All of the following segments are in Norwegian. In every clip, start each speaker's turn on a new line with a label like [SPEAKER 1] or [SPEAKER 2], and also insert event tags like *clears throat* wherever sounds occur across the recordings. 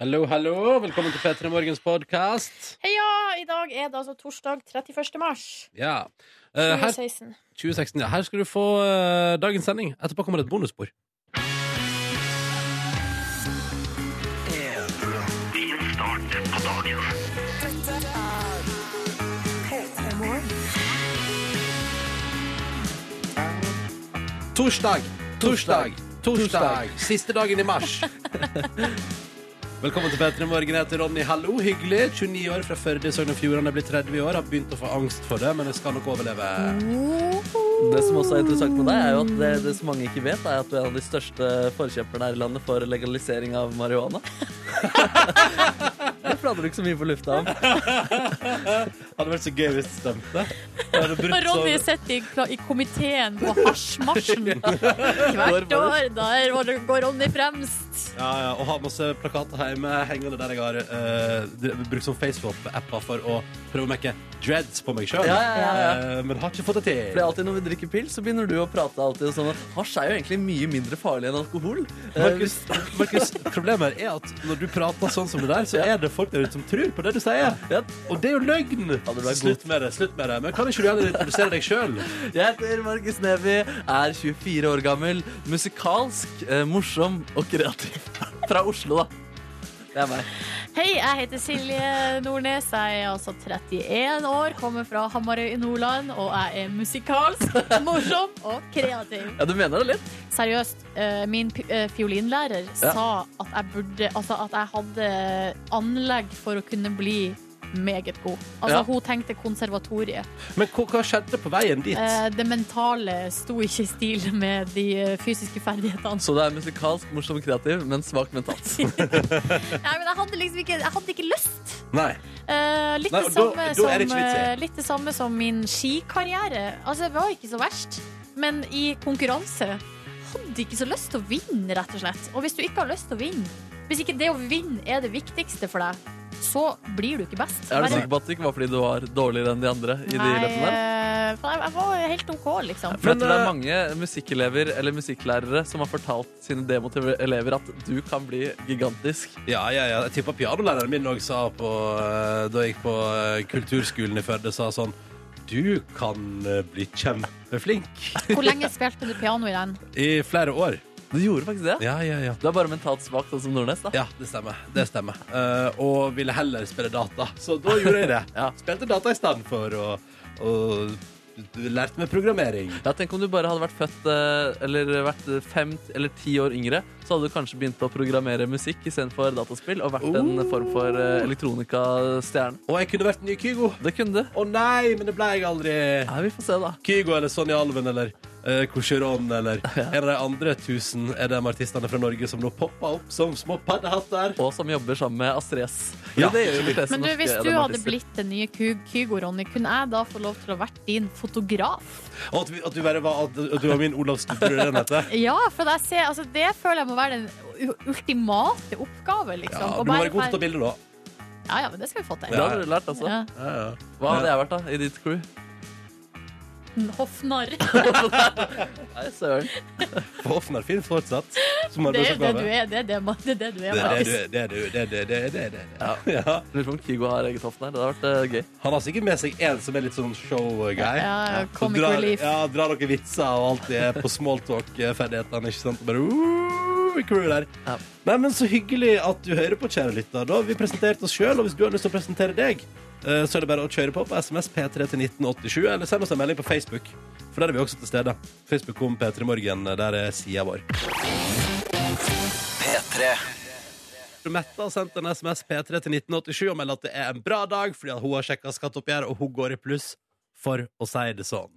[SPEAKER 1] Hallo, hallo. Velkommen til P3 Morgens podkast.
[SPEAKER 2] Heia! I dag er det altså torsdag 31. mars
[SPEAKER 1] Ja. Eh, her,
[SPEAKER 2] 2016.
[SPEAKER 1] 2016, ja. her skal du få eh, dagens sending. Etterpå kommer det et bonusspor. Torsdag, torsdag, torsdag. Siste dagen i mars. Velkommen til P3 Morgen. Jeg heter Ronny. Hallo, hyggelig. 29 år fra Førde i Sogn og Fjordane. Blir 30 i år. Har begynt å få angst for det, men jeg skal nok overleve.
[SPEAKER 3] Det som også er interessant med deg, er jo at det, det som mange ikke vet, er at du er en av de største forkjemperne her i landet for legalisering av marihuana. det prater du ikke så mye på lufta om.
[SPEAKER 1] Hadde vært så gøy hvis det stemte. Jeg hadde
[SPEAKER 4] Og
[SPEAKER 1] brutt
[SPEAKER 4] Ronny
[SPEAKER 1] så-
[SPEAKER 4] sitter i, kla- i komiteen på hasjmarsjen hvert år. Der var det- går Ronny fremst.
[SPEAKER 1] Ja, ja, og har masse plakater hjemme hengende der jeg har eh, dre- brukt som Facebook-apper for å prøve å mekke dreads på meg sjøl.
[SPEAKER 3] Ja, ja, ja, ja.
[SPEAKER 1] men har ikke fått det
[SPEAKER 3] For det
[SPEAKER 1] til.
[SPEAKER 3] er alltid Når vi drikker pils, så begynner du å prate alltid sånn at hasj er jo egentlig mye mindre farlig enn alkohol. Eh,
[SPEAKER 1] Markus, Markus, problemet er at når du prater sånn som det der, så er det folk der ute som tror på det du sier.
[SPEAKER 3] Ja.
[SPEAKER 1] Og det er jo løgn!
[SPEAKER 3] det var
[SPEAKER 1] Slutt med det. slutt med det Men kan ikke du heller introdusere deg sjøl?
[SPEAKER 3] Jeg heter Markus Neby, er 24 år gammel, musikalsk, eh, morsom og kreativ. Fra Oslo, da. Det er meg.
[SPEAKER 4] Hei, jeg heter Silje Nordnes. Jeg er altså 31 år, kommer fra Hamarøy i Nordland, og jeg er musikalsk, *laughs* morsom og kreativ.
[SPEAKER 3] Ja, du mener det litt?
[SPEAKER 4] Seriøst, eh, min pi- eh, fiolinlærer
[SPEAKER 3] Ja.
[SPEAKER 4] sa at jeg burde Altså at jeg hadde anlegg for å kunne bli meget god. Altså,
[SPEAKER 3] Ja.
[SPEAKER 4] hun tenkte konservatoriet.
[SPEAKER 1] Men hva, hva skjedde på veien dit?
[SPEAKER 4] Eh, Det mentale sto ikke i stil med de eh, fysiske ferdighetene.
[SPEAKER 3] Så du er musikalsk, morsom, kreativ, men svak mentalt.
[SPEAKER 4] *laughs* Nei, men jeg hadde liksom ikke, jeg hadde ikke lyst.
[SPEAKER 1] Nei.
[SPEAKER 4] Eh, litt,
[SPEAKER 1] Nei,
[SPEAKER 4] det
[SPEAKER 1] og da-
[SPEAKER 4] samme
[SPEAKER 1] da er det
[SPEAKER 4] som,
[SPEAKER 1] ikke vits i.
[SPEAKER 4] eh, litt det samme som min skikarriere. Altså, det var ikke så verst, men i konkurranse hadde ikke så lyst til å vinne, rett og slett. Og hvis du ikke har lyst til å vinne, hvis ikke det å vinne er det viktigste for deg, så blir du ikke best.
[SPEAKER 3] Er du
[SPEAKER 4] Bare-
[SPEAKER 1] sånn
[SPEAKER 3] sikker på at det ikke var fordi du var dårligere enn de andre? i de
[SPEAKER 4] Nei,
[SPEAKER 3] løpene der?
[SPEAKER 4] eh, for jeg, jeg var helt OK, liksom.
[SPEAKER 3] For jeg
[SPEAKER 1] Men,
[SPEAKER 3] tror det
[SPEAKER 1] eh,
[SPEAKER 3] er mange musikkelever eller musikklærere som har fortalt sine demotive elever at du kan bli gigantisk.
[SPEAKER 1] Ja, ja, ja. Jeg tipper pianolæreren min òg sa på eh, Da jeg gikk på eh, kulturskolen i Førde, sa sånn Du kan eh, bli kjempeflink
[SPEAKER 4] Hvor lenge spilte du piano i den?
[SPEAKER 1] i flere år.
[SPEAKER 3] Du gjorde faktisk det.
[SPEAKER 1] Ja, ja, ja.
[SPEAKER 3] Du er bare mentalt svak, sånn som Nordnes. da.
[SPEAKER 1] Ja, det stemmer. Det stemmer. Eh, og ville heller spille data, så da gjorde jeg det.
[SPEAKER 3] Ja.
[SPEAKER 1] Spilte data i stedet for og, og lærte meg programmering.
[SPEAKER 3] Ja, tenk om du bare hadde vært født eh, eller vært fem eller ti år yngre, så hadde du kanskje begynt å programmere musikk istedenfor dataspill og vært
[SPEAKER 1] Oh.
[SPEAKER 3] en form for eh, elektronikastjerne.
[SPEAKER 1] Og jeg kunne vært den nye Kygo.
[SPEAKER 3] Det kunne du.
[SPEAKER 1] Å nei, men det ble jeg aldri.
[SPEAKER 3] Ja, vi får se, da.
[SPEAKER 1] Kygo eller Sonja Alven eller uh, Cocheron eller
[SPEAKER 4] *laughs*
[SPEAKER 1] en av de andre tusen er de artistene fra Norge som nå popper opp som små paddehatter.
[SPEAKER 3] Og som jobber sammen med Astrid S.
[SPEAKER 1] Ja,
[SPEAKER 3] det gjør jo de fleste
[SPEAKER 4] Men du,
[SPEAKER 3] norske
[SPEAKER 4] hvis du hadde
[SPEAKER 3] artister.
[SPEAKER 4] blitt den nye Ky- Kygo, Ronny, kunne jeg da få lov til å vært din fotograf?
[SPEAKER 1] Og at, vi, at, du bare var, at, at du var min Olav Stubberud, den heter.
[SPEAKER 4] Ja, for jeg ser, altså, det føler jeg må være den u- ultimate oppgave, liksom.
[SPEAKER 1] Ja,
[SPEAKER 4] Å
[SPEAKER 1] du må
[SPEAKER 4] bare
[SPEAKER 1] være god til å ta
[SPEAKER 4] være-
[SPEAKER 1] bilde, da.
[SPEAKER 4] Ja, ja, men det skal vi få til.
[SPEAKER 3] Det hadde du lært, altså.
[SPEAKER 4] Ja.
[SPEAKER 1] Ja, ja.
[SPEAKER 3] Hva hadde jeg vært, da? I ditt crew?
[SPEAKER 1] *laughs*
[SPEAKER 4] Hoffnarr.
[SPEAKER 3] Nei, søren.
[SPEAKER 1] Hoffner fin fortsatt. Som
[SPEAKER 4] Det er det du
[SPEAKER 1] arbeidsoppgave.
[SPEAKER 4] er. Det er det, man- det, er det du er.
[SPEAKER 1] Det er det du
[SPEAKER 4] Markus.
[SPEAKER 1] er. Det er du er. Det er det du er. Det er det du er. Ja.
[SPEAKER 3] Lurer på om Kygo har eget hoff der. Det hadde vært eh, gøy.
[SPEAKER 1] Han har sikkert med seg en som er litt sånn show-guy.
[SPEAKER 4] Ja, ja, comic
[SPEAKER 1] drar,
[SPEAKER 4] relief.
[SPEAKER 1] Ja, drar noen vitser og alt det på smalltalk-ferdighetene. Ikke sant? Og Bare uh, crew der.
[SPEAKER 3] Ja.
[SPEAKER 1] Nei, men Så hyggelig at du hører på, kjære lytter. Da har vi presentert oss sjøl, og hvis du har lyst til å presentere deg, eh, så er det bare å kjøre på på SMS P3 til 1987, eller send oss en melding på Facebook. For der er vi også til stede. Facebook om P3 Morgen, der er sida vår. Mette har sendt en SMS P3 til 1987 og melder at det er en bra dag fordi at hun har sjekka skatteoppgjøret, og hun går i pluss, for å si det sånn.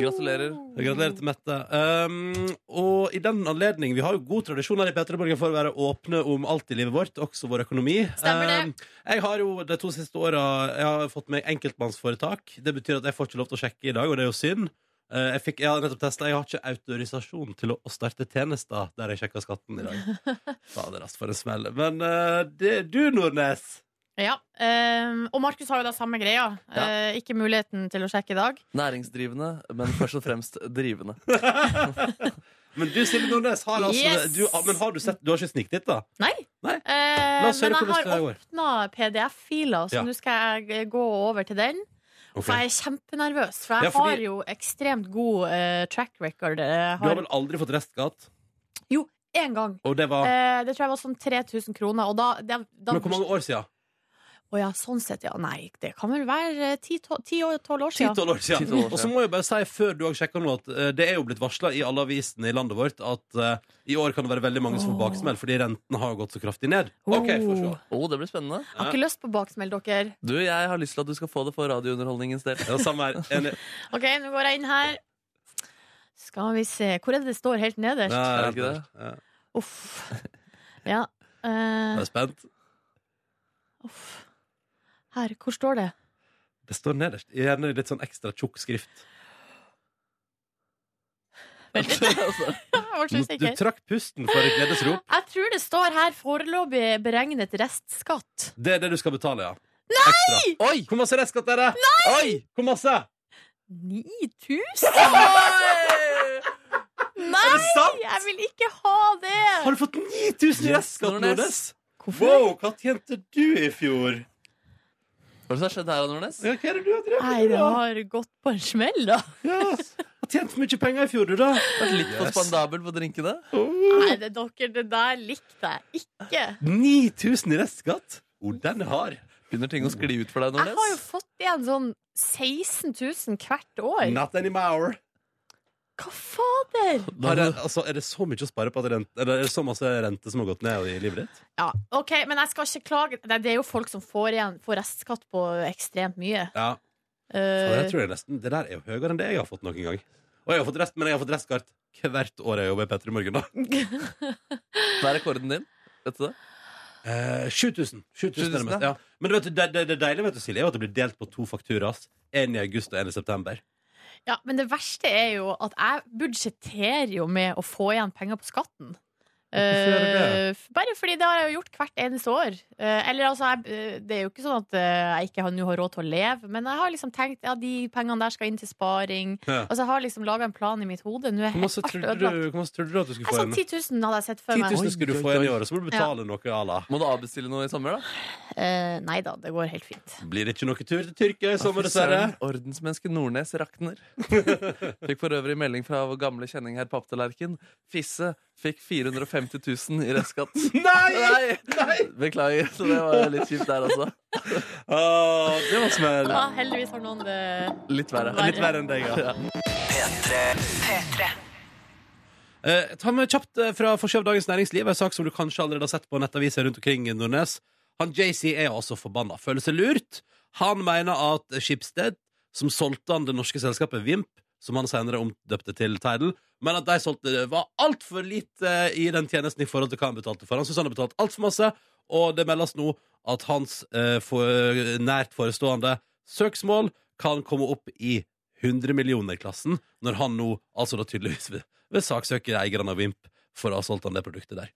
[SPEAKER 3] Gratulerer.
[SPEAKER 1] Gratulerer til Mette. Um, og i den anledning, vi har jo god tradisjon her i Peterborgen for å være åpne om alt i livet vårt, også vår økonomi.
[SPEAKER 4] Stemmer det.
[SPEAKER 1] Um, jeg har jo de to siste åra jeg har fått meg enkeltmannsforetak. Det betyr at jeg får ikke lov til å sjekke i dag, og det er jo synd. Uh, jeg, fikk, jeg har nettopp testet, jeg har ikke autorisasjon til å, å starte tjenester der jeg sjekker skatten i dag.
[SPEAKER 4] *laughs*
[SPEAKER 1] Fader, ass, for en smell. Men uh, det, du, Nordnes
[SPEAKER 4] Ja. ehm, og Markus har jo da samme greia.
[SPEAKER 3] Ja.
[SPEAKER 4] Eh, ikke muligheten til å sjekke i dag.
[SPEAKER 3] Næringsdrivende, men først og fremst drivende.
[SPEAKER 1] Men du, Silje Nordnes, har altså
[SPEAKER 4] Yes.
[SPEAKER 1] du, Men har du sett Du har ikke sniktitt, da?
[SPEAKER 4] Nei.
[SPEAKER 1] Nei.
[SPEAKER 4] Eh,
[SPEAKER 1] La oss høre
[SPEAKER 4] men jeg
[SPEAKER 1] hvordan det
[SPEAKER 4] har
[SPEAKER 1] går.
[SPEAKER 4] åpna PDF-filer, så
[SPEAKER 1] Ja.
[SPEAKER 4] nå skal jeg eh, gå over til den.
[SPEAKER 1] Ok.
[SPEAKER 4] For jeg er kjempenervøs, for jeg
[SPEAKER 1] Ja, fordi-
[SPEAKER 4] har jo ekstremt god eh, track record. eh,
[SPEAKER 1] Du har
[SPEAKER 4] har
[SPEAKER 1] vel aldri fått restskatt?
[SPEAKER 4] én gang.
[SPEAKER 1] Og det var
[SPEAKER 4] Eh, det tror jeg var sånn 3000 kroner. Og da, det, da
[SPEAKER 1] Men hvor mange år siden?
[SPEAKER 4] Å ja, sånn sett, ja. Nei, det kan vel være eh, ti to- ti år- tolv år siden.
[SPEAKER 1] 10-12 år siden.
[SPEAKER 3] 10-12 år siden.
[SPEAKER 1] Og så må jeg bare si før du har sjekka noe, at eh, det er jo blitt varsla i alle avisene i landet vårt at eh, i år kan det være veldig mange som får
[SPEAKER 4] Åh.
[SPEAKER 1] baksmell fordi renten har gått så kraftig ned. OK, får se.
[SPEAKER 4] Oh.
[SPEAKER 3] Å, det blir spennende.
[SPEAKER 4] Jeg har ikke lyst på baksmell, dere.
[SPEAKER 3] Du, jeg har lyst til at du skal få det for radiounderholdningens
[SPEAKER 4] *laughs*
[SPEAKER 3] del.
[SPEAKER 1] Ja, samme her. Enig.
[SPEAKER 4] OK, nå går jeg inn her. Skal vi se Hvor er det det står helt nederst?
[SPEAKER 1] Nei,
[SPEAKER 3] Er det ikke det?
[SPEAKER 1] Ja.
[SPEAKER 4] Uff. Ja.
[SPEAKER 1] Jeg
[SPEAKER 4] Eh,
[SPEAKER 1] er spent.
[SPEAKER 4] uff. Her. Hvor står det?
[SPEAKER 1] Det står nederst. Gjerne i litt sånn ekstra tjukk skrift.
[SPEAKER 3] Altså,
[SPEAKER 4] Jeg ble så
[SPEAKER 1] Du
[SPEAKER 4] usikker.
[SPEAKER 1] trakk pusten for et gledesrop.
[SPEAKER 4] Jeg tror det står her foreløpig beregnet restskatt.
[SPEAKER 1] Det er det du skal betale, ja. Nei!
[SPEAKER 3] Oi!
[SPEAKER 1] Hvor masse restskatt er det? Oi! Hvor masse?
[SPEAKER 4] 9000?
[SPEAKER 1] Er
[SPEAKER 4] Nei,
[SPEAKER 1] det sant?
[SPEAKER 4] jeg vil ikke ha det!
[SPEAKER 1] Har du fått 9000 i
[SPEAKER 3] Yes,
[SPEAKER 1] restskatt,
[SPEAKER 3] Nordnes.
[SPEAKER 1] Nordnes?
[SPEAKER 4] Hvorfor?
[SPEAKER 1] Wow, hva tjente du i fjor?
[SPEAKER 3] Hva er det som har skjedd her, Nordnes?
[SPEAKER 1] Ja, hva er det du har drevet
[SPEAKER 4] Nei,
[SPEAKER 1] med?
[SPEAKER 4] det
[SPEAKER 1] da?
[SPEAKER 4] har gått på en smell, da.
[SPEAKER 1] Yes. Har tjent mye penger i fjor, du, da.
[SPEAKER 3] Vært litt for
[SPEAKER 1] Yes.
[SPEAKER 3] spandabel på drinkene?
[SPEAKER 4] Nei, det, dere, det der likte jeg ikke.
[SPEAKER 1] 9000 i restskatt? Oh, den er hard.
[SPEAKER 3] Begynner ting å skli ut for deg,
[SPEAKER 4] Jeg har jo
[SPEAKER 3] Nordnes?
[SPEAKER 4] fått igjen sånn 16 000 hvert år.
[SPEAKER 1] Not anymore.
[SPEAKER 4] Hva fader?
[SPEAKER 1] Har det, altså, er det så mye å spare på at rent, eller er det så masse rente som har gått ned i livet ditt?
[SPEAKER 4] Ja, ok, Men jeg skal ikke klage. Nei, det er jo folk som får igjen Får restskatt på ekstremt mye.
[SPEAKER 1] Ja, Og
[SPEAKER 4] Eh,
[SPEAKER 1] jeg tror jeg nesten, Det der er jo høyere enn det jeg har fått noen gang. Og jeg har fått rest, men jeg har fått restskatt hvert år jeg jobber i P3 Morgen. da
[SPEAKER 3] Hva er rekorden din? Vet du det?
[SPEAKER 1] Eh, 7000. 7000 er det
[SPEAKER 3] 7000,
[SPEAKER 1] meste, ja. Men du vet, det, det, det deilige vet du, Silje, er jo at det blir delt på to fakturas. En i august og en i september.
[SPEAKER 4] ja, men det verste er jo at jeg budsjetterer jo med å få igjen penger på skatten.
[SPEAKER 1] Hvorfor gjør du det?
[SPEAKER 4] Eh, f- bare fordi det har jeg jo gjort hvert eneste år. Eh, eller altså, jeg, eh, Det er jo ikke sånn at eh, jeg ikke har, nå har råd til å leve, men jeg har liksom tenkt ja, de pengene der skal inn til sparing.
[SPEAKER 1] Ja.
[SPEAKER 4] Altså, Jeg har liksom laga en plan i mitt hode. Nå er
[SPEAKER 1] Hvor masse
[SPEAKER 4] helt alt
[SPEAKER 1] trodde du,
[SPEAKER 4] ødelagt.
[SPEAKER 1] hvor masse trodde du at du skulle
[SPEAKER 4] Jeg
[SPEAKER 1] få
[SPEAKER 4] sa
[SPEAKER 1] igjen?
[SPEAKER 4] 10 000 hadde jeg sett for
[SPEAKER 1] 10
[SPEAKER 4] meg.
[SPEAKER 1] 000 skulle du få igjen i året, så må du betale noe à la.
[SPEAKER 3] Må du avbestille noe i sommer, da?
[SPEAKER 4] Eh, nei da, det går helt fint.
[SPEAKER 1] Blir det ikke noe tur til Tyrkia i sommer,
[SPEAKER 3] Fy
[SPEAKER 1] dessverre?
[SPEAKER 3] søren, Ordensmenneske Nordnes
[SPEAKER 1] *laughs*
[SPEAKER 3] rakner. Fikk for øvrig melding fra vår gamle kjenning herr Papptallerken. Fisse fikk 450 000 i restskatt.
[SPEAKER 1] Nei!
[SPEAKER 3] Nei! Beklager, så det var litt kjipt der altså. også.
[SPEAKER 1] Åh, det var smell.
[SPEAKER 4] Ja, heldigvis har noen det
[SPEAKER 3] Litt verre.
[SPEAKER 1] Litt verre enn deg, ja.
[SPEAKER 3] Ja.
[SPEAKER 1] Eh, ta med kjapt eh, fra forsida av Dagens Næringsliv, en sak som du kanskje allerede har sett på nettaviser rundt omkring i Nordnes. Han JC er altså forbanna. Føler seg lurt. Han mener at Schibsted, som solgte han det norske selskapet Vimp, som han senere omdøpte til Tidal, men at de solgte det var altfor lite eh, i den tjenesten i forhold til hva han betalte for. Han synes han har betalt altfor masse, og det meldes nå at hans eh, for, nært forestående søksmål kan komme opp i 100 millioner-klassen, når han nå altså da tydeligvis vil, vil saksøke eierne av Vimp for å ha solgt han det produktet der.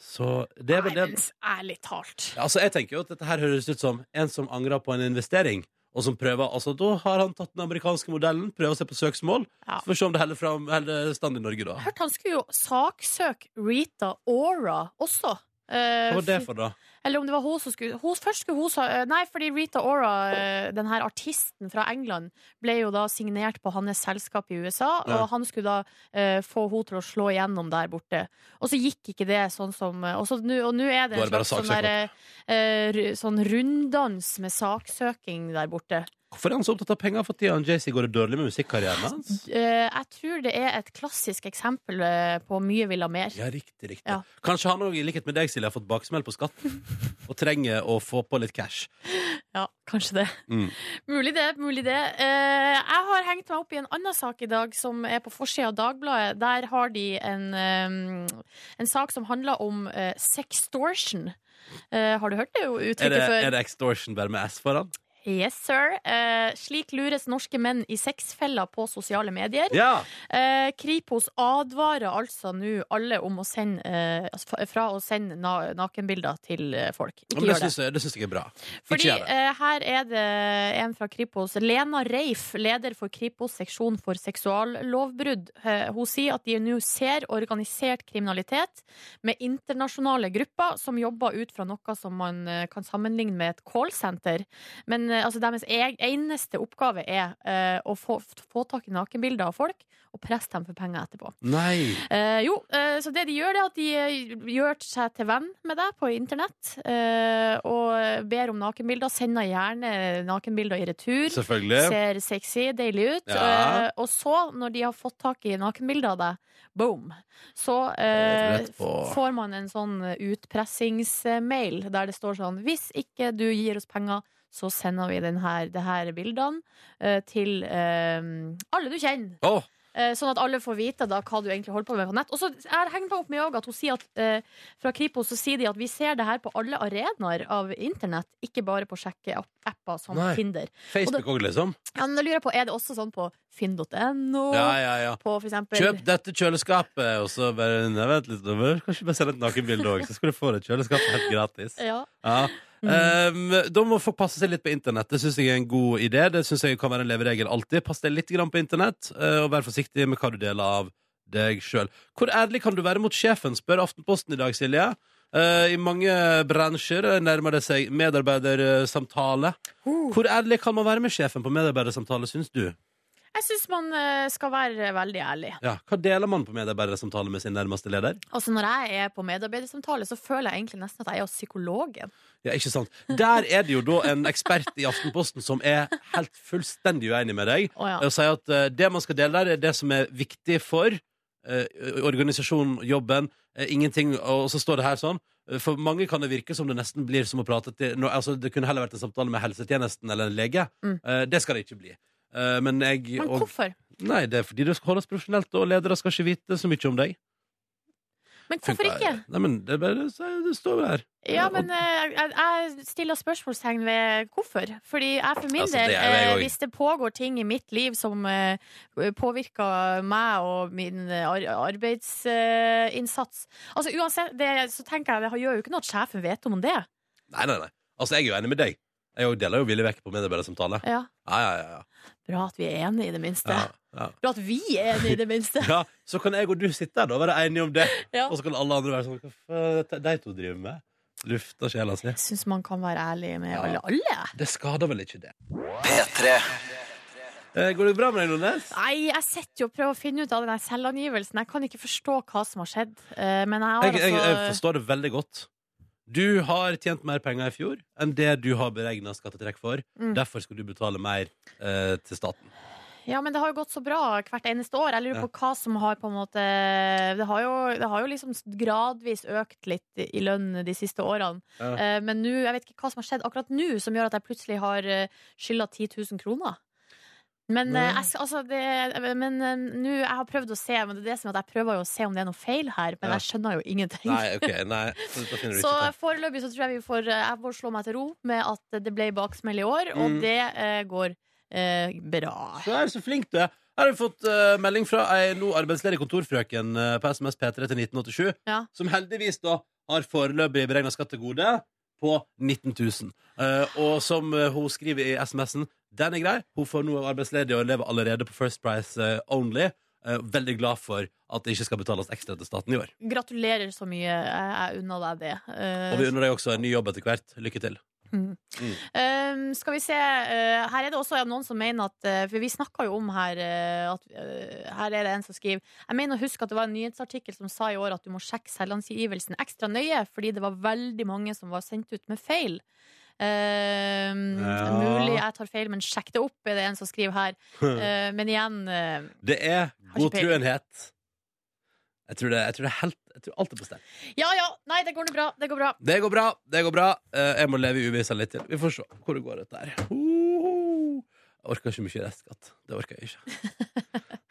[SPEAKER 1] Så det er vel det
[SPEAKER 4] Nei, men Ærlig talt.
[SPEAKER 1] ja, Altså, jeg tenker jo at dette her høres ut som en som angrer på en investering, og som prøver Altså, da har han tatt den amerikanske modellen, prøver å se på søksmål,
[SPEAKER 4] Ja.
[SPEAKER 1] så får vi se om det heller, fram, heller stand i Norge, da.
[SPEAKER 4] Hørt, han skulle jo saksøke Rita Ora også. Eh,
[SPEAKER 1] Hva var det for, da?
[SPEAKER 4] Eller om det var hun som skulle hun, Først skulle hun sa, eh, Nei, fordi Rita Ora, eh, den her artisten fra England, ble jo da signert på hans selskap i USA,
[SPEAKER 1] Ja.
[SPEAKER 4] og han skulle da eh, få henne til å slå igjennom der borte. Og så gikk ikke det sånn som eh, Og så nå og nå er det
[SPEAKER 1] Da er det
[SPEAKER 4] en
[SPEAKER 1] bare
[SPEAKER 4] slags sånn,
[SPEAKER 1] saksøk,
[SPEAKER 4] der, eh, ru- sånn runddans med saksøking der borte.
[SPEAKER 1] Hvorfor er han så opptatt av penger for tida? JC går det dårlig med musikkarrieren hans?
[SPEAKER 4] Eh, jeg tror det er et klassisk eksempel eh, på mye vil ha mer.
[SPEAKER 1] Ja, riktig, riktig.
[SPEAKER 4] Ja.
[SPEAKER 1] Kanskje han òg, i likhet med deg, Silje, har fått baksmell på skatten og trenger å få på litt cash.
[SPEAKER 4] Ja, kanskje det.
[SPEAKER 1] Mm.
[SPEAKER 4] *laughs* Mulig det, mulig det. Eh, jeg har hengt meg opp i en annen sak i dag, som er på forsida av Dagbladet. Der har de en, eh, en sak som handler om eh, sextortion. Eh, har du hørt det
[SPEAKER 1] Er
[SPEAKER 4] uttrykket
[SPEAKER 1] det,
[SPEAKER 4] før?
[SPEAKER 1] er det extortion bare med S foran?
[SPEAKER 4] Yes, sir. Eh, slik lures norske menn i sexfeller på sosiale medier.
[SPEAKER 1] Ja!
[SPEAKER 4] Eh, Kripos advarer altså nå alle om å sende, eh, altså fra- fra å sende na nakenbilder til eh, folk. Ikke
[SPEAKER 1] Men det
[SPEAKER 4] gjør det.
[SPEAKER 1] syns jeg, det syns jeg er bra.
[SPEAKER 4] Fordi
[SPEAKER 1] gjør det.
[SPEAKER 4] eh, her er det en fra Kripos. Lena Reif, leder for Kripos seksjon for seksuallovbrudd. Eh, hun sier at de nå ser organisert kriminalitet med internasjonale grupper som jobber ut fra noe som man eh, kan sammenligne med et callsenter. Men eh, altså, deres e- eneste oppgave er eh, å få, få tak i nakenbilder av folk og presse dem for penger etterpå.
[SPEAKER 1] Nei!
[SPEAKER 4] Eh, jo, eh, så det de gjør, det er at de eh, gjør seg til venn med deg på internett. eh, og ber om nakenbilder. Sender gjerne nakenbilder i retur.
[SPEAKER 1] Selvfølgelig.
[SPEAKER 4] Ser sexy, deilig ut.
[SPEAKER 1] Ja.
[SPEAKER 4] Eh, og så, når de har fått tak i nakenbilder av deg, boom, så eh,
[SPEAKER 1] Rett på.
[SPEAKER 4] får man en sånn utpressingsmail der det står sånn Hvis ikke du gir oss penger, så sender vi den her, det her bildene eh, til eh, alle du kjenner.
[SPEAKER 1] Åh,
[SPEAKER 4] Eh, Sånn at alle får vite da hva du egentlig holder på med på nett. Og så er- henger det opp med også at hun sier at eh, fra Kripos så sier de at vi ser det her på alle arenaer av internett, ikke bare på sjekkeapper som
[SPEAKER 1] Nei.
[SPEAKER 4] Tinder.
[SPEAKER 1] Facebook òg, liksom.
[SPEAKER 4] Ja, men da lurer jeg på, Er det også sånn på finn.no?
[SPEAKER 1] Ja, ja, ja.
[SPEAKER 4] På for eksempel
[SPEAKER 1] Kjøp dette kjøleskapet, og så bare nei, vent litt. da må du Kanskje bare send et nakenbilde òg, så skal du få det kjøleskapet helt gratis.
[SPEAKER 4] Ja.
[SPEAKER 1] Ja. Ehm, da må folk passe seg litt på internett. Det syns jeg er en god idé. Det synes jeg kan være en leveregel alltid. Pass deg litt grann på internett, eh, og vær forsiktig med hva du deler av deg sjøl. Hvor ærlig kan du være mot sjefen, spør Aftenposten i dag, Silje. Eh, I mange bransjer nærmer det seg medarbeidersamtale. Hvor ærlig kan man være med sjefen på medarbeidersamtale, syns du?
[SPEAKER 4] Jeg syns man eh, skal være veldig ærlig.
[SPEAKER 1] Ja, Hva deler man på medarbeidersamtale med sin nærmeste leder?
[SPEAKER 4] Altså Når jeg er på medarbeidersamtale, så føler jeg egentlig nesten at jeg er hos psykologen.
[SPEAKER 1] Ja, ikke sant? Der er det jo da en ekspert i Aftenposten som er helt fullstendig uenig med deg,
[SPEAKER 4] Å, ja.
[SPEAKER 1] og sier at eh, det man skal dele der, er det som er viktig for eh, organisasjonen, jobben, eh, ingenting. Og så står det her sånn. eh, For mange kan det virke som det nesten blir som å prate til nå, altså Det kunne heller vært en samtale med helsetjenesten eller en lege.
[SPEAKER 4] Mm.
[SPEAKER 1] Eh, det skal det ikke bli. Eh, men jeg
[SPEAKER 4] Men
[SPEAKER 1] og,
[SPEAKER 4] hvorfor?
[SPEAKER 1] Nei, det er fordi det skal holdes profesjonelt, og ledere skal ikke vite så mye om deg.
[SPEAKER 4] Men hvorfor ikke?
[SPEAKER 1] Nei, men det, er bare, det står jo her.
[SPEAKER 4] Ja, men eh, jeg, jeg stiller spørsmålstegn ved hvorfor. Fordi jeg for min
[SPEAKER 1] Altså, det
[SPEAKER 4] del,
[SPEAKER 1] er jo jeg
[SPEAKER 4] eh,
[SPEAKER 1] også.
[SPEAKER 4] hvis det pågår ting i mitt liv som eh, påvirker meg og min eh, ar arbeidsinnsats Altså uansett, det, så tenker jeg det gjør jo ikke noe at sjefen vet om det.
[SPEAKER 1] Nei, nei, nei. Altså, jeg er jo enig med deg. Jeg deler jo villig vekk på medarbeidersamtale.
[SPEAKER 4] Ja.
[SPEAKER 1] Ja, ja, ja,
[SPEAKER 4] Bra at vi er enige, i det minste.
[SPEAKER 1] ja. ja.
[SPEAKER 4] Bra at vi er enige, i det
[SPEAKER 1] *laughs*
[SPEAKER 4] minste.
[SPEAKER 1] Ja, så kan jeg og du sitte her da og være enige om det,
[SPEAKER 4] Ja.
[SPEAKER 1] og så kan alle andre være sånn Hva faen er det de to driver med? Lufta sjela si.
[SPEAKER 4] Jeg syns man kan være ærlig med
[SPEAKER 1] Ja.
[SPEAKER 4] alle. alle.
[SPEAKER 1] Det skader vel ikke det. Eh, Går det bra med deg, Nordnes?
[SPEAKER 4] Nei, jeg sitter jo og prøver å finne ut av den der selvangivelsen. Jeg kan ikke forstå hva som har skjedd. eh, Men jeg har
[SPEAKER 1] Jeg, jeg, jeg
[SPEAKER 4] altså
[SPEAKER 1] forstår det veldig godt. Du har tjent mer penger i fjor enn det du har beregna skattetrekk for.
[SPEAKER 4] Mm.
[SPEAKER 1] Derfor skal du betale mer eh, til staten.
[SPEAKER 4] Ja, men det har jo gått så bra hvert eneste år. Jeg lurer
[SPEAKER 1] Ja.
[SPEAKER 4] på hva som har på en måte det har, jo, det har jo liksom gradvis økt litt i lønn de siste årene.
[SPEAKER 1] Ja.
[SPEAKER 4] Eh, Men nå, jeg vet ikke hva som har skjedd akkurat nå som gjør at jeg plutselig har eh, skylda 10 000 kroner. Men eh,
[SPEAKER 1] Nei.
[SPEAKER 4] jeg, skal- altså, det, men eh, nå, jeg har prøvd å se Men det er det som er at jeg prøver jo å se om det er noe feil her, men
[SPEAKER 1] Ja.
[SPEAKER 4] jeg skjønner jo ingenting.
[SPEAKER 1] Nei, OK. Nei, så dette finner du
[SPEAKER 4] Så
[SPEAKER 1] ikke ut av.
[SPEAKER 4] foreløpig så tror jeg vi får eh, Jeg får slå meg til ro med at det ble baksmell i år, og
[SPEAKER 1] Mm.
[SPEAKER 4] det eh, går eh, bra.
[SPEAKER 1] Så er du så flink du er. Her har vi fått eh, melding fra ei nå arbeidsledig kontorfrøken eh, på SMS P3 til 1987,
[SPEAKER 4] Ja.
[SPEAKER 1] som heldigvis da har foreløpig beregna skatt til gode på 19 000. Eh, og som eh, hun skriver i SMS-en, den er grei. Hun får nå arbeidsledig og lever allerede på First Price eh, only. Eh, veldig glad for at det ikke skal betales ekstra til staten i år.
[SPEAKER 4] Gratulerer så mye. Jeg jeg unner deg det. Eh,
[SPEAKER 1] Og vi unner deg også en ny jobb etter hvert. Lykke til.
[SPEAKER 4] eh, skal vi se eh, Her er det også noen som mener at eh, For vi snakka jo om her eh, at, eh, Her er det en som skriver Jeg mener å huske at det var en nyhetsartikkel som sa i år at du må sjekke selvangivelsen ekstra nøye, fordi det var veldig mange som var sendt ut med feil. Eh, Mulig jeg tar feil, men sjekk det opp, er det en som skriver
[SPEAKER 1] *laughs*
[SPEAKER 4] her. Eh, men igjen eh,
[SPEAKER 1] Det er
[SPEAKER 4] Har ikke
[SPEAKER 1] god
[SPEAKER 4] peiling.
[SPEAKER 1] truenhet. Jeg tror, det, jeg tror det er helt Jeg tror alt er på stell.
[SPEAKER 4] Ja ja, nei, det går nå bra. Det går bra.
[SPEAKER 1] Det går bra. det går bra Eh, Jeg må leve i uvisshet litt til. Vi får se hvor det går. dette her Hoho. Jeg orker ikke mye restskatt. Det orker jeg ikke.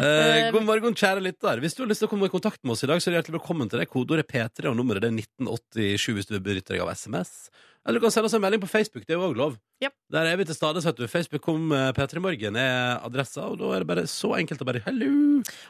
[SPEAKER 1] Eh, god morgen, kjære lytter. Hvis du har lyst til å komme i kontakt med oss i dag, så er du hjertelig velkommen til det. Kodeordet er P3, og nummeret det er 1987 hvis du benytter deg av SMS. Eller du kan sende oss en melding på Facebook. Det er jo òg lov.
[SPEAKER 4] Japp.
[SPEAKER 1] Der er vi til stades, vet du. Facebook kom eh, P3 Morgen er adressa, og da er det bare så enkelt å bare Hello!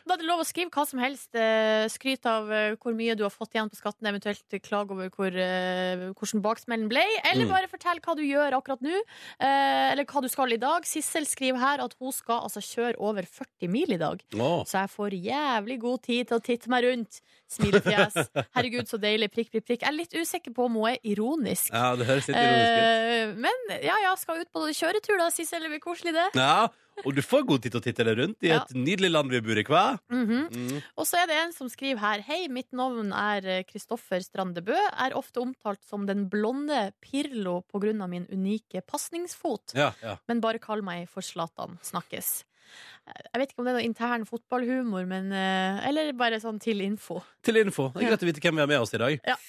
[SPEAKER 4] Da er det lov å skrive hva som helst. eh, Skryt av eh, hvor mye du har fått igjen på skatten, eventuelt klag over hvor, eh, hvordan baksmellen ble. Eller
[SPEAKER 1] Mm.
[SPEAKER 4] bare fortell hva du gjør akkurat nå, eh, eller hva du skal i dag. Sissel skriver her at hun skal altså kjøre over 40 mil i dag.
[SPEAKER 1] Å,
[SPEAKER 4] Så jeg får jævlig god tid til å titte meg rundt. Smilefjes.
[SPEAKER 1] *laughs*
[SPEAKER 4] Herregud, så deilig. Prikk, prikk, prikk. Jeg er litt usikker på om hun er ironisk.
[SPEAKER 1] Ja, det høres litt ironisk ut.
[SPEAKER 4] Eh, men ja, ja, skal ut på kjøretur, da, Sissel. Det blir koselig, det.
[SPEAKER 1] Ja, og du får god tid til å titte deg rundt i
[SPEAKER 4] Ja.
[SPEAKER 1] et nydelig land vi bor i, hva?
[SPEAKER 4] Mhm.
[SPEAKER 1] Mm.
[SPEAKER 4] Og så er det en som skriver her Hei, mitt navn er Kristoffer Strandebø Er ofte omtalt som den blonde Pirlo På grunn av min unike passningsfot
[SPEAKER 1] Ja, ja.
[SPEAKER 4] Men bare kall meg for Zlatan Snakkes Eh, Jeg vet ikke om det er noe intern fotballhumor men, eh, Eller bare sånn til info
[SPEAKER 1] Til info. Det er greit å vite hvem vi har med oss i dag.
[SPEAKER 4] Ja.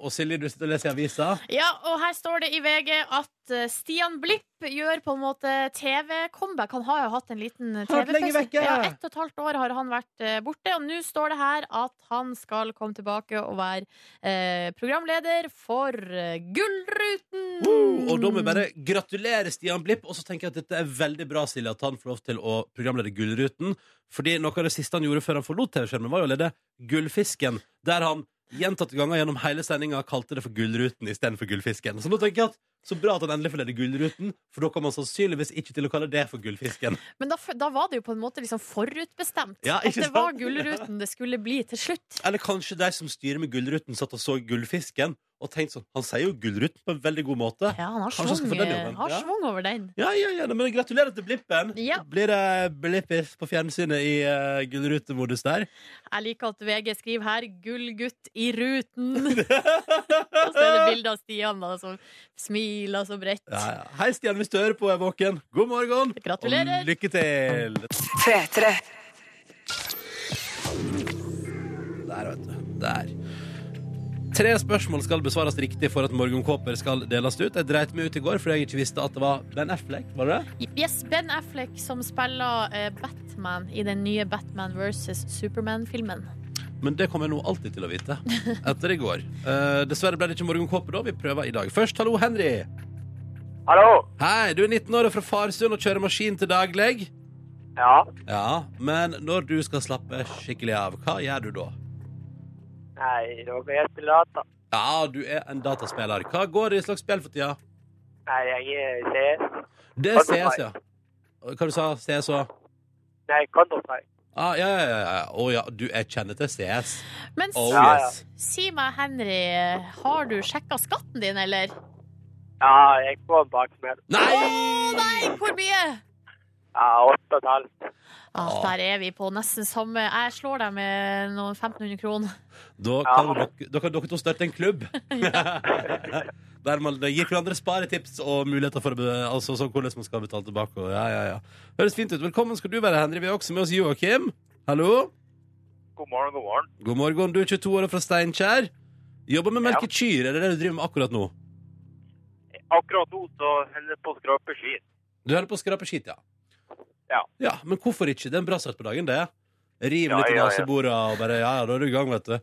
[SPEAKER 1] Og Silje, du sitter og leser i avisa.
[SPEAKER 4] Ja, og her står det i VG at eh, Stian Blipp gjør på en måte TV-comeback. Han har jo hatt en liten
[SPEAKER 1] vært lenge
[SPEAKER 4] TV-pause.
[SPEAKER 1] vekke.
[SPEAKER 4] Ja, ett og et halvt år har han vært eh, borte, og nå står det her at han skal komme tilbake og være eh, programleder for eh, Gullruten!
[SPEAKER 1] Woo! Og da må vi bare gratulere Stian Blipp. Og så tenker jeg at dette er veldig bra, Silje, at han får lov til å programlede Gullruten. Fordi noe av det siste han gjorde før han forlot TV-skjermen, var jo å lede Gullfisken. Der han gjentatte ganger gjennom hele sendinga kalte det for Gullruten istedenfor Gullfisken. Så nå tenker jeg at så bra at han endelig får lede Gullruten, for da kommer han sannsynligvis ikke til å kalle det for Gullfisken.
[SPEAKER 4] Men da, f- da var det jo på en måte liksom forutbestemt
[SPEAKER 1] Ja,
[SPEAKER 4] at
[SPEAKER 1] ikke
[SPEAKER 4] det var
[SPEAKER 1] sant?
[SPEAKER 4] Gullruten det skulle bli til slutt.
[SPEAKER 1] Eller kanskje de som styrer med Gullruten, satt og så Gullfisken og tenkte sånn Han sier jo Gullruten på en veldig god måte.
[SPEAKER 4] Ja, han har
[SPEAKER 1] Kanskje han skal
[SPEAKER 4] svung,
[SPEAKER 1] få den jobben.
[SPEAKER 4] eh, har
[SPEAKER 1] Ja.
[SPEAKER 4] svung over den.
[SPEAKER 1] Ja, ja, ja, men gratulerer til Blippen.
[SPEAKER 4] Ja.
[SPEAKER 1] Blir det Blippis på fjernsynet i uh, gullrutemodus der?
[SPEAKER 4] Jeg liker at VG skriver her 'gullgutt i
[SPEAKER 1] *laughs*
[SPEAKER 4] ruten'. Og så er det bilde av Stian da, som smiler så bredt.
[SPEAKER 1] Ja, ja. Hei, Stian, hvis du hører på, jeg er våken. God morgen.
[SPEAKER 4] Gratulerer.
[SPEAKER 1] Og lykke til. Der, vet du. Der. Tre spørsmål skal besvares riktig for at morgenkåper skal deles ut. Jeg dreit meg ut i går fordi jeg ikke visste at det var Ben Affleck. Var det det?
[SPEAKER 4] Yes, Ben Affleck som spiller eh, Batman i den nye Batman vs. Superman-filmen.
[SPEAKER 1] Men det kommer jeg nå alltid til å vite. Etter i går. Eh, dessverre ble det ikke morgenkåpe da. Vi prøver i dag. Først, hallo, Henry.
[SPEAKER 5] Hallo?
[SPEAKER 1] Hei, du er 19 år og fra Farsund og kjører maskin til daglig.
[SPEAKER 5] Ja,
[SPEAKER 1] Ja, men når du skal slappe skikkelig av, hva gjør du da?
[SPEAKER 5] nei, da går jeg til data.
[SPEAKER 1] Ja, du er en dataspiller. Hva går det i slags spill for tida?
[SPEAKER 5] Nei, jeg er CS.
[SPEAKER 1] Det er CS, ja. Hva du sa CS òg?
[SPEAKER 5] Nei, Counter-Strike.
[SPEAKER 1] Ah, ja, ja, ja, ja. Å ja, du er kjenner til CS.
[SPEAKER 4] Men
[SPEAKER 1] Oh
[SPEAKER 5] Ja, ja.
[SPEAKER 1] yes.
[SPEAKER 4] si meg, Henry, eh, har du sjekka skatten din, eller?
[SPEAKER 5] Ja, jeg får baksmell.
[SPEAKER 1] Nei!
[SPEAKER 4] Nei, hvor mye?
[SPEAKER 5] Ja, åtte og et halvt.
[SPEAKER 4] Ah, der er vi på nesten samme. Jeg slår deg med noen 1500 kroner.
[SPEAKER 1] Da kan dere, da kan dere to starte en klubb. *laughs* Der man gir hverandre sparetips og muligheter for å be- altså, sånn hvordan man skal betale tilbake. og Ja, ja, ja. Høres fint ut. Velkommen skal du være, Henry. Vi har også med oss Joakim. Hallo.
[SPEAKER 5] God morgen, god morgen.
[SPEAKER 1] God morgen, du er 22 år og fra Steinkjer. Jobber med melkekyr, er det det du driver med akkurat nå?
[SPEAKER 5] Akkurat nå så holder jeg på å skrape skit.
[SPEAKER 1] Du holder på å skrape skitt, ja.
[SPEAKER 5] Ja.
[SPEAKER 1] Ja, Men hvorfor ikke? Det er en bra start på dagen, det. Riv
[SPEAKER 5] Ja,
[SPEAKER 1] litt i
[SPEAKER 5] ja, ja.
[SPEAKER 1] naseborene og bare Ja, ja, da er du i gang, vet du.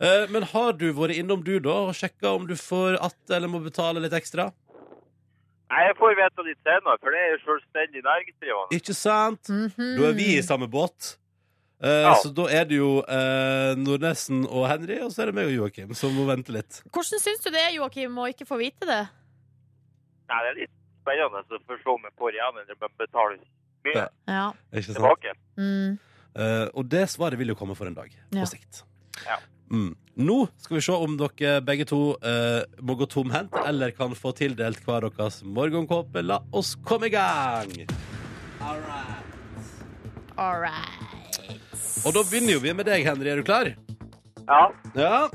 [SPEAKER 1] Eh, men har du vært innom, du, da, og sjekka om du får att eller må betale litt ekstra?
[SPEAKER 5] Nei, jeg får vite litt senere, for det er jo selvstendig næringsdrivende.
[SPEAKER 1] Ikke sant?
[SPEAKER 4] Mhm.
[SPEAKER 1] Da er vi i samme båt. Eh,
[SPEAKER 5] Ja.
[SPEAKER 1] Så da er det jo eh, Nordnesen og Henry, og så er det meg og Joakim som må vente litt.
[SPEAKER 4] Hvordan syns du det er, Joakim, å ikke få vite det?
[SPEAKER 5] Nei, det er litt spennende så for å se om jeg får igjen eller om jeg betaler mye
[SPEAKER 1] Ja.
[SPEAKER 4] Ja.
[SPEAKER 1] Ikke sant?
[SPEAKER 5] tilbake.
[SPEAKER 4] Mm.
[SPEAKER 1] Eh, og det svaret vil jo komme for en dag,
[SPEAKER 4] Ja.
[SPEAKER 1] på sikt.
[SPEAKER 5] Ja.
[SPEAKER 1] Mm. Nå skal vi se om dere begge to eh, må gå tomhendt eller kan få tildelt hver deres morgenkåpe. La oss komme i gang!
[SPEAKER 4] All right.
[SPEAKER 1] Og da begynner jo vi med deg, Henry. Er du klar?
[SPEAKER 5] Ja,
[SPEAKER 1] Ja.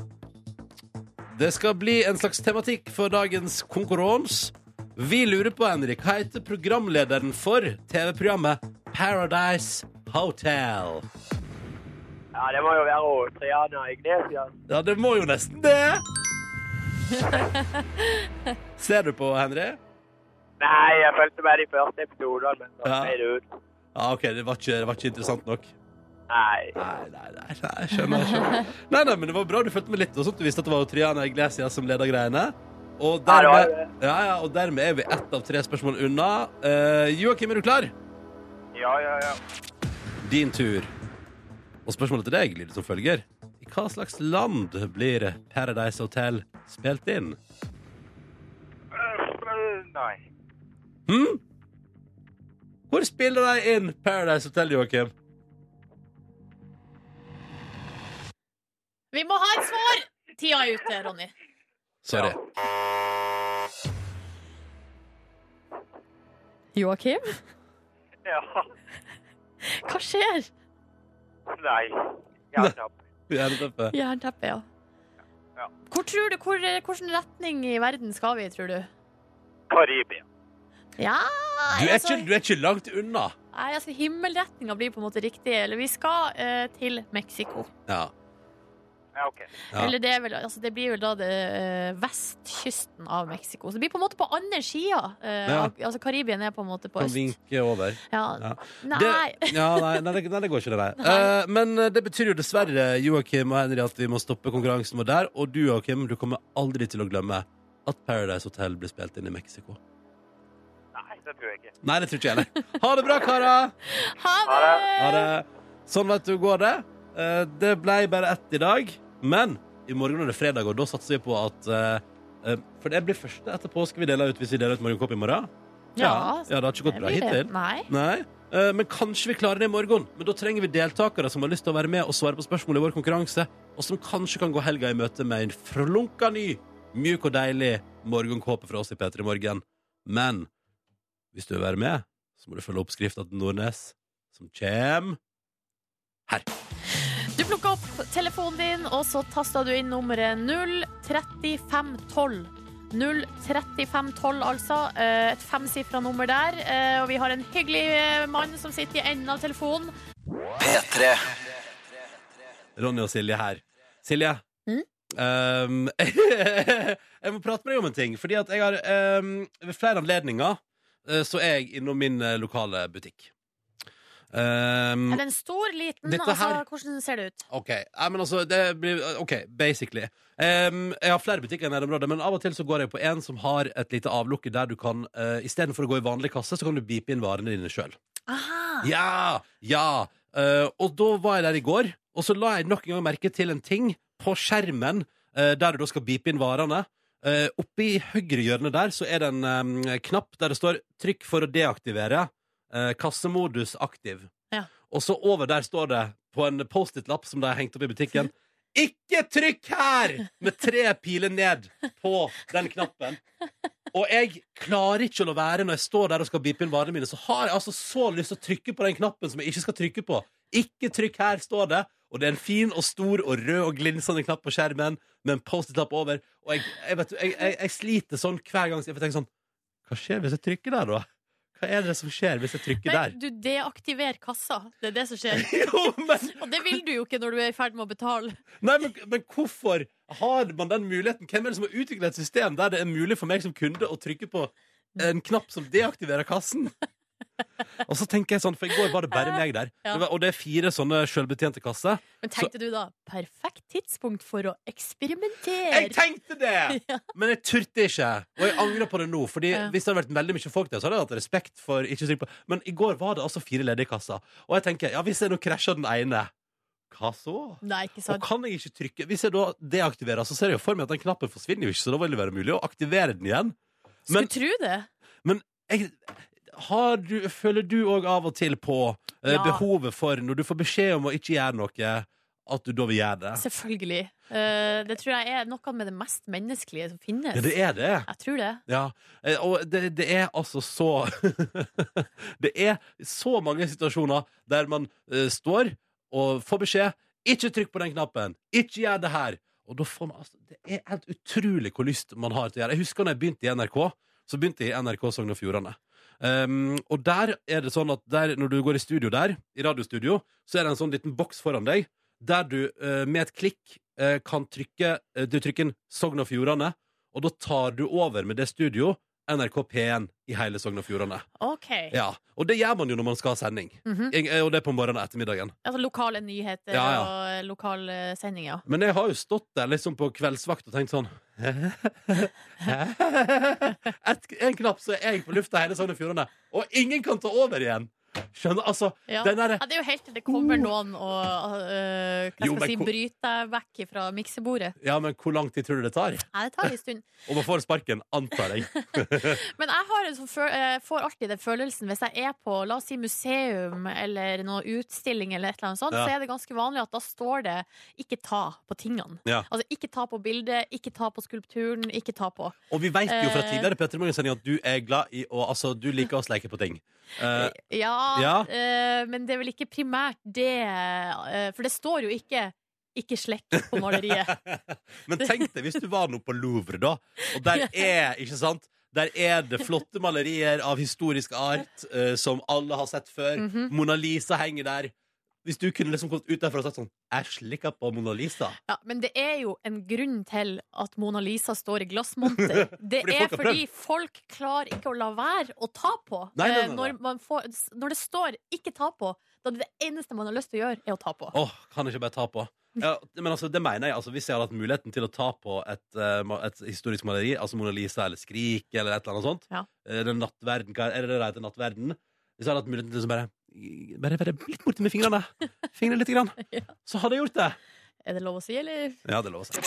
[SPEAKER 1] Det skal bli en slags tematikk for dagens konkurranse. Vi lurer på, Henrik, hva heter programlederen for TV-programmet Paradise Hotel?
[SPEAKER 5] ja det må jo være å Triana Iglesias.
[SPEAKER 1] Ja, det må jo nesten det. Ser du på, Henry?
[SPEAKER 5] Nei, jeg følte meg de første episodene, men så
[SPEAKER 1] Ja.
[SPEAKER 5] ble det ut.
[SPEAKER 1] Ja, ok, det var ikke, det var ikke interessant nok.
[SPEAKER 5] Nei.
[SPEAKER 1] Nei, nei, nei, nei, skjønner, skjønner. Nei, nei, men det var bra du fulgte med litt, og sånt. du visste at det var Triana Iglesias som leda greiene. Og
[SPEAKER 5] Nei, det var
[SPEAKER 1] dermed, ja, ja, og dermed er vi ett av tre spørsmål unna. Eh, Joakim, er du klar?
[SPEAKER 5] Ja, ja, ja.
[SPEAKER 1] Din tur. Og spørsmålet til deg lyder som følger. I hva slags land blir Paradise Hotel spilt inn?
[SPEAKER 5] Øh, Nei.
[SPEAKER 1] Hm? Hvor spiller de inn Paradise Hotel, Joakim?
[SPEAKER 4] Vi må ha et svar! Tida er ute, Ronny.
[SPEAKER 1] Sorry.
[SPEAKER 4] Joakim,
[SPEAKER 5] Ja. *laughs*
[SPEAKER 4] hva skjer?
[SPEAKER 5] Nei. Jernteppe.
[SPEAKER 1] *laughs* Jernteppe.
[SPEAKER 4] Jernteppe, ja.
[SPEAKER 5] Ja.
[SPEAKER 4] Hvor tror du, hvor, hvilken retning i verden skal vi, tror du?
[SPEAKER 5] Karibia.
[SPEAKER 4] Ja altså,
[SPEAKER 1] Du er, ikke, du er ikke langt unna.
[SPEAKER 4] Nei, altså Himmelretninga blir på en måte riktig. Eller vi skal eh, til Mexico.
[SPEAKER 1] Ja.
[SPEAKER 5] Ja, OK.
[SPEAKER 1] Ja.
[SPEAKER 4] Eller det, er vel, altså, det blir vel da det, eh, vestkysten av Mexico. Så det blir på en måte på andre sida. Eh,
[SPEAKER 1] Ja.
[SPEAKER 4] av- Altså Karibien er på en måte på
[SPEAKER 1] Kan
[SPEAKER 4] øst.
[SPEAKER 1] vinke over.
[SPEAKER 4] Ja.
[SPEAKER 1] Ja.
[SPEAKER 4] Nei!
[SPEAKER 1] Det, ja, nei, nei, det, nei, det går ikke, det, nei. Eh, men eh, det betyr jo dessverre, Joakim og Henry, at vi må stoppe konkurransen vår der. Og du, Joakim, du kommer aldri til å glemme at Paradise Hotel ble spilt inn i Mexico.
[SPEAKER 5] Nei, det tror jeg ikke.
[SPEAKER 1] Nei, det tror ikke jeg heller. Ha det bra, karer!
[SPEAKER 4] *laughs* Ha
[SPEAKER 5] Ha
[SPEAKER 4] det!
[SPEAKER 1] Ha det. Sånn vet du går det. Eh, det ble bare ett i dag, men i morgen er det fredag, og da satser vi på at eh, eh, For det blir første etterpå skal vi dele ut hvis vi deler ut morgenkopp i morgen.
[SPEAKER 4] Ja,
[SPEAKER 1] ja, det har ikke gått bra
[SPEAKER 4] blir det.
[SPEAKER 1] hittil.
[SPEAKER 4] Nei.
[SPEAKER 1] Nei. Eh, Men kanskje vi klarer det i morgen. Men da trenger vi deltakere som har lyst til å være med og svare på spørsmål i vår konkurranse, og som kanskje kan gå helga i møte med en flunka ny, mjuk og deilig morgenkåpe fra oss i P3 Morgen. Men hvis du vil være med, så må du følge oppskrifta til Nordnes, som kjem
[SPEAKER 4] Du plukka opp telefonen din, og så tasta du inn nummeret 03512. 03512, altså. Eh, Et femsifra nummer der. Eh, Og vi har en hyggelig eh, mann som sitter i enden av telefonen.
[SPEAKER 1] Ronny og Silje her. Silje.
[SPEAKER 4] Mm?
[SPEAKER 1] ehm, *laughs* jeg må prate med deg om en ting. Fordi at jeg har ehm, ved flere anledninger eh, så er jeg innom min eh, lokale butikk. Ehm,
[SPEAKER 4] Er den stor, liten?
[SPEAKER 1] Dette
[SPEAKER 4] Altså,
[SPEAKER 1] her-
[SPEAKER 4] hvordan ser det ut?
[SPEAKER 1] Ok, Nei, men altså det blir, ok, basically Ehm, Jeg har flere butikker i nærområdet Men av og til så går jeg på en som har et lite avlukke Der du kan, uh, i stedet for å gå i vanlig kasse Så kan du bipe inn varene dine selv
[SPEAKER 4] Aha.
[SPEAKER 1] Ja, ja Eh, Og da var jeg der i går Og så la jeg nok en gang merke til en ting På skjermen eh, Der du da skal bipe inn varene Eh, Oppe i høyre hjørne der Så er det en eh, knapp der det står Trykk for å deaktivere eh, Kassemodus aktiv
[SPEAKER 4] Ja.
[SPEAKER 1] Og så over der står det På en post-it-lapp som de har hengt opp i butikken Ikke trykk her Med tre piler ned på den knappen og jeg klarer ikke å la være når jeg står der og skal bipe inn varene mine, så har jeg altså så lyst til å trykke på den knappen som jeg ikke skal trykke på. Ikke trykk her, står det. Og det er en fin og stor og rød og glinsende knapp på skjermen med en Post-It-lapp over. Og jeg, jeg, vet, jeg, jeg, jeg sliter sånn hver gang. så Jeg får tenke sånn Hva skjer hvis jeg trykker der, da? Hva er det som skjer hvis jeg trykker der? *laughs*
[SPEAKER 4] Men du deaktiverer kassa. Det er det som skjer.
[SPEAKER 1] Jo, men,
[SPEAKER 4] Og det vil du jo ikke når du er i ferd med å betale.
[SPEAKER 1] nei, men, men hvorfor har man den muligheten? Hvem er det som har utviklet et system der det er mulig for meg som kunde å trykke på en knapp som deaktiverer kassen? Og så tenker jeg sånn, for i går var det bare meg der.
[SPEAKER 4] Ja.
[SPEAKER 1] Det var, og det er fire sånne selvbetjente kasser.
[SPEAKER 4] Men tenkte du da perfekt tidspunkt for å eksperimentere?
[SPEAKER 1] Jeg tenkte
[SPEAKER 4] *laughs*
[SPEAKER 1] det! Men jeg turte ikke. Og jeg angrer på det nå. Fordi
[SPEAKER 4] Ja.
[SPEAKER 1] Hvis det hadde vært veldig mye folk der, Så hadde jeg hatt respekt for ikke å trykke på. Men i går var det altså fire ledige kasser. Og jeg tenker, ja, hvis jeg nå krasjer den ene, hva så?
[SPEAKER 4] Nei, ikke
[SPEAKER 1] Og
[SPEAKER 4] sant.
[SPEAKER 1] kan jeg ikke trykke Hvis jeg da deaktiverer, så ser jeg jo for meg at den knappen forsvinner jo ikke, så da vil det være mulig å aktivere den igjen. Men-
[SPEAKER 4] Skulle tro det.
[SPEAKER 1] Jeg, har du, føler du òg av og til på eh,
[SPEAKER 4] Ja.
[SPEAKER 1] behovet for, når du får beskjed om å ikke gjøre noe, at du da vil gjøre det?
[SPEAKER 4] Selvfølgelig. Eh, det tror jeg er noe med det mest menneskelige som finnes.
[SPEAKER 1] Ja, det er det.
[SPEAKER 4] Jeg tror det.
[SPEAKER 1] Ja, eh, og det, det er altså så *laughs* Det er så mange situasjoner der man eh, står og får beskjed 'Ikke trykk på den knappen! Ikke gjør det her!' Og da får man altså Det er helt utrolig hvor lyst man har til å gjøre. Jeg husker når jeg begynte i NRK, så begynte jeg i NRK Sogn og Fjordane. Um, og der er det sånn at der, når du går i studio der, i radiostudio, så er det en sånn liten boks foran deg der du eh, med et klikk eh, kan trykke eh, Du trykker inn Sogn og Fjordane, og da tar du over med det studio NRK P1 i hele Sogn og Fjordane.
[SPEAKER 4] OK.
[SPEAKER 1] Ja. Og det gjør man jo når man skal ha sending.
[SPEAKER 4] Mhm.
[SPEAKER 1] Jeg, eh, og det er på morgenen og ettermiddagen.
[SPEAKER 4] Altså lokale nyheter
[SPEAKER 1] Ja, ja.
[SPEAKER 4] og eh, lokale sendinger.
[SPEAKER 1] Men jeg har jo stått der liksom på kveldsvakt og tenkt sånn *laughs* Et, En knapp, så er jeg på lufta i hele Sogn og Fjordane. Og ingen kan ta over igjen! Skjønner? Altså,
[SPEAKER 4] Ja.
[SPEAKER 1] den derre
[SPEAKER 4] Ja, det er jo helt til det kommer noen og eh, hva
[SPEAKER 1] Jo, men
[SPEAKER 4] skal jeg si,
[SPEAKER 1] hvor-
[SPEAKER 4] bryter deg vekk fra miksebordet.
[SPEAKER 1] Ja, men hvor lang tid tror du det tar?
[SPEAKER 4] Nei, det tar en stund.
[SPEAKER 1] Og man får sparken, antar jeg.
[SPEAKER 4] Men jeg har en sånn føl eh, får alltid den følelsen hvis jeg er på la oss si museum eller noen utstilling, eller et eller annet sånt,
[SPEAKER 1] Ja.
[SPEAKER 4] så er det ganske vanlig at da står det 'ikke ta på tingene'.
[SPEAKER 1] Ja.
[SPEAKER 4] Altså ikke ta på bildet, ikke ta på skulpturen, ikke ta på.
[SPEAKER 1] Og vi vet jo fra
[SPEAKER 4] Eh.
[SPEAKER 1] tidligere Petter Morgensendinger at du er glad i å Altså, du liker å sleike på ting. Eh,
[SPEAKER 4] Ja,
[SPEAKER 1] Ja.
[SPEAKER 4] eh, men det er vel ikke primært det eh, For det står jo ikke 'ikke slekk
[SPEAKER 1] *laughs*
[SPEAKER 4] på maleriet'.
[SPEAKER 1] men tenk deg hvis du var nå på Louvre, da. Og der er, ikke sant der er det flotte malerier av historisk art eh, som alle har sett før.
[SPEAKER 4] Mhm.
[SPEAKER 1] Mona Lisa henger der. Hvis du kunne liksom kommet ut derfra og sagt sånn Jeg slikker på Mona Lisa.
[SPEAKER 4] Ja, men det er jo en grunn til at Mona Lisa står i glassmonter. Det
[SPEAKER 1] *laughs* Fordi
[SPEAKER 4] er
[SPEAKER 1] folk har
[SPEAKER 4] fordi folk klarer ikke å la være å ta på.
[SPEAKER 1] Nei, nei, nei,
[SPEAKER 4] Eh,
[SPEAKER 1] nei.
[SPEAKER 4] Når, man får, når det står 'ikke ta på', da er det det eneste man har lyst til å gjøre, er å ta på.
[SPEAKER 1] Åh, kan jeg ikke bare ta på? Ja, men altså, det mener jeg. Altså, hvis jeg hadde hatt muligheten til å ta på et, eh, ma- et historisk maleri, altså Mona Lisa eller Skrik eller et eller annet sånt
[SPEAKER 4] Ja.
[SPEAKER 1] eh, Den nattverden, hva er det det heter? Nattverden? Hvis jeg hadde hatt muligheten til å bare bare være litt borti med fingrene, fingrene litt, grann, så hadde jeg gjort det.
[SPEAKER 4] Er det lov å si, eller?
[SPEAKER 1] Ja, det lover seg.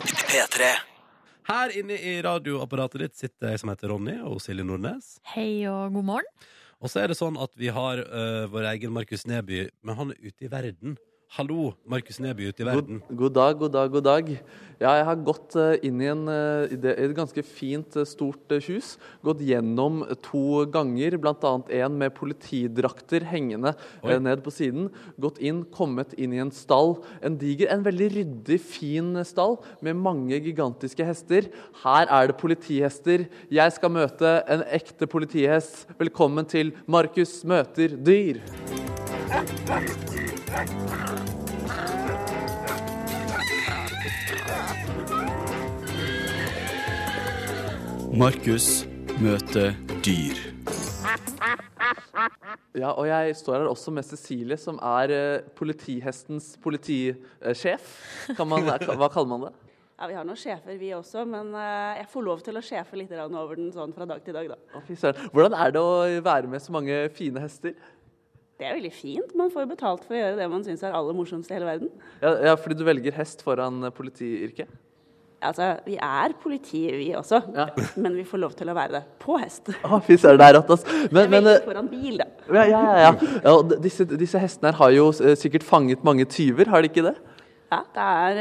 [SPEAKER 1] Her inne i radioapparatet ditt sitter jeg som heter Ronny, og Silje Nordnes.
[SPEAKER 4] Hei og god morgen.
[SPEAKER 1] Og så er det sånn at vi har eh, vår egen Markus Neby, men han er ute i verden. Hallo, Markus Neby ute i verden.
[SPEAKER 3] God, god dag, god dag, god dag. Ja, jeg har gått eh, inn i, en, eh, i det, i et ganske fint, eh, stort eh, hus. Gått gjennom to ganger, bl.a. en med politidrakter hengende
[SPEAKER 1] Oi.
[SPEAKER 3] eh, ned på siden. Gått inn, kommet inn i en stall. En diger, en veldig ryddig, fin stall med mange gigantiske hester. Her er det politihester. Jeg skal møte en ekte politihest. Velkommen til Markus møter dyr.
[SPEAKER 6] Markus møter dyr.
[SPEAKER 3] Ja, og jeg står her også med Cecilie, som er eh, politihestens politisjef. Kan man, hva kaller man det?
[SPEAKER 7] Ja, Vi har noen sjefer, vi også, men eh, jeg får lov til å sjefe litt grann over den sånn fra dag til dag, da.
[SPEAKER 3] Å, fy søren. Hvordan er det å være med så mange fine hester?
[SPEAKER 7] Det er veldig fint. Man får jo betalt for å gjøre det man syns er aller morsomst i hele verden.
[SPEAKER 3] Ja, ja, fordi du velger hest foran eh, politiyrket?
[SPEAKER 7] Altså, vi er politi, vi også,
[SPEAKER 3] Ja.
[SPEAKER 7] men vi får lov til å være det på hest.
[SPEAKER 3] Å, fy søren, det er rått, altså. Men, men
[SPEAKER 7] Veldig
[SPEAKER 3] eh,
[SPEAKER 7] foran bil, da.
[SPEAKER 3] ja, ja, ja, ja. ja og d- disse, disse hestene her har jo eh, sikkert fanget mange tyver, har de ikke det?
[SPEAKER 7] Ja, det er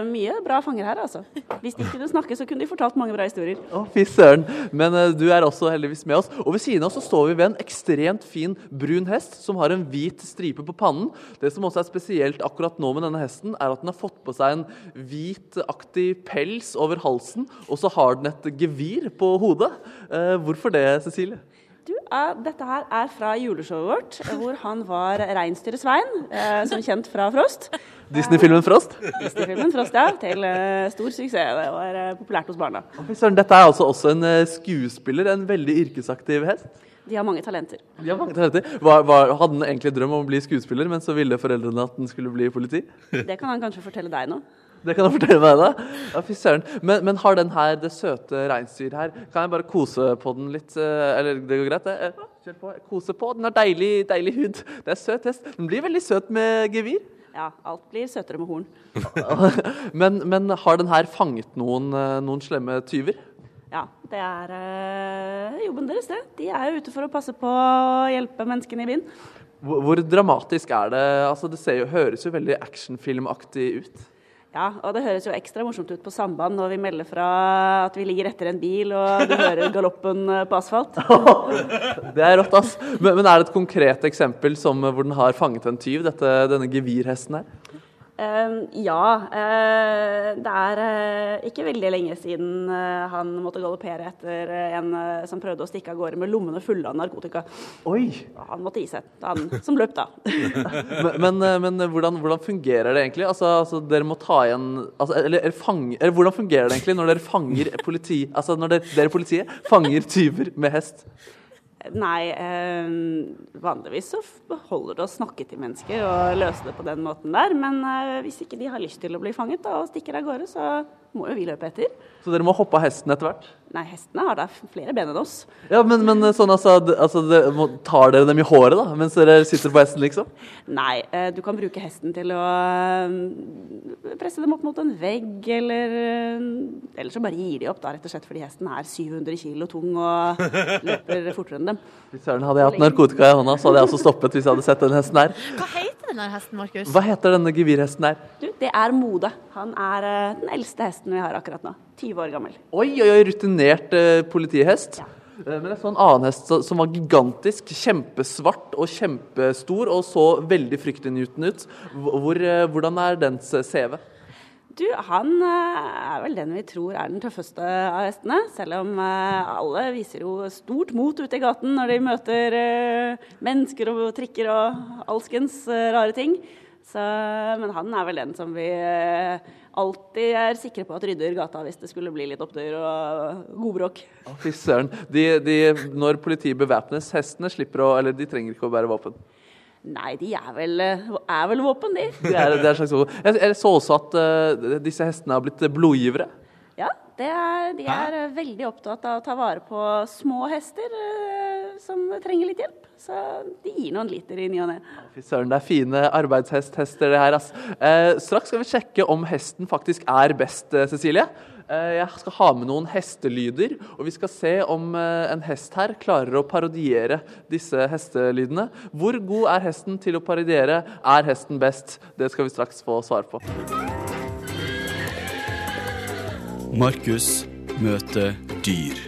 [SPEAKER 7] eh, mye bra fanger her, altså. Hvis de kunne snakke, så kunne de fortalt mange bra historier.
[SPEAKER 3] Å, fy søren. Men eh, du er også heldigvis med oss. Og ved siden av oss så står vi ved en ekstremt fin brun hest som har en hvit stripe på pannen. Det som også er spesielt akkurat nå med denne hesten, er at den har fått på seg en hvitaktig pels over halsen, og så har den et gevir på hodet. Eh, hvorfor det, Cecilie?
[SPEAKER 7] Du, eh, dette her er fra juleshowet vårt, eh, hvor han var reinsdyret Svein, eh, som kjent fra Frost.
[SPEAKER 3] Disney-filmen Frost?
[SPEAKER 7] Disney-filmen Frost, ja. Til eh, stor suksess. Det var eh, populært hos barna.
[SPEAKER 3] Å, fy søren, dette er altså også en eh, skuespiller, en veldig yrkesaktiv hest.
[SPEAKER 7] De har mange talenter.
[SPEAKER 3] Ja, mange talenter. Var, var, hadde den egentlig drøm om å bli skuespiller, men så ville foreldrene at den skulle bli politi?
[SPEAKER 7] Det kan han kanskje fortelle deg nå.
[SPEAKER 3] Det kan du fortelle meg, da. Ja, fy søren. Men, men har den her det søte reinsdyret her Kan jeg bare kose på den litt? eh, Eller det går greit, det? Eh, Kjør på. Kose på. Den har deilig, deilig hud. Det er søt hest. Den blir veldig søt med gevir.
[SPEAKER 7] Ja, alt blir søtere med horn.
[SPEAKER 3] Men, men har den her fanget noen, eh, noen slemme tyver?
[SPEAKER 7] Ja, det er eh, jobben deres, det. De er jo ute for å passe på å hjelpe menneskene i byen.
[SPEAKER 3] Hvor, hvor dramatisk er det? Altså, det ser jo, høres jo veldig actionfilmaktig ut.
[SPEAKER 7] Ja, og det høres jo ekstra morsomt ut på samband når vi melder fra at vi ligger etter en bil og du hører galoppen eh, på asfalt.
[SPEAKER 3] Det er rått, ass. Men, men er det et konkret eksempel som, eh, hvor den har fanget en tyv, dette, denne gevirhesten her?
[SPEAKER 7] Eh, ja. eh, det er eh, ikke veldig lenge siden eh, han måtte galoppere etter eh, en eh, som prøvde å stikke av gårde med lommene fulle av narkotika.
[SPEAKER 3] Oi!
[SPEAKER 7] Og han måtte gi seg. Han som løp, da.
[SPEAKER 3] Men, men, eh, men hvordan, hvordan fungerer det egentlig? Altså, altså dere må ta igjen altså, eller, eller, fange, eller hvordan fungerer det egentlig når dere fanger politi Altså når dere, dere politiet fanger tyver med hest?
[SPEAKER 7] Nei, eh, vanligvis så f- holder det å snakke til mennesker og løse det på den måten der. Men eh, hvis ikke de har lyst til å bli fanget da, og stikker av gårde, så må jo vi løpe etter.
[SPEAKER 3] Så dere må hoppe av hesten etter hvert?
[SPEAKER 7] Nei, hestene har da f- flere ben enn oss.
[SPEAKER 3] Ja, men, men eh, sånn altså, d- altså det, må, Tar dere dem i håret da, mens dere sitter på hesten, liksom?
[SPEAKER 7] Nei, eh, du kan bruke hesten til å eh, presse dem opp mot en vegg, eller eh, Eller så bare gir de opp, da, rett og slett fordi hesten er 700 kilo tung og løper fortere enn dem.
[SPEAKER 3] Fy Søren, hadde jeg hatt narkotika i hånda, så hadde jeg også stoppet hvis jeg hadde sett den hesten her.
[SPEAKER 4] Hva heter den der hesten, Markus?
[SPEAKER 3] Hva heter denne gevirhesten her?
[SPEAKER 7] Du, det er Mode. Han er eh, den eldste hesten vi har akkurat nå. 20 år gammel.
[SPEAKER 3] Oi, oi, oi, rutinert eh, politihest. Eh, Men jeg så en annen hest så- som var gigantisk, kjempesvart og kjempestor, og så veldig fryktinngytende ut. Hvor, hvor, eh, hvordan er dens eh, CV?
[SPEAKER 7] Du, han eh, er vel den vi tror er den tøffeste av hestene. Selv om eh, alle viser jo stort mot ute i gaten når de møter eh, mennesker og trikker og alskens eh, rare ting. Så, men han er vel den som vi eh, alltid er sikre på at rydder gata hvis det skulle bli litt opptøyer og godbråk.
[SPEAKER 3] Å, Fy søren. De, de, når politiet bevæpnes, hestene slipper å Eller de trenger ikke å bære våpen.
[SPEAKER 7] Nei, de er vel, eh, er vel våpen, de.
[SPEAKER 3] Det er, det er en slags våpen. Jeg, jeg så også at eh, disse hestene har blitt eh, blodgivere.
[SPEAKER 7] Ja, det er, de er eh, veldig opptatt av å ta vare på små hester eh, som trenger litt hjelp. Så de gir noen liter i ny og ne.
[SPEAKER 3] Fy søren, det er fine arbeidshesthester det her, ass. Eh, straks skal vi sjekke om hesten faktisk er best, eh, Cecilie. Eh, jeg skal ha med noen hestelyder, og vi skal se om eh, en hest her klarer å parodiere disse hestelydene. Hvor god er hesten til å parodiere? Er hesten best? Det skal vi straks få svar på.
[SPEAKER 6] Markus møter dyr.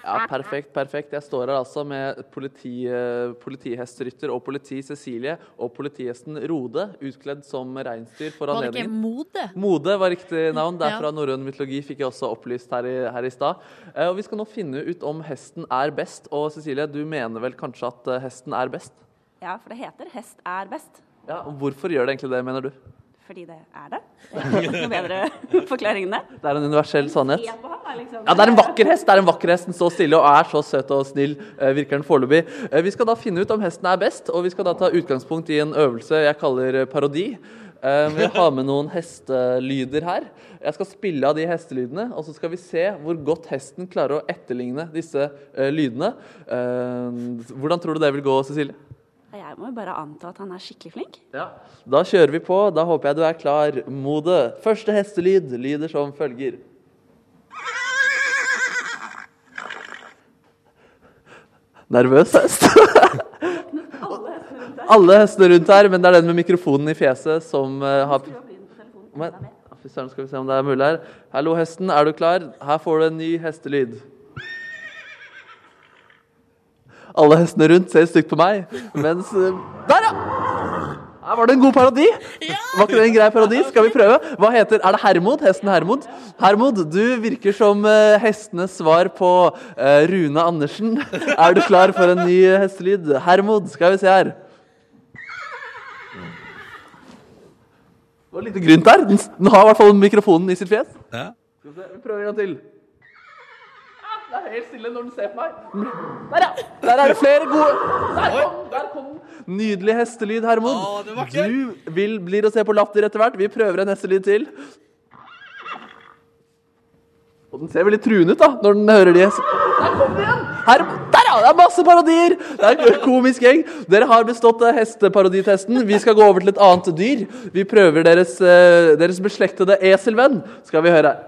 [SPEAKER 3] Ja, perfekt, perfekt. Jeg står her altså med politi, eh, politihestrytter og politi Cecilie og politihesten Rode, utkledd som reinsdyr for
[SPEAKER 4] Var det ikke
[SPEAKER 3] anledningen.
[SPEAKER 4] Mode?
[SPEAKER 3] Mode var riktig navn. Det er
[SPEAKER 4] Ja.
[SPEAKER 3] fra norrøn mytologi, fikk jeg også opplyst her i, her i stad. Eh, og vi skal nå finne ut om hesten er best. Og Cecilie, du mener vel kanskje at eh, hesten er best?
[SPEAKER 7] Ja, for det heter 'hest er best'.
[SPEAKER 3] Ja, og Hvorfor gjør det egentlig det, mener du?
[SPEAKER 7] Fordi det er *laughs* det. Det er ikke noe *laughs* bedre forklaring enn det.
[SPEAKER 3] Det er en universell sannhet.
[SPEAKER 7] Se på han, da, liksom.
[SPEAKER 3] Ja, det er en vakker hest! det er en vakker hest, Den står stille og er så søt og snill, eh, virker den foreløpig. Eh, Vi skal da finne ut om hesten er best, og vi skal da ta utgangspunkt i en øvelse jeg kaller eh, parodi. Eh, Vi har med noen hestelyder her. Jeg skal spille av de hestelydene, og så skal vi se hvor godt hesten klarer å etterligne disse eh, lydene. Eh, Hvordan tror du det vil gå, Cecilie?
[SPEAKER 7] Jeg må jo bare anta at han er skikkelig flink.
[SPEAKER 3] Ja. Da kjører vi på. Da håper jeg du er klar, Mode. Første hestelyd lyder som følger. Nervøs hest. Alle hestene rundt her, men det er den med mikrofonen i fjeset som eh, har men, Fy søren, skal vi se om det er mulig her. Hallo, hesten, er du klar? Her får du en ny hestelyd. Alle hestene rundt ser stygt på meg, mens eh, Der, ja! Her var det en god parodi! Var ikke det en grei parodi? Skal vi prøve? Hva heter Er det Hermod? Hesten Hermod? Hermod, du virker som eh, hestenes svar på eh, Rune Andersen. Er du klar for en ny eh, hestelyd? Hermod, skal vi se her. Det var lite grynt der. Den, s- den har i hvert fall mikrofonen i sitt fjes.
[SPEAKER 1] Ja.
[SPEAKER 3] Skal vi se, vi prøver en gang til. Ah, Det er helt stille når den ser på meg. Der, ja! Der er det flere gode Der kom den! Der kom den. Nydelig hestelyd, Hermod.
[SPEAKER 1] Å, det var ikke-
[SPEAKER 3] du vil, blir å se på latter etter hvert. Vi prøver en hestelyd til. Og den ser veldig truende ut, da, når den hører de hest- Der kom den igjen! Her, der, ja! Det er masse parodier! Det er en komisk gjeng. Dere har bestått eh, hesteparoditesten. Vi skal gå over til et annet dyr. Vi prøver deres, eh, deres beslektede eselvenn, skal vi høre her.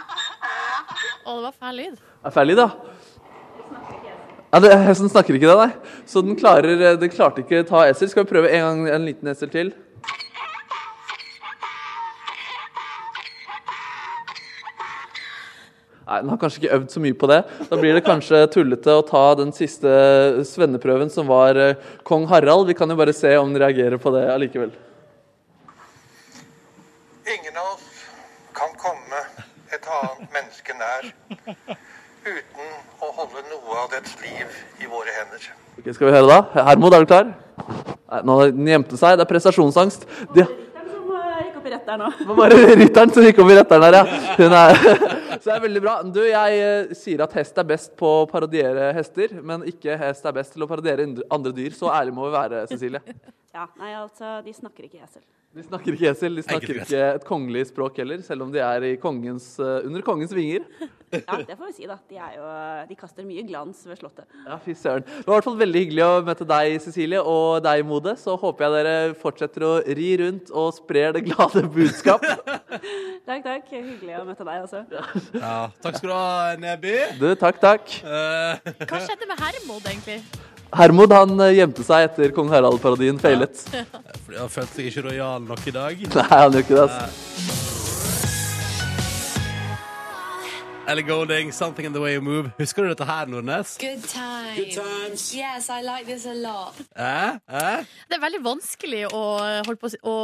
[SPEAKER 4] Å, det var fæl lyd.
[SPEAKER 3] er ferdig, da. Ja, det, hesten snakker ikke det, nei. Så den, klarer, eh, den klarte ikke ta esel. Skal vi prøve en gang en liten esel til? Ja, Nei, den har kanskje ikke øvd så mye på det. Da blir det kanskje tullete å ta den siste eh, svenneprøven som var eh, kong Harald. Vi kan jo bare se om den reagerer på det allikevel.
[SPEAKER 8] Ingen av oss kan komme et annet menneske nær uten å holde noe av dets liv i våre hender.
[SPEAKER 3] Ok, Skal vi høre da? Hermod, er du klar? Nei, nå den gjemte seg. Det er prestasjonsangst. De,
[SPEAKER 7] Den som eh, gikk opp i rett der nå. *laughs*
[SPEAKER 3] det var bare *laughs* rytteren som gikk over retteren her, ja. Hun er, *laughs* så det er veldig bra. Du, jeg eh, sier at hest er best på å parodiere hester, men ikke hest er best til å parodiere ind- andre dyr. Så ærlig må vi være, Cecilie.
[SPEAKER 7] Ja, nei, altså, de snakker ikke *laughs* esel.
[SPEAKER 3] De snakker ikke esel, de snakker
[SPEAKER 1] Enkelt og greit.
[SPEAKER 3] ikke et kongelig språk heller, selv om de er i kongens, eh, under kongens vinger.
[SPEAKER 7] Ja, det får vi si, da. De, er jo, de kaster mye glans ved Slottet.
[SPEAKER 3] Ja, fy søren. Det var i hvert fall veldig hyggelig å møte deg, Cecilie, og deg, Mode. Så håper jeg dere fortsetter å ri rundt og sprer det glade budskap.
[SPEAKER 7] Takk, takk. Hyggelig å møte deg også.
[SPEAKER 1] Ja, takk skal du ha, Neby.
[SPEAKER 3] Du, takk, takk.
[SPEAKER 1] Eh,
[SPEAKER 4] Hva skjedde med Hermod, egentlig?
[SPEAKER 3] Hermod han eh, gjemte seg etter kong Harald-parodien feilet.
[SPEAKER 1] fordi han følte seg ikke rojal nok i dag.
[SPEAKER 3] *laughs* Nei, han gjør ikke det. altså.
[SPEAKER 1] Ellie Golding, 'Something in the way you move'. Husker du dette her, Nordnes?
[SPEAKER 9] Good times. Good times. Yes, I like this a lot.
[SPEAKER 1] Eh? Eh?
[SPEAKER 4] Det er veldig vanskelig å, eh, holde på, å si- å,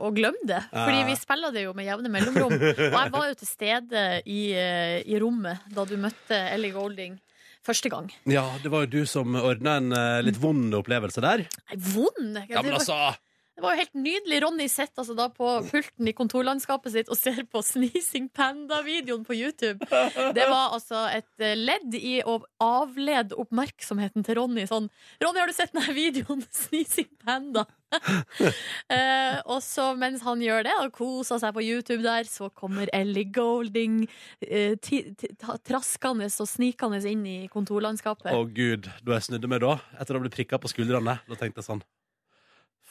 [SPEAKER 4] å glemme det. Fordi vi spiller det jo med jevne mellomrom. Og jeg var jo til stede i, eh, i rommet da du møtte Ellie Golding første gang.
[SPEAKER 1] Ja, det var jo du som ordna en eh, litt vond opplevelse der.
[SPEAKER 4] Nei, vond!
[SPEAKER 1] Ja, men
[SPEAKER 4] Det var-
[SPEAKER 1] altså
[SPEAKER 4] Det var jo helt nydelig. Ronny sitter altså da på pulten i kontorlandskapet sitt og ser på Sneezing Panda-videoen på YouTube. Det var altså et eh, ledd i å avlede oppmerksomheten til Ronny. Sånn 'Ronny, har du sett denne videoen? Sneezing Panda'. *laughs* Eh, og så mens han gjør det og koser seg på YouTube der, så kommer Ellie Golding eh, ti- ti- ta- traskende og snikende inn i kontorlandskapet.
[SPEAKER 1] Å gud, da jeg snudde meg da, etter å bli prikka på skuldrene, da tenkte jeg sånn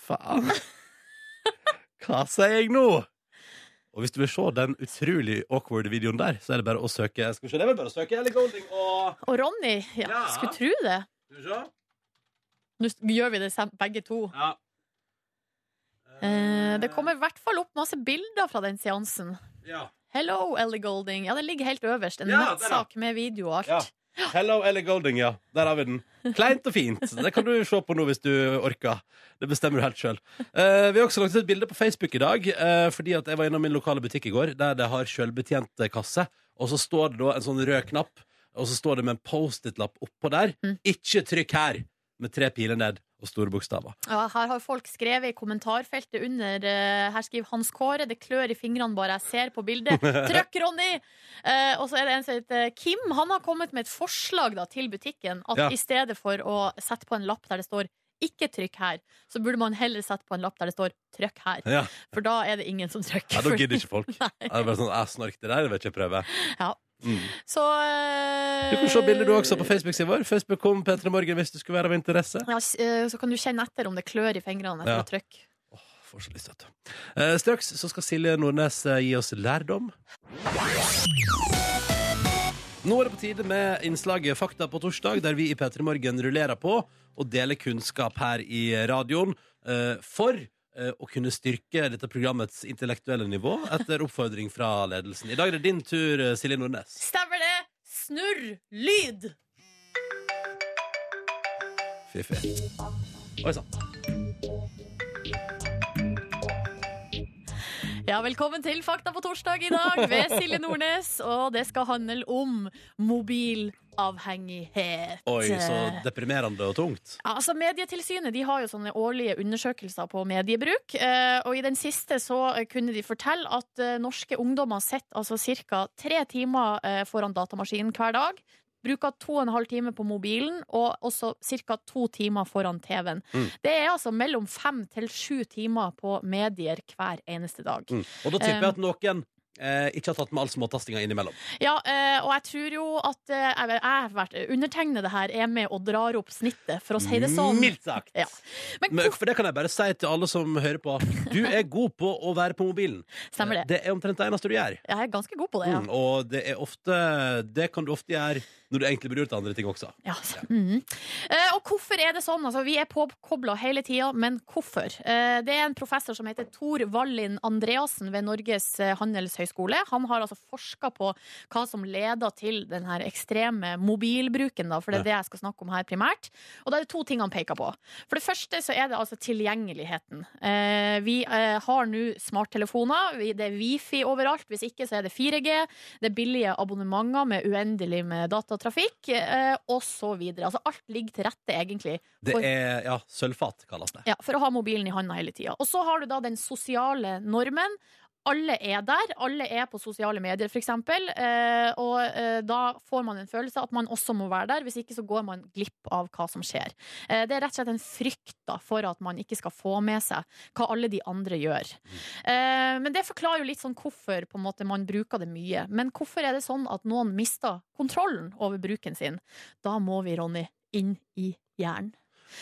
[SPEAKER 1] Faen. Hva sier jeg nå? Og hvis du vil se den utrolig awkward videoen der, så er det bare å søke Skal vi se, det er vel bare å søke Ellie Golding og
[SPEAKER 4] Og Ronny, ja,
[SPEAKER 1] Ja.
[SPEAKER 4] skulle tro det.
[SPEAKER 1] Skal vi se?
[SPEAKER 4] Nå gjør vi det sam- begge to.
[SPEAKER 1] Ja.
[SPEAKER 4] Eh, det kommer i hvert fall opp masse bilder fra den seansen.
[SPEAKER 1] ja.
[SPEAKER 4] Hello, Ellie Golding. Ja, den ligger helt øverst. En
[SPEAKER 1] Ja, der,
[SPEAKER 4] nettsak med video og alt.
[SPEAKER 1] Ja. Hello, Ellie Golding, ja. Der har vi den. Kleint og fint. Det kan du se på nå hvis du orker. Det bestemmer du helt sjøl. vi har også lagt ut et bilde på Facebook i dag, eh, fordi at jeg var innom min lokale butikk i går, der det har sjølbetjent kasse. Og så står det da en sånn rød knapp, og så står det med en Post-It-lapp oppå der.
[SPEAKER 4] Mm.
[SPEAKER 1] 'Ikke trykk her!' med tre piler ned og store bokstaver.
[SPEAKER 4] Ja, her har folk skrevet i kommentarfeltet under eh, Her skriver Hans Kåre det klør i fingrene bare jeg ser
[SPEAKER 1] *laughs*
[SPEAKER 4] på bildet. Trykk, Ronny! Eh, og så er det en som heter Kim. Han har kommet med et forslag da, til butikken. At
[SPEAKER 1] Ja.
[SPEAKER 4] i stedet for å sette på en lapp der det står 'ikke trykk her', så burde man heller sette på en lapp der det står 'trykk her'.
[SPEAKER 1] Ja,
[SPEAKER 4] For da er det ingen som trykker.
[SPEAKER 1] ja Da gidder ikke folk.
[SPEAKER 4] *laughs* Nei.
[SPEAKER 1] Det er bare sånn, jeg snork det der, jeg vil ikke prøve.
[SPEAKER 4] Ja.
[SPEAKER 1] Mm.
[SPEAKER 4] Så eh,
[SPEAKER 1] Du kan se bildet du også på Facebook-siden vår. Facebook.com Petra Morgen hvis du skulle være av interesse.
[SPEAKER 4] Ja, s- eh, så kan du kjenne etter om det klør i fingrene etter
[SPEAKER 1] Ja.
[SPEAKER 4] å trykke.
[SPEAKER 1] Får så lyst, vet du. Eh, straks så skal Silje Nordnes eh, gi oss lærdom. Nå er det på tide med innslaget Fakta på torsdag, der vi i P3 Morgen rullerer på og deler kunnskap her i radioen eh, for eh, å kunne styrke dette programmets intellektuelle nivå etter oppfordring fra ledelsen. I dag er det din tur, eh, Silje Nordnes.
[SPEAKER 4] Stemmer det? Snurr lyd!
[SPEAKER 1] Fy, fy. Oi sann.
[SPEAKER 4] Ja, Velkommen til Fakta på torsdag i dag ved Silje Nordnes. Og det skal handle om mobilavhengighet.
[SPEAKER 1] Oi, så deprimerende og tungt.
[SPEAKER 4] Ja, altså Medietilsynet de har jo sånne årlige undersøkelser på mediebruk. eh, Og i den siste så eh, kunne de fortelle at eh, norske ungdommer sitter altså ca. tre timer eh, foran datamaskinen hver dag. Bruker to og en halv time på mobilen, og også ca. to timer foran TV-en.
[SPEAKER 1] Mm.
[SPEAKER 4] Det er altså mellom fem til sju timer på medier hver eneste dag.
[SPEAKER 1] Mm. Og da tipper jeg at noen eh, ikke har tatt med all småtastinga innimellom.
[SPEAKER 4] Ja, eh, og jeg tror jo at eh, jeg, jeg har vært undertegnede her er med og drar opp snittet, for å si det sånn.
[SPEAKER 1] Mildt sagt.
[SPEAKER 4] Ja. Men
[SPEAKER 1] Men, for det kan jeg bare si til alle som hører på. Du er god på å være på mobilen.
[SPEAKER 4] Stemmer det.
[SPEAKER 1] Det er omtrent det eneste du gjør.
[SPEAKER 4] Jeg er ganske god på det. ja.
[SPEAKER 1] Mm, og det, er ofte, det kan du ofte gjøre når du egentlig burde gjort andre ting også.
[SPEAKER 4] Ja. Mhm. Eh, og hvorfor er det sånn? Altså, vi er påkobla hele tida, men hvorfor? Eh, det er en professor som heter Tor Wallin Andreassen ved Norges eh, skole. Han har altså forska på hva som leder til den her ekstreme mobilbruken, da, for det er det jeg skal snakke om her primært. Og da er det to ting han peker på. For det første så er det altså tilgjengeligheten. Eh, vi eh, har nå smarttelefoner, vi- det er wifi overalt, hvis ikke så er det 4G, det er billige abonnementer med uendelig med datatrafikk, eh, og så videre. Altså alt ligger til rette egentlig
[SPEAKER 1] Det
[SPEAKER 4] for-
[SPEAKER 1] er ja, sølvfat, kalles det.
[SPEAKER 4] ja, for å ha mobilen i handa hele tida. Og så har du da den sosiale normen. Alle er der, alle er på sosiale medier f.eks. Eh, og eh, da får man en følelse av at man også må være der, hvis ikke så går man glipp av hva som skjer. Eh, det er rett og slett en frykt da, for at man ikke skal få med seg hva alle de andre gjør. Eh, men det forklarer jo litt sånn hvorfor på en måte, man bruker det mye. Men hvorfor er det sånn at noen mister kontrollen over bruken sin? Da må vi, Ronny, inn i hjernen.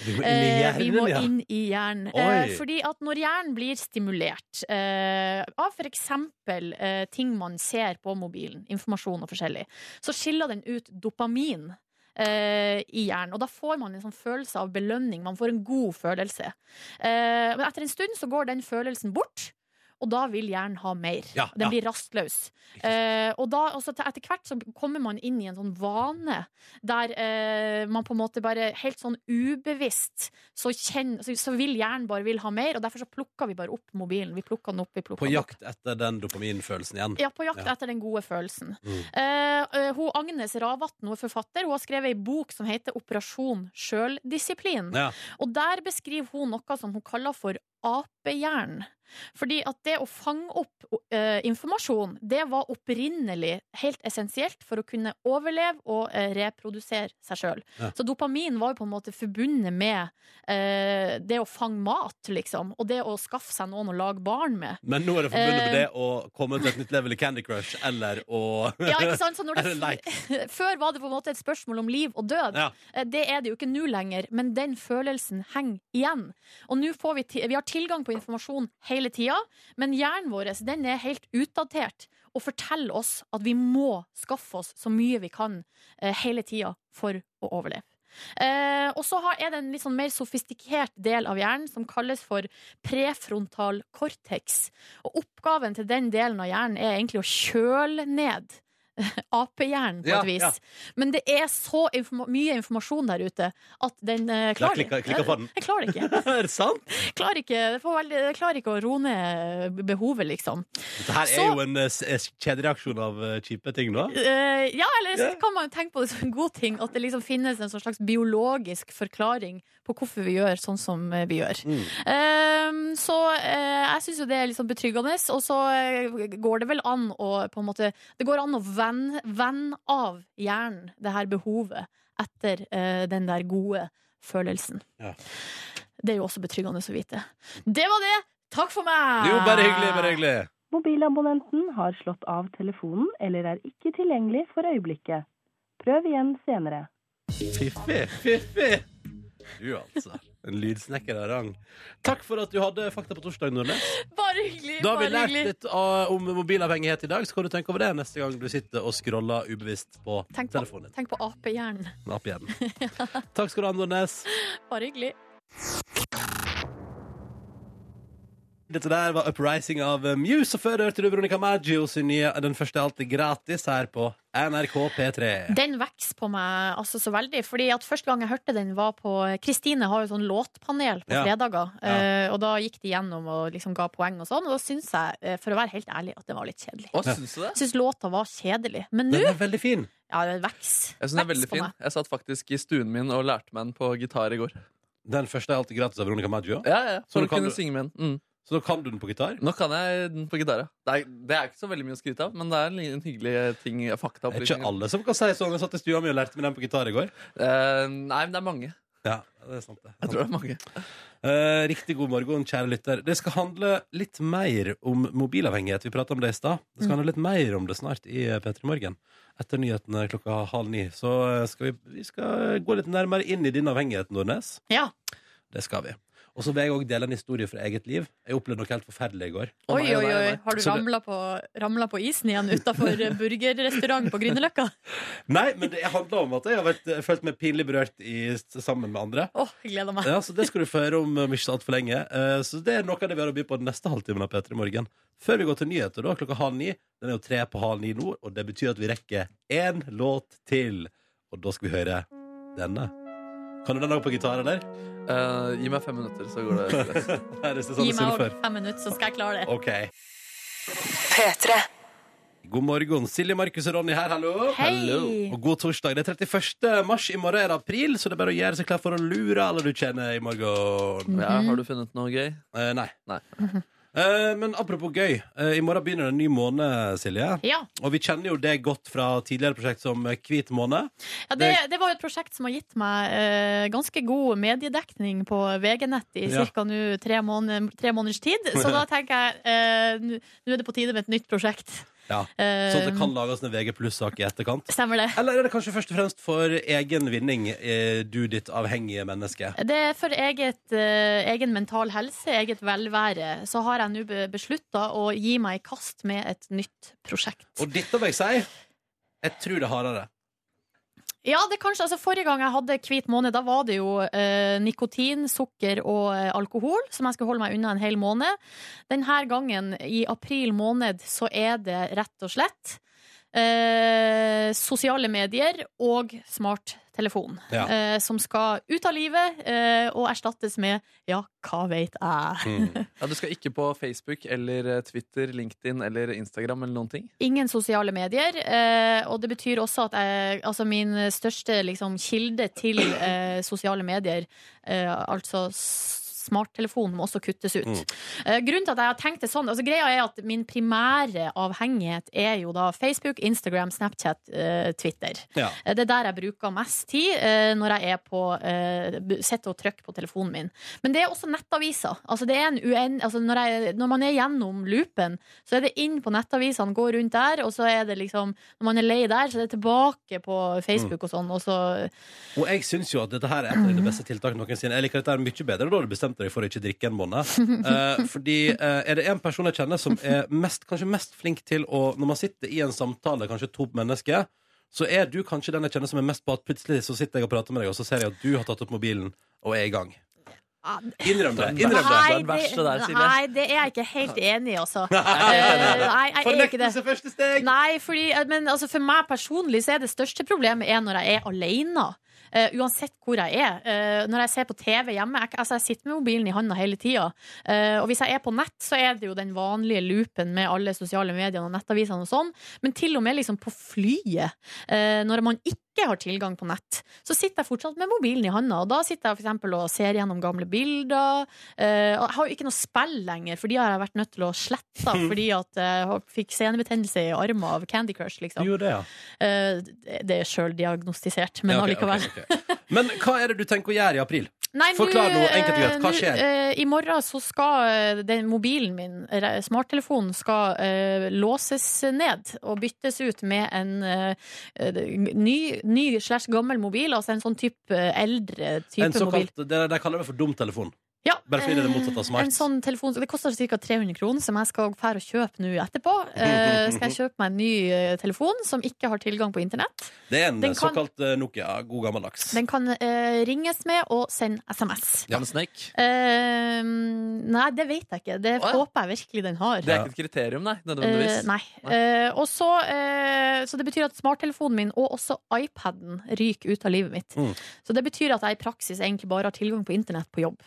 [SPEAKER 1] Vi må inn i
[SPEAKER 4] Eh, vi må
[SPEAKER 1] hjernen, ja.
[SPEAKER 4] inn i hjernen.
[SPEAKER 1] Oi.
[SPEAKER 4] Eh, fordi at når hjernen blir stimulert eh, av f.eks. Eh, ting man ser på mobilen, informasjon og forskjellig, så skiller den ut dopamin. eh, I hjernen, og da får man en sånn følelse av belønning. Man får en god følelse. Eh, men etter en stund så går den følelsen bort, og da vil hjernen ha mer.
[SPEAKER 1] Ja,
[SPEAKER 4] den
[SPEAKER 1] ja.
[SPEAKER 4] blir rastløs. Eh, og da, og så til- etter hvert så kommer man inn i en sånn vane der eh, man på en måte bare helt sånn ubevisst så, kjenn- så, så vil hjernen bare vil ha mer, og derfor så plukker vi bare opp mobilen. Vi plukker den opp, vi plukker
[SPEAKER 1] På
[SPEAKER 4] den opp.
[SPEAKER 1] jakt etter den dopaminfølelsen igjen.
[SPEAKER 4] Ja, på jakt
[SPEAKER 1] Ja.
[SPEAKER 4] etter den gode følelsen.
[SPEAKER 1] Mm.
[SPEAKER 4] Eh, eh, hun, Agnes Ravatn, hun er forfatter, hun har skrevet ei bok som heter 'Operasjon sjøldisiplin'.
[SPEAKER 1] Ja.
[SPEAKER 4] Og der beskriver hun noe som hun kaller for apehjernen. Fordi at det å fange opp eh, informasjon, det var opprinnelig helt essensielt for å kunne overleve og eh, reprodusere seg sjøl.
[SPEAKER 1] Ja.
[SPEAKER 4] Så dopamin var jo på en måte forbundet med eh, det å fange mat, liksom. Og det å skaffe seg noen å lage barn med.
[SPEAKER 1] Men nå er det forbundet med
[SPEAKER 4] Eh.
[SPEAKER 1] det å komme til et nytt level i Candy Crush eller å
[SPEAKER 4] Ja, ikke sant? Så
[SPEAKER 1] *laughs*
[SPEAKER 4] når
[SPEAKER 1] Eller
[SPEAKER 4] det, *laughs* før var det på en måte et spørsmål om liv og død.
[SPEAKER 1] Ja.
[SPEAKER 4] Eh, Det er det jo ikke nå lenger, men den følelsen henger igjen. Og nå får vi, ti- vi har tilgang på informasjon hele tida, men hjernen vår den er helt utdatert og forteller oss at vi må skaffe oss så mye vi kan eh, hele tida for å overleve. Eh, og så har- er det en litt sånn mer sofistikert del av hjernen som kalles for prefrontal cortex. Og oppgaven til den delen av hjernen er egentlig å kjøle ned *laughs* apehjernen på
[SPEAKER 1] Ja,
[SPEAKER 4] et vis.
[SPEAKER 1] ja.
[SPEAKER 4] Men det er så informa mye informasjon der ute at den eh, klarer
[SPEAKER 1] klikker- klikker for den.
[SPEAKER 4] Jeg klarer ikke.
[SPEAKER 1] Er det sant?
[SPEAKER 4] klarer ikke, det får veldig, jeg klarer ikke å roe ned behovet, liksom.
[SPEAKER 1] Dette her er
[SPEAKER 4] Så-
[SPEAKER 1] jo en eh, s- eh, kjedereaksjon av eh, kjipe ting nå.
[SPEAKER 4] Eh, ja, eller så kan man jo tenke på det som en god ting, at det liksom finnes en sånn slags biologisk forklaring på hvorfor vi gjør sånn som eh, vi gjør.
[SPEAKER 1] Mm.
[SPEAKER 4] Eh, så eh, jeg syns jo det er litt sånn betryggende, og så eh, går det vel an å på en måte Det går an å vende vende av hjernen det her behovet etter eh, den der gode følelsen.
[SPEAKER 1] Ja.
[SPEAKER 4] Det er jo også betryggende å vite. Det var det! Takk for meg!
[SPEAKER 1] Jo, bare hyggelig, bare hyggelig.
[SPEAKER 10] Mobilabonnenten har slått av telefonen eller er ikke tilgjengelig for øyeblikket. Prøv igjen senere.
[SPEAKER 1] Fiffi, fiffi. Du, altså. En lydsnekker av rang. Takk for at du hadde fakta på torsdag, Nordnes.
[SPEAKER 4] Bare hyggelig!
[SPEAKER 1] Da har vi
[SPEAKER 4] bare
[SPEAKER 1] lært
[SPEAKER 4] hyggelig.
[SPEAKER 1] litt av- om mobilavhengighet i dag. Så kan du tenke over det neste gang du sitter og scroller ubevisst på
[SPEAKER 4] Tenk på,
[SPEAKER 1] telefonen.
[SPEAKER 4] tenk på apehjernen.
[SPEAKER 1] din. Opp
[SPEAKER 4] *laughs*
[SPEAKER 1] igjen. Takk skal du ha, Nordnes.
[SPEAKER 4] Bare hyggelig.
[SPEAKER 1] Dette der var Uprising av eh, Muse, og før det hørte du Veronica Maggio sin nye Den første er alltid gratis her på NRK P3.
[SPEAKER 4] Den vokser på meg altså så veldig. Fordi at Første gang jeg hørte den, var på Kristine har jo sånn låtpanel på
[SPEAKER 1] Ja.
[SPEAKER 4] fredager.
[SPEAKER 1] Ja.
[SPEAKER 4] eh, Og da gikk de gjennom og liksom ga poeng og sånn. Og da syns jeg, eh, for å være helt ærlig, at det var litt kjedelig.
[SPEAKER 3] Å, syns du det?
[SPEAKER 4] Jeg syns låta var kjedelig. Men nå
[SPEAKER 1] Den er veldig fin.
[SPEAKER 4] ja, den vokser.
[SPEAKER 3] Jeg synes den er
[SPEAKER 4] Vokser
[SPEAKER 3] veldig
[SPEAKER 4] på
[SPEAKER 3] fin.
[SPEAKER 4] meg.
[SPEAKER 3] Jeg satt faktisk i stuen min og lærte meg den på gitar i går.
[SPEAKER 1] Den første er alltid gratis av Veronica Maggio.
[SPEAKER 3] Ja, ja, ja.
[SPEAKER 1] Så nå
[SPEAKER 3] For å
[SPEAKER 1] kan
[SPEAKER 3] kunne
[SPEAKER 1] du-
[SPEAKER 3] synge med den. Mm.
[SPEAKER 1] Så da kan du den på gitar.
[SPEAKER 3] Nå kan jeg den på gitar, ja. Det er, det er ikke så veldig mye å skryte av, men det er en liten hyggelig ting. Fakta
[SPEAKER 1] Det er ikke alle som kan si sånn. Jeg satt i stua mi og lærte meg den på gitar i går.
[SPEAKER 3] Eh, nei, men det er mange.
[SPEAKER 1] Ja, det er sant det.
[SPEAKER 3] Jeg tror det er mange.
[SPEAKER 1] Eh, riktig god morgen, kjære lytter. Det skal handle litt mer om mobilavhengighet. Vi prata om det i stad. Det skal handle litt mer om det snart i eh, P3 Morgen. Etter nyhetene klokka halv ni. Så eh, skal vi, vi skal gå litt nærmere inn i din avhengighet, Nordnes.
[SPEAKER 4] Ja.
[SPEAKER 1] Det skal vi. Og så vil jeg òg dele en historie fra eget liv. Jeg opplevde noe helt forferdelig i går.
[SPEAKER 4] Oi, oi, oi. Har du
[SPEAKER 1] Så det-
[SPEAKER 4] ramla på, ramlet på isen igjen utafor
[SPEAKER 1] *laughs*
[SPEAKER 4] burgerrestaurant på Grünerløkka?
[SPEAKER 1] Nei, men det handler om at jeg har vært, følt meg pinlig berørt i, sammen med andre.
[SPEAKER 4] Åh, jeg gleder meg.
[SPEAKER 1] Ja, så Det skal du få høre om om ikke så altfor lenge. Eh, Så Det er noe av det vi har å by på den neste halvtimen av P3 Morgen. Før vi går til nyheter, da, klokka halv ni. Den er jo tre på halv ni nå, og det betyr at vi rekker én låt til. Og da skal vi høre denne. Kan du den òg på gitar, eller? *laughs*
[SPEAKER 3] Eh, gi meg fem minutter, så går *laughs* det stress.
[SPEAKER 1] Nei, det er sånn
[SPEAKER 4] Gi
[SPEAKER 1] det
[SPEAKER 4] meg
[SPEAKER 1] står
[SPEAKER 4] over
[SPEAKER 1] før.
[SPEAKER 4] fem minutter, så skal jeg klare det.
[SPEAKER 1] OK. God morgen. Silje, Markus og Ronny her, hallo.
[SPEAKER 4] Hei.
[SPEAKER 1] Hallo. Og god torsdag. Det er 31. mars. I morgen er det april, så det er bare å gjøre seg klar for å lure alle du kjenner i morgen.
[SPEAKER 4] Mhm.
[SPEAKER 3] Ja, har du funnet noe gøy?
[SPEAKER 1] Eh, nei.
[SPEAKER 3] Nei.
[SPEAKER 1] *laughs* Eh, men apropos gøy. eh, I morgen begynner det en ny måned, Silje.
[SPEAKER 4] Ja.
[SPEAKER 1] Og vi kjenner jo det godt fra tidligere prosjekt som eh, Hvit måned.
[SPEAKER 4] Ja, det, det var jo et prosjekt som har gitt meg eh, ganske god mediedekning på VG-nett i
[SPEAKER 1] Ja.
[SPEAKER 4] ca. nå tre, måned, tre måneders tid. Så
[SPEAKER 1] *laughs*
[SPEAKER 4] da tenker jeg eh, nå nå er det på tide med et nytt prosjekt.
[SPEAKER 1] Ja.
[SPEAKER 4] Eh,
[SPEAKER 1] Sånn at det kan lages en VG pluss-sak i etterkant.
[SPEAKER 4] Stemmer det?
[SPEAKER 1] Eller er det kanskje først og fremst for egen vinning, eh, du ditt avhengige menneske?
[SPEAKER 4] Det er for eget, eh, egen mental helse, eget velvære. Så har jeg nå be- beslutta å gi meg i kast med et nytt prosjekt.
[SPEAKER 1] Og dette vil jeg si, jeg tror det er hardere.
[SPEAKER 4] Ja, det kanskje, altså Forrige gang jeg hadde hvit måned, da var det jo eh, nikotin, sukker og eh, alkohol som jeg skulle holde meg unna en hel måned. Denne gangen, i april måned, så er det rett og slett eh, sosiale medier og smarttelefon
[SPEAKER 1] Ja.
[SPEAKER 4] eh, som skal ut av livet eh, og erstattes med ja, hva veit jeg?
[SPEAKER 1] Mm.
[SPEAKER 3] Ja, du skal ikke på Facebook eller eh, Twitter, LinkedIn eller Instagram eller noen ting?
[SPEAKER 4] Ingen sosiale medier. Eh, og det betyr også at jeg, altså min største liksom, kilde til eh, sosiale medier, eh, altså s- smarttelefonen, må også kuttes ut.
[SPEAKER 1] Mm.
[SPEAKER 4] Eh, grunnen til at jeg har tenkt det sånn, altså greia er at min primære avhengighet er jo da Facebook, Instagram, Snapchat, eh, Twitter.
[SPEAKER 1] Ja.
[SPEAKER 4] Eh, Det er der jeg bruker mest tid eh, når jeg er på eh, b- sitter og trykker på telefonen min. Men det er også nettaviser. Altså det er en uen, altså når, jeg, når man er gjennom loopen, så er det inn på nettavisene, gå rundt der, og så er det liksom Når man er lei der, så er det tilbake på Facebook og sånn, og så
[SPEAKER 1] Og jeg syns jo at dette her er et av de beste tiltakene noensinne. Jeg liker dette her mye bedre da du bestemte deg for å ikke drikke en
[SPEAKER 4] *laughs*
[SPEAKER 1] måned. Eh, fordi eh, er det en person jeg kjenner som er mest, kanskje mest flink til å Når man sitter i en samtale, kanskje to mennesker, så er du kanskje den jeg kjenner som er mest på at plutselig så sitter jeg og prater med deg, og så ser jeg at du har tatt opp mobilen og er i gang.
[SPEAKER 4] Ja,
[SPEAKER 1] Innrøm det. Innrøm det.
[SPEAKER 4] Ah, Nei,
[SPEAKER 3] Den verste der, Silje.
[SPEAKER 4] nei, det er jeg ikke helt enig i,
[SPEAKER 1] *laughs*
[SPEAKER 4] altså. Eh,
[SPEAKER 1] Nei,
[SPEAKER 4] Nei, jeg er ikke det.
[SPEAKER 1] Fornektelse første steg!
[SPEAKER 4] Nei, fordi, men altså, for meg personlig så er det største problemet er når jeg er alene. Eh, uansett hvor jeg er. Eh, når jeg ser på TV hjemme jeg, altså, jeg sitter med mobilen i handa hele tida. Eh, og hvis jeg er på nett, så er det jo den vanlige loopen med alle sosiale medier og nettavisene og sånn. Men til og med liksom på flyet, eh, når man ikke har tilgang på nett, så sitter jeg fortsatt med mobilen i handa. Og da sitter jeg for eksempel og ser gjennom gamle bilder. Eh, og jeg har jo ikke noe spill lenger, for de har jeg vært nødt til å
[SPEAKER 1] *laughs*
[SPEAKER 4] slette fordi at jeg har- fikk senebetennelse i armen av Candy Crush, liksom.
[SPEAKER 1] Du gjorde det, ja.
[SPEAKER 4] Eh, det er sjøldiagnostisert, men
[SPEAKER 1] Ja, ok,
[SPEAKER 4] allikevel.
[SPEAKER 1] ok, ok. Men hva er det du tenker å gjøre i april?
[SPEAKER 4] Nei, nå,
[SPEAKER 1] Forklar nå, enkelt og greit. Hva
[SPEAKER 4] eh, nå,
[SPEAKER 1] skjer?
[SPEAKER 4] eh, I morgen så skal eh, den mobilen min, re- smarttelefonen, skal eh, låses ned og byttes ut med en eh, eh, ny, ny slash gammel mobil, altså en sånn type eh, eldre type
[SPEAKER 1] En
[SPEAKER 4] mobil.
[SPEAKER 1] såkalt, det de kaller det for dumtelefon.
[SPEAKER 4] Ja,
[SPEAKER 1] Bare fordi det er det
[SPEAKER 4] eh,
[SPEAKER 1] motsatte av smart.
[SPEAKER 4] En sånn telefon, det koster ca. 300 kroner, som jeg skal fære og kjøpe nå
[SPEAKER 1] *laughs*
[SPEAKER 4] etterpå. Eh, skal jeg kjøpe meg en ny eh, telefon som ikke har tilgang på internett.
[SPEAKER 1] Det er en
[SPEAKER 4] Den kan-
[SPEAKER 1] såkalt eh, Nokia. God gammeldags.
[SPEAKER 4] Den kan eh, ringes med og sende SMS.
[SPEAKER 1] Ja.
[SPEAKER 3] Ja. Snake?
[SPEAKER 4] Eh, nei, det vet jeg ikke. Det
[SPEAKER 3] Å, ja.
[SPEAKER 4] håper jeg virkelig den har.
[SPEAKER 3] Det er ikke et kriterium, nei. Nødvendigvis.
[SPEAKER 4] Eh, nei. Eh, og så, eh, så det betyr at smarttelefonen min og også iPaden ryker ut av livet mitt.
[SPEAKER 1] Mm.
[SPEAKER 4] Så det betyr at jeg i praksis egentlig bare har tilgang på internett på jobb.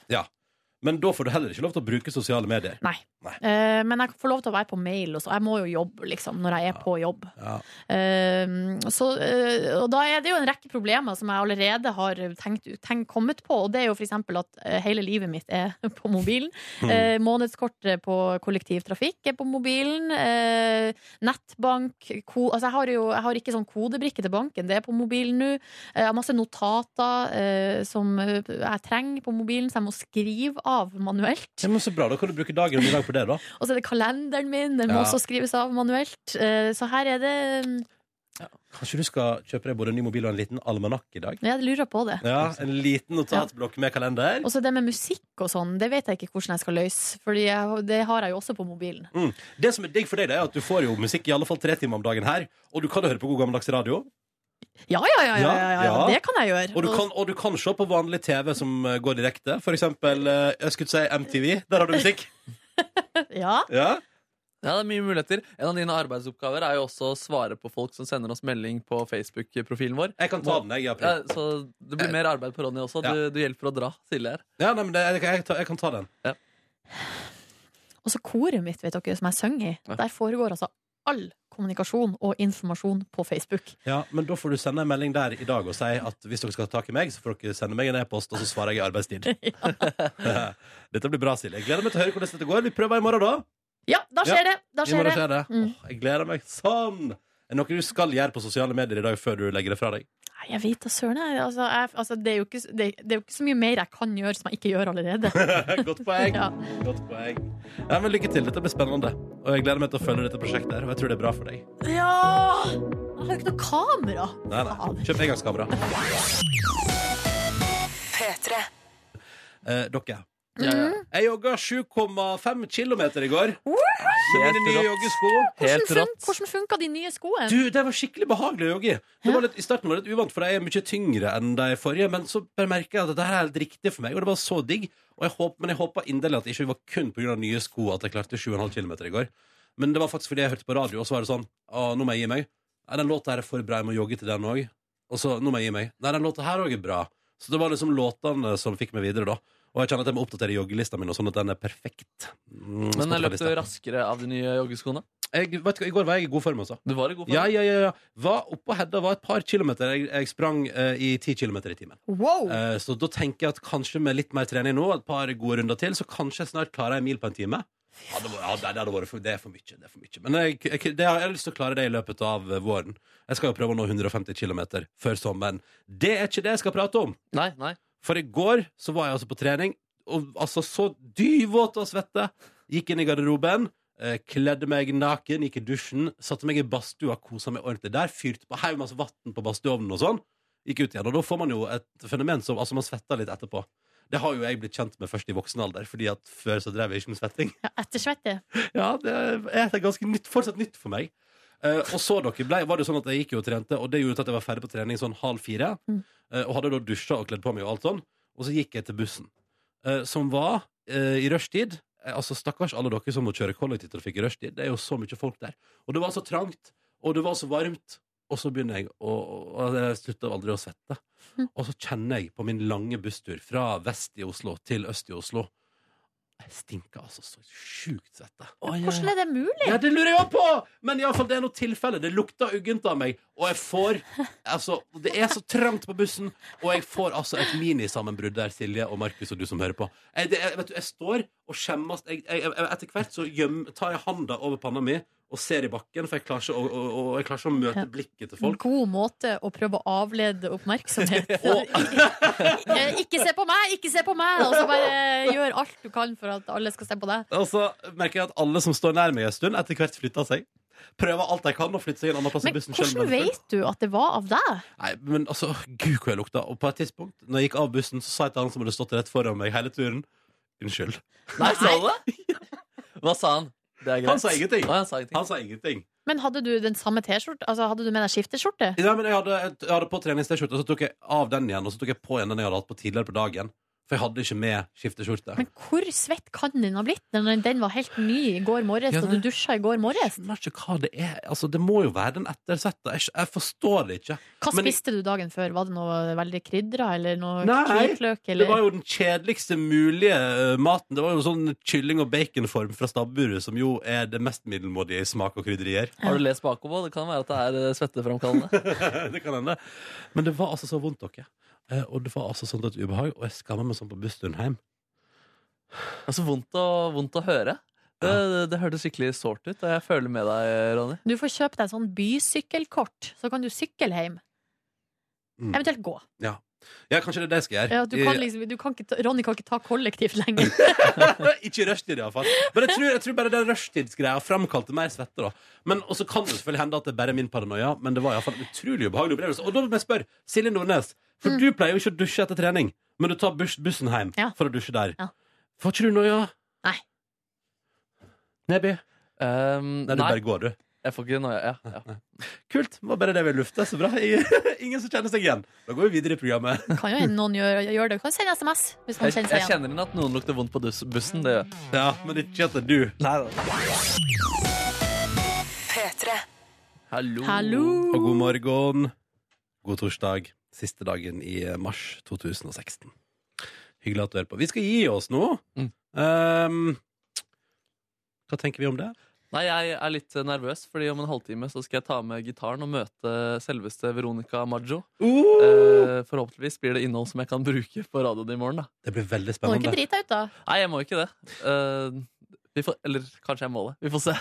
[SPEAKER 1] Men da får du heller ikke lov til å bruke sosiale medier.
[SPEAKER 4] Nei.
[SPEAKER 1] Nei.
[SPEAKER 4] Eh, men jeg får lov til å være på mail, og så jeg må jo jobbe liksom, når jeg er på jobb.
[SPEAKER 1] Ja.
[SPEAKER 4] Eh, så, eh, og da er det jo en rekke problemer som jeg allerede har tenkt, tenkt kommet på, og det er jo for eksempel at eh, hele livet mitt er *laughs* på mobilen.
[SPEAKER 1] Mm. Hmm.
[SPEAKER 4] Eh, månedskortet på kollektivtrafikk er på mobilen. Eh, nettbank ko, altså jeg, har jo, jeg har ikke sånn kodebrikke til banken, det er på mobilen nå. Eh, Jeg har masse notater eh, som eh, jeg trenger på mobilen, så jeg må skrive av manuelt.
[SPEAKER 1] Ja, men så bra, Da kan du bruke dagen i dag på det, da.
[SPEAKER 4] Og så er det kalenderen min, den må
[SPEAKER 1] Ja.
[SPEAKER 4] også skrives av manuelt. Eh, Så her er det
[SPEAKER 1] Kanskje du skal kjøpe deg både ny mobil og en liten almanakk i dag?
[SPEAKER 4] Jeg lurer på det.
[SPEAKER 1] Ja, En liten notatblokk med kalender?
[SPEAKER 4] *laughs* Og så det med musikk og sånn, det vet jeg ikke hvordan jeg skal løse. For det har jeg jo også på mobilen.
[SPEAKER 1] Mm. Det som er digg for deg, det er at du får jo musikk i alle fall tre timer om dagen her. Og du kan jo høre på god gammeldags radio.
[SPEAKER 4] Ja, ja, ja, ja, ja, ja.
[SPEAKER 1] Ja.
[SPEAKER 4] det kan jeg gjøre.
[SPEAKER 1] Og du kan, og du kan se på vanlig TV som eh, går direkte. For eksempel, eh, jeg skulle si MTV. Der har du *laughs* musikk.
[SPEAKER 4] Ja.
[SPEAKER 1] Ja.
[SPEAKER 3] Ja, det er mye muligheter. En av dine arbeidsoppgaver er jo også å svare på folk som sender oss melding på Facebook-profilen vår.
[SPEAKER 1] Jeg kan ta den, jeg, i april.
[SPEAKER 3] Ja, så det
[SPEAKER 1] Eh,
[SPEAKER 3] blir mer arbeid på Ronny også. Du, du hjelper å dra Silje her.
[SPEAKER 1] Ja, nei, men det, jeg, jeg, jeg kan ta den.
[SPEAKER 4] Og så koret mitt, vet dere, som jeg synger i.
[SPEAKER 1] Ja.
[SPEAKER 4] Der foregår altså all kommunikasjon og informasjon på Facebook.
[SPEAKER 1] Ja, Men da får du sende en melding der i dag og si at hvis dere skal ta tak i meg, så får dere sende meg en e-post, og så svarer jeg i *laughs* arbeidstid. dette blir bra, Silje. Jeg gleder meg til å høre hvordan dette går. Vi prøver i morgen, da.
[SPEAKER 4] Ja, da skjer det! Da
[SPEAKER 1] I
[SPEAKER 4] skjer
[SPEAKER 1] morgen
[SPEAKER 4] det.
[SPEAKER 1] skjer det.
[SPEAKER 4] Mm.
[SPEAKER 1] Åh, jeg gleder meg sånn! Er det noe du skal gjøre på sosiale medier i dag før du legger det fra deg? *laughs*
[SPEAKER 4] Nei, jeg vet da søren. jeg. Altså, jeg- altså, det, er jo ikke, det, det er jo ikke så mye mer jeg kan gjøre som jeg ikke gjør allerede. *laughs*
[SPEAKER 1] Godt poeng.
[SPEAKER 4] Ja.
[SPEAKER 1] Godt poeng. Ja, men lykke til. Dette blir spennende. Og jeg gleder meg til å følge dette prosjektet her, og jeg tror det er bra for deg.
[SPEAKER 4] Ja! Jeg har jo ikke noe kamera.
[SPEAKER 1] Nei, nei. Kjøp engangskamera. Eh, dere.
[SPEAKER 3] Ja, ja.
[SPEAKER 1] Jeg jogga 7,5 km i går. Med mine nye
[SPEAKER 3] Helt
[SPEAKER 1] joggesko.
[SPEAKER 4] Hvordan, fun hvordan funka de nye skoene?
[SPEAKER 1] Du, det var skikkelig behagelig å jogge i. Det var litt, I starten var det litt uvant, for de er mye tyngre enn de forrige. Men så bare merker jeg at dette her er helt riktig for meg, og det var så digg. Og jeg håp, men jeg håpa inderlig at det ikke var kun pga. nye sko at jeg klarte 7,5 km i går. Men det var faktisk fordi jeg hørte på radio, og så var det sånn Å, nå må jeg gi meg. Nei, den låta her er for bra, jeg må jogge til den òg. Og så nå må jeg gi meg. Nei, den låta her òg er bra. Så det var liksom låtene som fikk meg videre, da. Og jeg kjenner at jeg må oppdatere joggelista mi, nå, sånn at den er perfekt. Mm,
[SPEAKER 3] Men løp du
[SPEAKER 1] Spotify-lista.
[SPEAKER 3] raskere av de nye joggeskoene?
[SPEAKER 1] Jeg, vet du, hva, I går var jeg i god form, altså.
[SPEAKER 3] Du var i god form.
[SPEAKER 1] Ja, ja, ja, ja. Var oppå Hedda var et par kilometer. Jeg, jeg sprang eh, i ti kilometer i timen.
[SPEAKER 4] Wow!
[SPEAKER 1] Eh, så da tenker jeg at kanskje med litt mer trening nå, et par gode runder til, så kanskje jeg snart klarer en mil på en time. Ja, det, var, ja, det, det, hadde vært for, det er for mye. Det er for mye. Men jeg, jeg, det, har- jeg har lyst til å klare det i løpet av eh, våren. Jeg skal jo prøve å nå 150 km før sommeren. Det er ikke det jeg skal prate om.
[SPEAKER 3] Nei, nei.
[SPEAKER 1] For i går så var jeg altså på trening Og altså så dyvåt av svette Gikk inn i garderoben eh, Kledde meg naken, gikk i dusjen Satte meg i badstua, kosa meg ordentlig Der fyrte på haug masse vatten på badstuovnen og sånn Gikk ut igjen, og da får man jo et fenomen som Altså man svetter litt etterpå Det har jo jeg blitt kjent med først i voksen alder Fordi at før så drev jeg ikke med svetting
[SPEAKER 4] Ja, ettersvette.
[SPEAKER 1] ja, det er et ganske nytt, fortsatt nytt for meg. Eh, og så dere ble, var det jo sånn at jeg gikk jo og trente, og det gjorde at jeg var ferdig på trening sånn halv fire.
[SPEAKER 4] Mm.
[SPEAKER 1] eh, og hadde da dusja og kledd på meg og alt sånn. Og så gikk jeg til bussen, eh, som var eh, i rushtid. Eh, altså, stakkars alle dere som må kjøre kollektivtrafikk i rushtid. Det er jo så mye folk der. Og det var så trangt, og det var så varmt. Og så begynner jeg å og Jeg slutter aldri å svette.
[SPEAKER 4] Mm.
[SPEAKER 1] Og så kjenner jeg på min lange busstur fra vest i Oslo til øst i Oslo Jeg stinker altså så sjukt svette.
[SPEAKER 4] Hvordan er det mulig?
[SPEAKER 1] Ja, det lurer jeg også på! Men i alle fall, det er noe tilfelle. Det lukter uggent av meg. Og jeg får Altså, det er så trangt på bussen, og jeg får altså et minisammenbrudd der, Silje og Markus og du som hører på. Jeg, det, jeg, vet du, jeg står og skjemmes. Jeg, jeg, jeg, etter hvert så gjem, tar jeg handa over panna mi og ser i bakken, for jeg klarer ikke å, å, å, jeg klarer ikke å møte blikket til
[SPEAKER 4] En
[SPEAKER 1] folk.
[SPEAKER 4] god måte å prøve å avlede
[SPEAKER 1] *laughs*
[SPEAKER 4] oppmerksomhet. Eh, ikke se på meg, ikke se på meg! Og så bare gjør alt du kan for at alle skal se på deg.
[SPEAKER 1] Og så merker jeg at alle som står nær meg en stund, etter hvert flytter seg. Prøver alt de kan å flytte seg en annen plass i
[SPEAKER 4] Men
[SPEAKER 1] bussen. selv om
[SPEAKER 4] hvordan
[SPEAKER 1] den er full.
[SPEAKER 4] vet du at det var av deg?
[SPEAKER 1] Nei, men altså, *laughs* gud hvor jeg lukta Og på et tidspunkt, når jeg gikk av bussen Så sa jeg til han som hadde stått rett foran meg hele turen Unnskyld
[SPEAKER 3] Nei, sa du det?
[SPEAKER 1] *laughs*
[SPEAKER 3] Hva sa han? Det er greit.
[SPEAKER 1] Han sa ingenting.
[SPEAKER 3] Å, han sa ingenting.
[SPEAKER 1] Han sa ingenting
[SPEAKER 4] Men hadde du den samme T-skjorte? Altså, hadde du med deg skifteskjorte?
[SPEAKER 1] Nei, men jeg hadde, jeg hadde på treningsteskjorte Og så tok jeg av den igjen Og så tok jeg på igjen den jeg hadde hatt på tidligere på dagen For jeg hadde ikke med skifteskjorte
[SPEAKER 4] Men hvor svett kan den ha blitt når den var helt ny i går morges,
[SPEAKER 1] Ja,
[SPEAKER 4] og
[SPEAKER 1] nei.
[SPEAKER 4] du dusja i går
[SPEAKER 1] Jeg
[SPEAKER 4] morges?
[SPEAKER 1] skjønner ikke hva det er Altså, det må jo være den ettersetta Jeg, jeg forstår det ikke
[SPEAKER 4] Hva
[SPEAKER 1] Men-
[SPEAKER 4] spiste du dagen før? Var det noe veldig krydra, eller noe
[SPEAKER 1] Nei,
[SPEAKER 4] hvitløk,
[SPEAKER 1] Det
[SPEAKER 4] eller
[SPEAKER 1] var jo den kjedeligste mulige eh, maten Det var jo sånn kylling og baconform fra stabburet Som jo er det mest middelmådige i smak og krydderier
[SPEAKER 3] Har du lest bakover? Det kan være at det er eh,
[SPEAKER 1] *laughs*
[SPEAKER 3] svetteframkallende.
[SPEAKER 1] det kan hende. Men det var altså så vondt, dere. Eh, Og det var altså sånt et ubehag, og jeg skammer meg sånn på bussturen hjem.
[SPEAKER 3] Altså, vondt, å- vondt å høre. Det, det, det hørtes skikkelig sårt ut, og jeg føler med deg, Ronny.
[SPEAKER 4] Du får kjøpe deg sånn bysykkelkort, så kan du sykle hjem.
[SPEAKER 1] Mm.
[SPEAKER 4] Eventuelt gå.
[SPEAKER 1] Ja. Ja, kanskje det er det jeg skal gjøre.
[SPEAKER 4] Ja, du kan
[SPEAKER 1] I-
[SPEAKER 4] liksom, du kan ikke ta, Ronny kan ikke ta kollektivt lenger.
[SPEAKER 1] *laughs* ikke i rushtid, iallfall. Men jeg tror, jeg tror bare den rushtidsgreia framkalte mer svette. da Men Og så kan det selvfølgelig hende at det bare er min paranoia, men det var iallfall en utrolig ubehagelig opplevelse. Og da må jeg spørre Silje Nordnes, for du pleier jo ikke å dusje etter trening, men du tar bus bussen hjem
[SPEAKER 4] Mm. Ja.
[SPEAKER 1] for å dusje der.
[SPEAKER 4] Ja.
[SPEAKER 1] Får ikke du noia?
[SPEAKER 4] Nei.
[SPEAKER 1] Nebby?
[SPEAKER 3] Um,
[SPEAKER 1] Nei, du bare går, du.
[SPEAKER 3] Jeg får ikke noe, ja, ja.
[SPEAKER 1] Kult. Det var bare det vi lufta. Så bra. *laughs* Ingen som kjenner seg igjen. Da går vi videre i programmet. *laughs*
[SPEAKER 4] Kan jo hende noen gjør, gjør det. Kan sende SMS hvis man kjenner
[SPEAKER 3] Jeg,
[SPEAKER 4] seg
[SPEAKER 3] jeg
[SPEAKER 4] igjen.
[SPEAKER 3] kjenner inn at noen lukter vondt på dus- bussen. Det gjør jeg.
[SPEAKER 1] Ja, men ikke at det er du.
[SPEAKER 3] Nei da. Hallo.
[SPEAKER 4] Hallo.
[SPEAKER 1] Og god morgen. God torsdag. Siste dagen i eh, mars 2016. Hyggelig at du er på. Vi skal gi oss nå.
[SPEAKER 3] Mm.
[SPEAKER 1] Ehm, hva tenker vi om det?
[SPEAKER 3] Nei, jeg er litt eh, nervøs, fordi om en halvtime så skal jeg ta med gitaren og møte selveste Veronica Maggio. Eh, forhåpentligvis blir det innhold som jeg kan bruke på radioen i morgen. da.
[SPEAKER 1] Det blir veldig
[SPEAKER 4] Må ikke
[SPEAKER 1] spennende.
[SPEAKER 4] drite deg ut, da.
[SPEAKER 3] Nei, jeg må ikke det. Eh, vi får, eller kanskje jeg må det. Vi får se.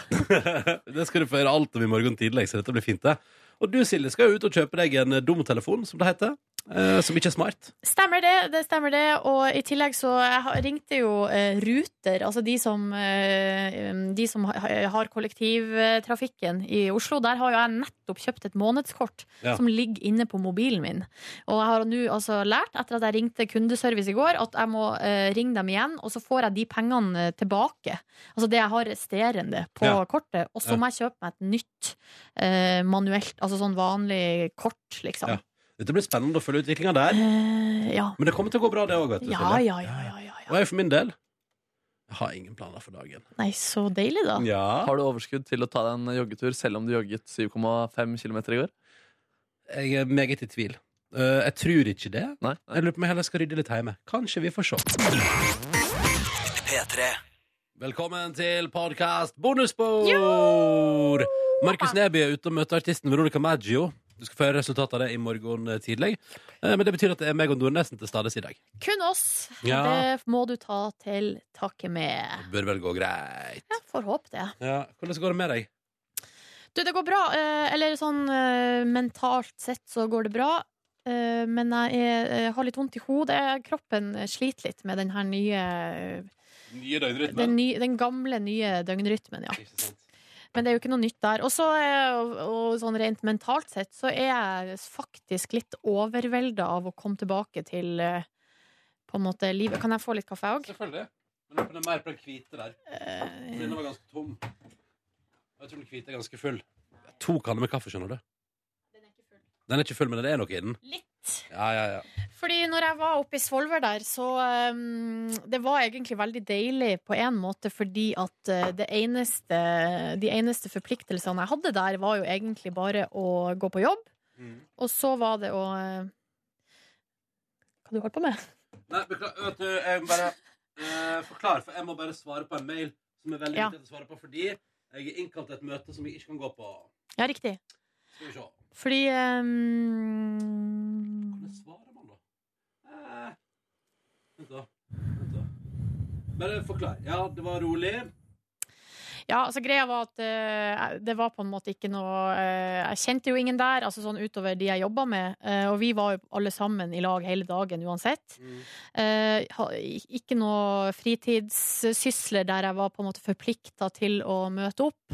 [SPEAKER 1] *laughs* det skal du få høre alt om i morgen tidlig, så dette blir fint. det. Og du, Silje, skal jo ut og kjøpe deg en dumtelefon, som det heter. eh, som ikke er smart.
[SPEAKER 4] Stemmer det, det stemmer det. Og i tillegg så jeg har- ringte jo eh, Ruter, altså de som, eh, um, de som ha- har kollektivtrafikken i Oslo. Der har jo jeg nettopp kjøpt et månedskort
[SPEAKER 1] Ja.
[SPEAKER 4] som ligger inne på mobilen min. Og jeg har nå altså lært, etter at jeg ringte kundeservice i går, at jeg må eh, ringe dem igjen, og så får jeg de pengene eh, tilbake. Altså det jeg har resterende på
[SPEAKER 1] Ja.
[SPEAKER 4] kortet. Og så
[SPEAKER 1] Ja.
[SPEAKER 4] må jeg kjøpe meg et nytt eh, manuelt, altså sånn vanlig kort, liksom.
[SPEAKER 1] Ja. Dette blir spennende å følge utviklinga der.
[SPEAKER 4] Eh, ja.
[SPEAKER 1] Men det kommer til å gå bra, det òg, vet du.
[SPEAKER 4] Ja,
[SPEAKER 1] Silje.
[SPEAKER 4] ja, ja, ja, ja, ja.
[SPEAKER 1] Og jeg for min del jeg har ingen planer for dagen.
[SPEAKER 4] Nei, så deilig, da.
[SPEAKER 1] Ja.
[SPEAKER 3] Har du overskudd til å ta deg en joggetur selv om du jogget 7,5 km i går?
[SPEAKER 1] Jeg er meget i tvil. Eh, jeg tror ikke det.
[SPEAKER 3] Nei? Nei.
[SPEAKER 1] Jeg lurer på om jeg heller skal rydde litt hjemme. Kanskje vi får se. Velkommen til podkast bonusbord! Markus Neby er ute og møter artisten Veronica Maggio. Du skal få høre resultatet av det i morgen eh, tidlig. Eh, Men det betyr at det er meg og Nordnesen til stades i dag.
[SPEAKER 4] Kun oss.
[SPEAKER 1] Ja.
[SPEAKER 4] Det må du ta til takke med.
[SPEAKER 1] Det bør vel gå greit.
[SPEAKER 4] Ja, får håpe det.
[SPEAKER 1] Ja. Hvordan går det med deg?
[SPEAKER 4] Du, det går bra. eh, Eller sånn eh, mentalt sett så går det bra. Eh, Men jeg er, eh, har litt vondt i hodet. Kroppen sliter litt med den her nye
[SPEAKER 1] Nye
[SPEAKER 4] Den, ny, den gamle, nye døgnrytmen, ja. Men det er jo ikke noe nytt der. Og så, eh, og, og sånn rent mentalt sett, så er jeg faktisk litt overvelda av å komme tilbake til eh, på en måte livet. Kan jeg få litt kaffe òg?
[SPEAKER 1] Selvfølgelig. Men den er mer på den hvite der.
[SPEAKER 4] Eh,
[SPEAKER 1] Den var ganske tom. Jeg tror den hvite er ganske full. To kanner med kaffe, skjønner du. Den er ikke full, men det er noe i den.
[SPEAKER 4] Litt.
[SPEAKER 1] Ja, ja, ja.
[SPEAKER 4] Fordi når jeg var oppe i Svolvær der, så um, Det var egentlig veldig deilig på en måte, fordi at uh, det eneste, de eneste forpliktelsene jeg hadde der, var jo egentlig bare å gå på jobb. Og så var det å uh, Hva du holdt på med?
[SPEAKER 1] Nei, beklager, vet du, jeg må bare eh, forklare, for jeg må bare svare på en mail som er veldig
[SPEAKER 4] Ja.
[SPEAKER 1] viktig å svare på, fordi jeg er innkalt til et møte som jeg ikke kan gå på.
[SPEAKER 4] Ja, riktig.
[SPEAKER 1] Skal vi se.
[SPEAKER 4] Fordi um,
[SPEAKER 1] Hvordan svarer man, da? Eh, vent, da. Vent, da. Bare forklar. Ja, det var rolig.
[SPEAKER 4] Ja, altså greia var at eh, det var på en måte ikke noe eh, Jeg kjente jo ingen der, altså sånn utover de jeg jobba med. eh, og vi var jo alle sammen i lag hele dagen uansett.
[SPEAKER 1] Mm.
[SPEAKER 4] Eh, ha- ikke noe fritidssysler der jeg var på en måte forplikta til å møte opp.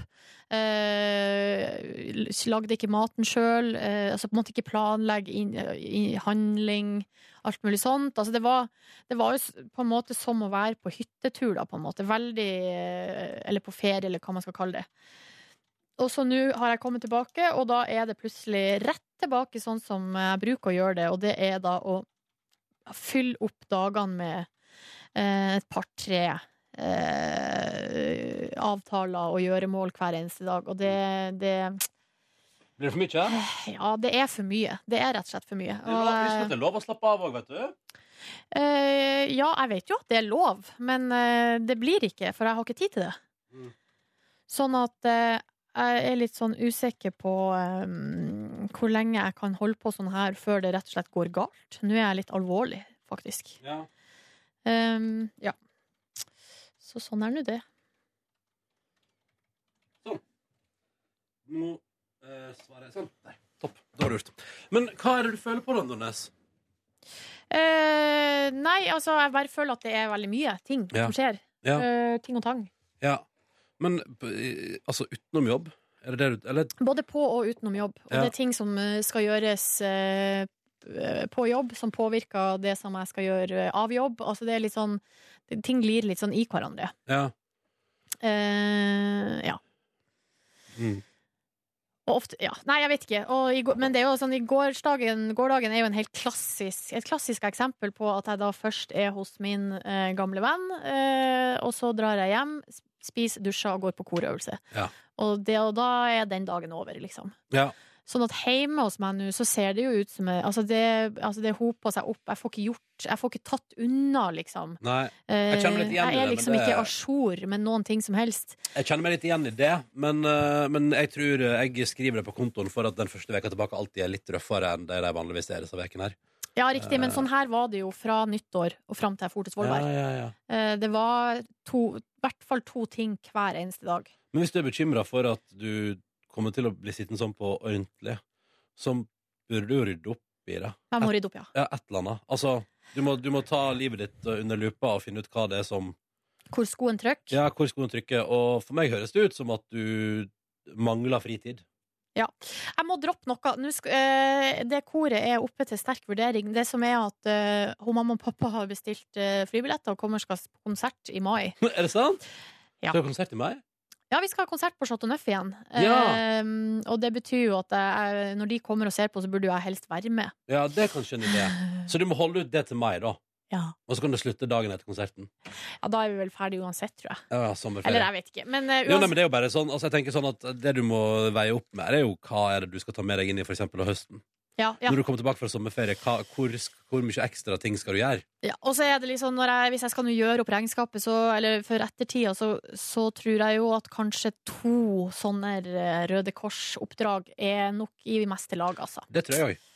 [SPEAKER 4] Eh, lagde ikke maten sjøl. eh, altså på en måte ikke planlegge inn- eh, i- handling, alt mulig sånt. Altså det var det var jo s- på en måte som å være på hyttetur, da, på en måte. Veldig eh, Eller på ferie, eller hva man skal kalle det. Og så nå har jeg kommet tilbake, og da er det plutselig rett tilbake sånn som jeg bruker å gjøre det, og det er da å fylle opp dagene med eh, et par-tre eh, avtaler og gjøremål hver eneste dag, og det, det
[SPEAKER 1] Blir det for mye?
[SPEAKER 4] Ja, det er for mye. Det er rett og slett for mye.
[SPEAKER 1] Det er lov- husk at det er lov å slappe av òg, vet du.
[SPEAKER 4] Eh, ja, jeg vet jo at det er lov, men eh, det blir ikke, for jeg har ikke tid til det.
[SPEAKER 1] Mm.
[SPEAKER 4] Sånn at eh, jeg er litt sånn usikker på eh, hvor lenge jeg kan holde på sånn her før det rett og slett går galt. Nå er jeg litt alvorlig, faktisk.
[SPEAKER 1] Ja.
[SPEAKER 4] Eh, ja. Så sånn er nå det.
[SPEAKER 1] Nå eh, svarer jeg sånn. Der. Topp. Det var lurt. Men hva er det du føler på, da, Nordnes?
[SPEAKER 4] Eh, nei, altså, jeg bare føler at det er veldig mye ting
[SPEAKER 1] Ja.
[SPEAKER 4] som skjer.
[SPEAKER 1] Ja.
[SPEAKER 4] Eh, ting og tang.
[SPEAKER 1] Ja. Men b- altså utenom jobb? Er det det du Eller
[SPEAKER 4] Både på og utenom jobb. Og
[SPEAKER 1] Ja.
[SPEAKER 4] det er ting som eh, skal gjøres eh, på jobb, som påvirker det som jeg skal gjøre eh, av jobb. Altså, det er litt sånn det- Ting glir litt sånn i hverandre.
[SPEAKER 1] Ja.
[SPEAKER 4] Eh, ja.
[SPEAKER 1] Mm.
[SPEAKER 4] Og ofte, ja. Nei, jeg vet ikke. Og i går, men det er jo sånn, i gårsdagen, gårdagen er jo en helt klassisk, et klassisk eksempel på at jeg da først er hos min eh, gamle venn, eh, og så drar jeg hjem, sp- spiser, dusjer og går på korøvelse.
[SPEAKER 1] Ja.
[SPEAKER 4] Og, det, og da er den dagen over, liksom.
[SPEAKER 1] ja.
[SPEAKER 4] Sånn at hjemme hos meg nå, så ser det jo ut som jeg- Altså, det, altså det hoper seg opp. Jeg får ikke gjort Jeg får ikke tatt unna, liksom.
[SPEAKER 1] Nei.
[SPEAKER 4] Eh,
[SPEAKER 1] Jeg kjenner meg litt igjen i
[SPEAKER 4] jeg er
[SPEAKER 1] det, men
[SPEAKER 4] liksom
[SPEAKER 1] det-
[SPEAKER 4] ikke a jour med noen ting som helst.
[SPEAKER 1] Jeg kjenner meg litt igjen i det, men, eh, men jeg tror eh, jeg skriver det på kontoen for at den første veka tilbake alltid er litt røffere enn det de vanligvis er disse vekene her.
[SPEAKER 4] Ja, riktig, men
[SPEAKER 1] Eh.
[SPEAKER 4] sånn her var det jo fra nyttår og fram til jeg for til Svolvær.
[SPEAKER 1] Ja, ja, ja.
[SPEAKER 4] Eh, Det var to, i hvert fall to ting hver eneste dag.
[SPEAKER 1] Men hvis du er bekymra for at du kommer til å bli sittende sånn på ordentlig, så burde du jo rydde opp i det.
[SPEAKER 4] Jeg må rydde opp, ja.
[SPEAKER 1] Ja, et eller annet. Altså, du må, du må ta livet ditt eh, under lupa og finne ut hva det er som
[SPEAKER 4] Hvor skoen trykker.
[SPEAKER 1] Ja, hvor skoen trykker. Og for meg høres det ut som at du mangler fritid. *laughs*
[SPEAKER 4] Ja. Jeg må droppe noe. Nå skal, eh, det koret er oppe til sterk vurdering. Det som er at eh, hun mamma og pappa har bestilt eh, flybilletter og kommer og skal på konsert i mai.
[SPEAKER 1] er det sant?
[SPEAKER 4] Ja.
[SPEAKER 1] Skal du ha konsert i meg?
[SPEAKER 4] Ja, vi skal ha konsert på Chateau Neuf igjen.
[SPEAKER 1] Ja.
[SPEAKER 4] Eh, og det betyr jo at jeg, når de kommer og ser på, så burde jo jeg helst være med.
[SPEAKER 1] Ja, det er kanskje en idé. Så du må holde ut det til meg, da.
[SPEAKER 4] Ja.
[SPEAKER 1] Og så kan du slutte dagen etter konserten.
[SPEAKER 4] Ja, da er vi vel ferdige uansett, tror jeg.
[SPEAKER 1] Ja, sommerferie.
[SPEAKER 4] Eller jeg vet ikke. Men eh,
[SPEAKER 1] Jo, nei,
[SPEAKER 4] uansett-
[SPEAKER 1] men det er jo bare sånn, altså jeg tenker sånn at Det du må veie opp med, det er jo hva er det du skal ta med deg inn i for eksempel av høsten.
[SPEAKER 4] ja, ja.
[SPEAKER 1] Når du kommer tilbake fra sommerferie, hva, hvor, sk- hvor mye ekstra ting skal du gjøre?
[SPEAKER 4] Ja, og så er det liksom når jeg, Hvis jeg skal nå gjøre opp regnskapet så, Eller for ettertida så, så tror jeg jo at kanskje to sånne eh, Røde Kors-oppdrag Er nok i meste lag altså.
[SPEAKER 1] Det tror jeg òg.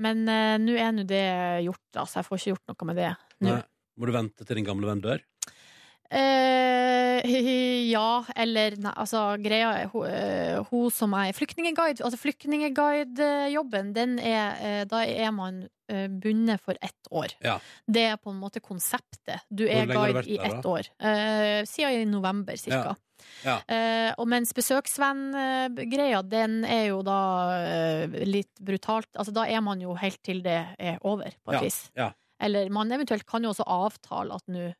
[SPEAKER 4] Men eh, nå er nå det gjort da, Så jeg får ikke gjort noe med det nå
[SPEAKER 1] Nei. Må du vente til din gamle venn dør?
[SPEAKER 4] Eh, *laughs* ja, eller nei, altså, greia er hun, eh, hun som er flyktningeguide. Altså flyktningeguide-jobben, den er eh, Da er man eh, bundet for ett år.
[SPEAKER 1] Ja.
[SPEAKER 4] Det er på en måte konseptet. Du
[SPEAKER 11] Hvor
[SPEAKER 4] er
[SPEAKER 11] lenge har du
[SPEAKER 4] guide
[SPEAKER 11] vært
[SPEAKER 4] i
[SPEAKER 11] der,
[SPEAKER 4] ett
[SPEAKER 11] da?
[SPEAKER 4] år. Eh, siden i november, cirka.
[SPEAKER 1] Ja.
[SPEAKER 4] Eh, og mens besøksvenn-greia, den er jo da eh, litt brutalt Altså, da er man jo helt til det er over, på et
[SPEAKER 1] Ja.
[SPEAKER 4] vis.
[SPEAKER 1] Ja.
[SPEAKER 4] Eller man eventuelt kan jo også avtale at nå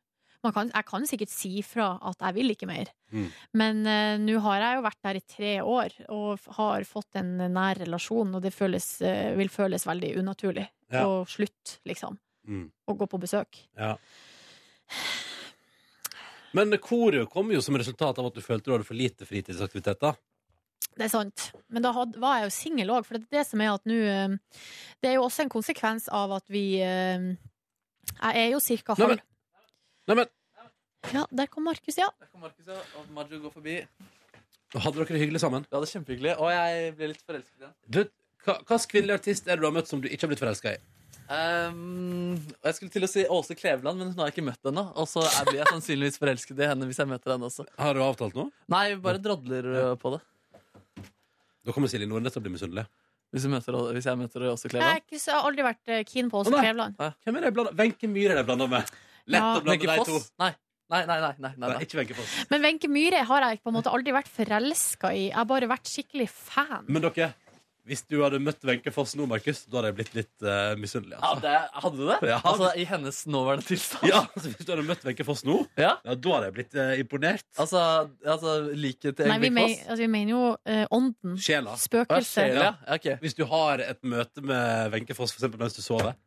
[SPEAKER 4] man kan, Jeg kan sikkert si fra at jeg vil ikke mer,
[SPEAKER 1] Mm.
[SPEAKER 4] men eh, nå har jeg jo vært der i tre år og f- har fått en nær relasjon, og det føles, eh, vil føles veldig unaturlig.
[SPEAKER 1] Ja.
[SPEAKER 4] Og slutt, liksom.
[SPEAKER 1] Mm.
[SPEAKER 4] Å gå på besøk.
[SPEAKER 1] Ja. Men koret kom jo som resultat av at du følte du hadde for lite fritidsaktiviteter.
[SPEAKER 4] Det er sant. Men da had, var jeg jo singel òg, for det er det som er at nå eh, Det er jo også en konsekvens av at vi eh, Jeg er jo cirka halv
[SPEAKER 1] Neimen,
[SPEAKER 4] Ja, der kom Markus, ja.
[SPEAKER 3] Markus og Madju går forbi.
[SPEAKER 1] hadde dere det hyggelig sammen?
[SPEAKER 3] Ja, det er kjempehyggelig. Og jeg ble litt forelsket igjen.
[SPEAKER 1] Du, hva slags kvinnelig artist er det du har møtt som du ikke har blitt forelska i?
[SPEAKER 3] Ehm, og jeg skulle til å si Åse Kleveland, men hun har jeg ikke møtt ennå. Og så er- blir jeg sannsynligvis forelsket i henne hvis jeg møter henne også.
[SPEAKER 1] Har du avtalt noe?
[SPEAKER 3] Nei, bare drodler øh, på det.
[SPEAKER 1] Da kommer Silje Nordnes til å bli misunnelig.
[SPEAKER 3] Hvis, du møter, hvis jeg møter Åse
[SPEAKER 4] Jeg,
[SPEAKER 3] Kleveland.
[SPEAKER 4] er ikke, så- jeg har aldri vært eh, keen på Åse
[SPEAKER 3] Å, nei.
[SPEAKER 4] Kleveland.
[SPEAKER 1] Hvem er det jeg blander? Wenche Myhre er det jeg blander med. Lett
[SPEAKER 4] Ja.
[SPEAKER 1] å blande
[SPEAKER 4] Wenche
[SPEAKER 1] de to.
[SPEAKER 4] Foss?
[SPEAKER 3] Nei. Nei, nei, nei, nei, nei.
[SPEAKER 1] Nei, ikke Wenche Foss.
[SPEAKER 4] Men Wenche Myhre har jeg på en måte aldri vært forelska i. Jeg har bare vært skikkelig fan.
[SPEAKER 1] Men dere, hvis du hadde møtt Wenche Foss nå, Markus, da hadde jeg blitt litt eh, misunnelig.
[SPEAKER 3] Ja,
[SPEAKER 1] Altså.
[SPEAKER 3] det, hadde du det?
[SPEAKER 1] Ja.
[SPEAKER 3] Altså, I hennes nåværende tilstand?
[SPEAKER 1] *laughs* Ja, altså, Hvis du hadde møtt Wenche Foss nå,
[SPEAKER 3] *laughs* ja.
[SPEAKER 1] da hadde jeg blitt eh, imponert.
[SPEAKER 3] Altså, altså liket til
[SPEAKER 4] Nei, vi,
[SPEAKER 3] Erik
[SPEAKER 4] men,
[SPEAKER 3] Foss?
[SPEAKER 4] altså, vi mener jo eh, ånden.
[SPEAKER 1] Sjela.
[SPEAKER 4] Spøkelset.
[SPEAKER 1] Ja. Hvis du har et møte med Wenche Foss for eksempel, mens du sover,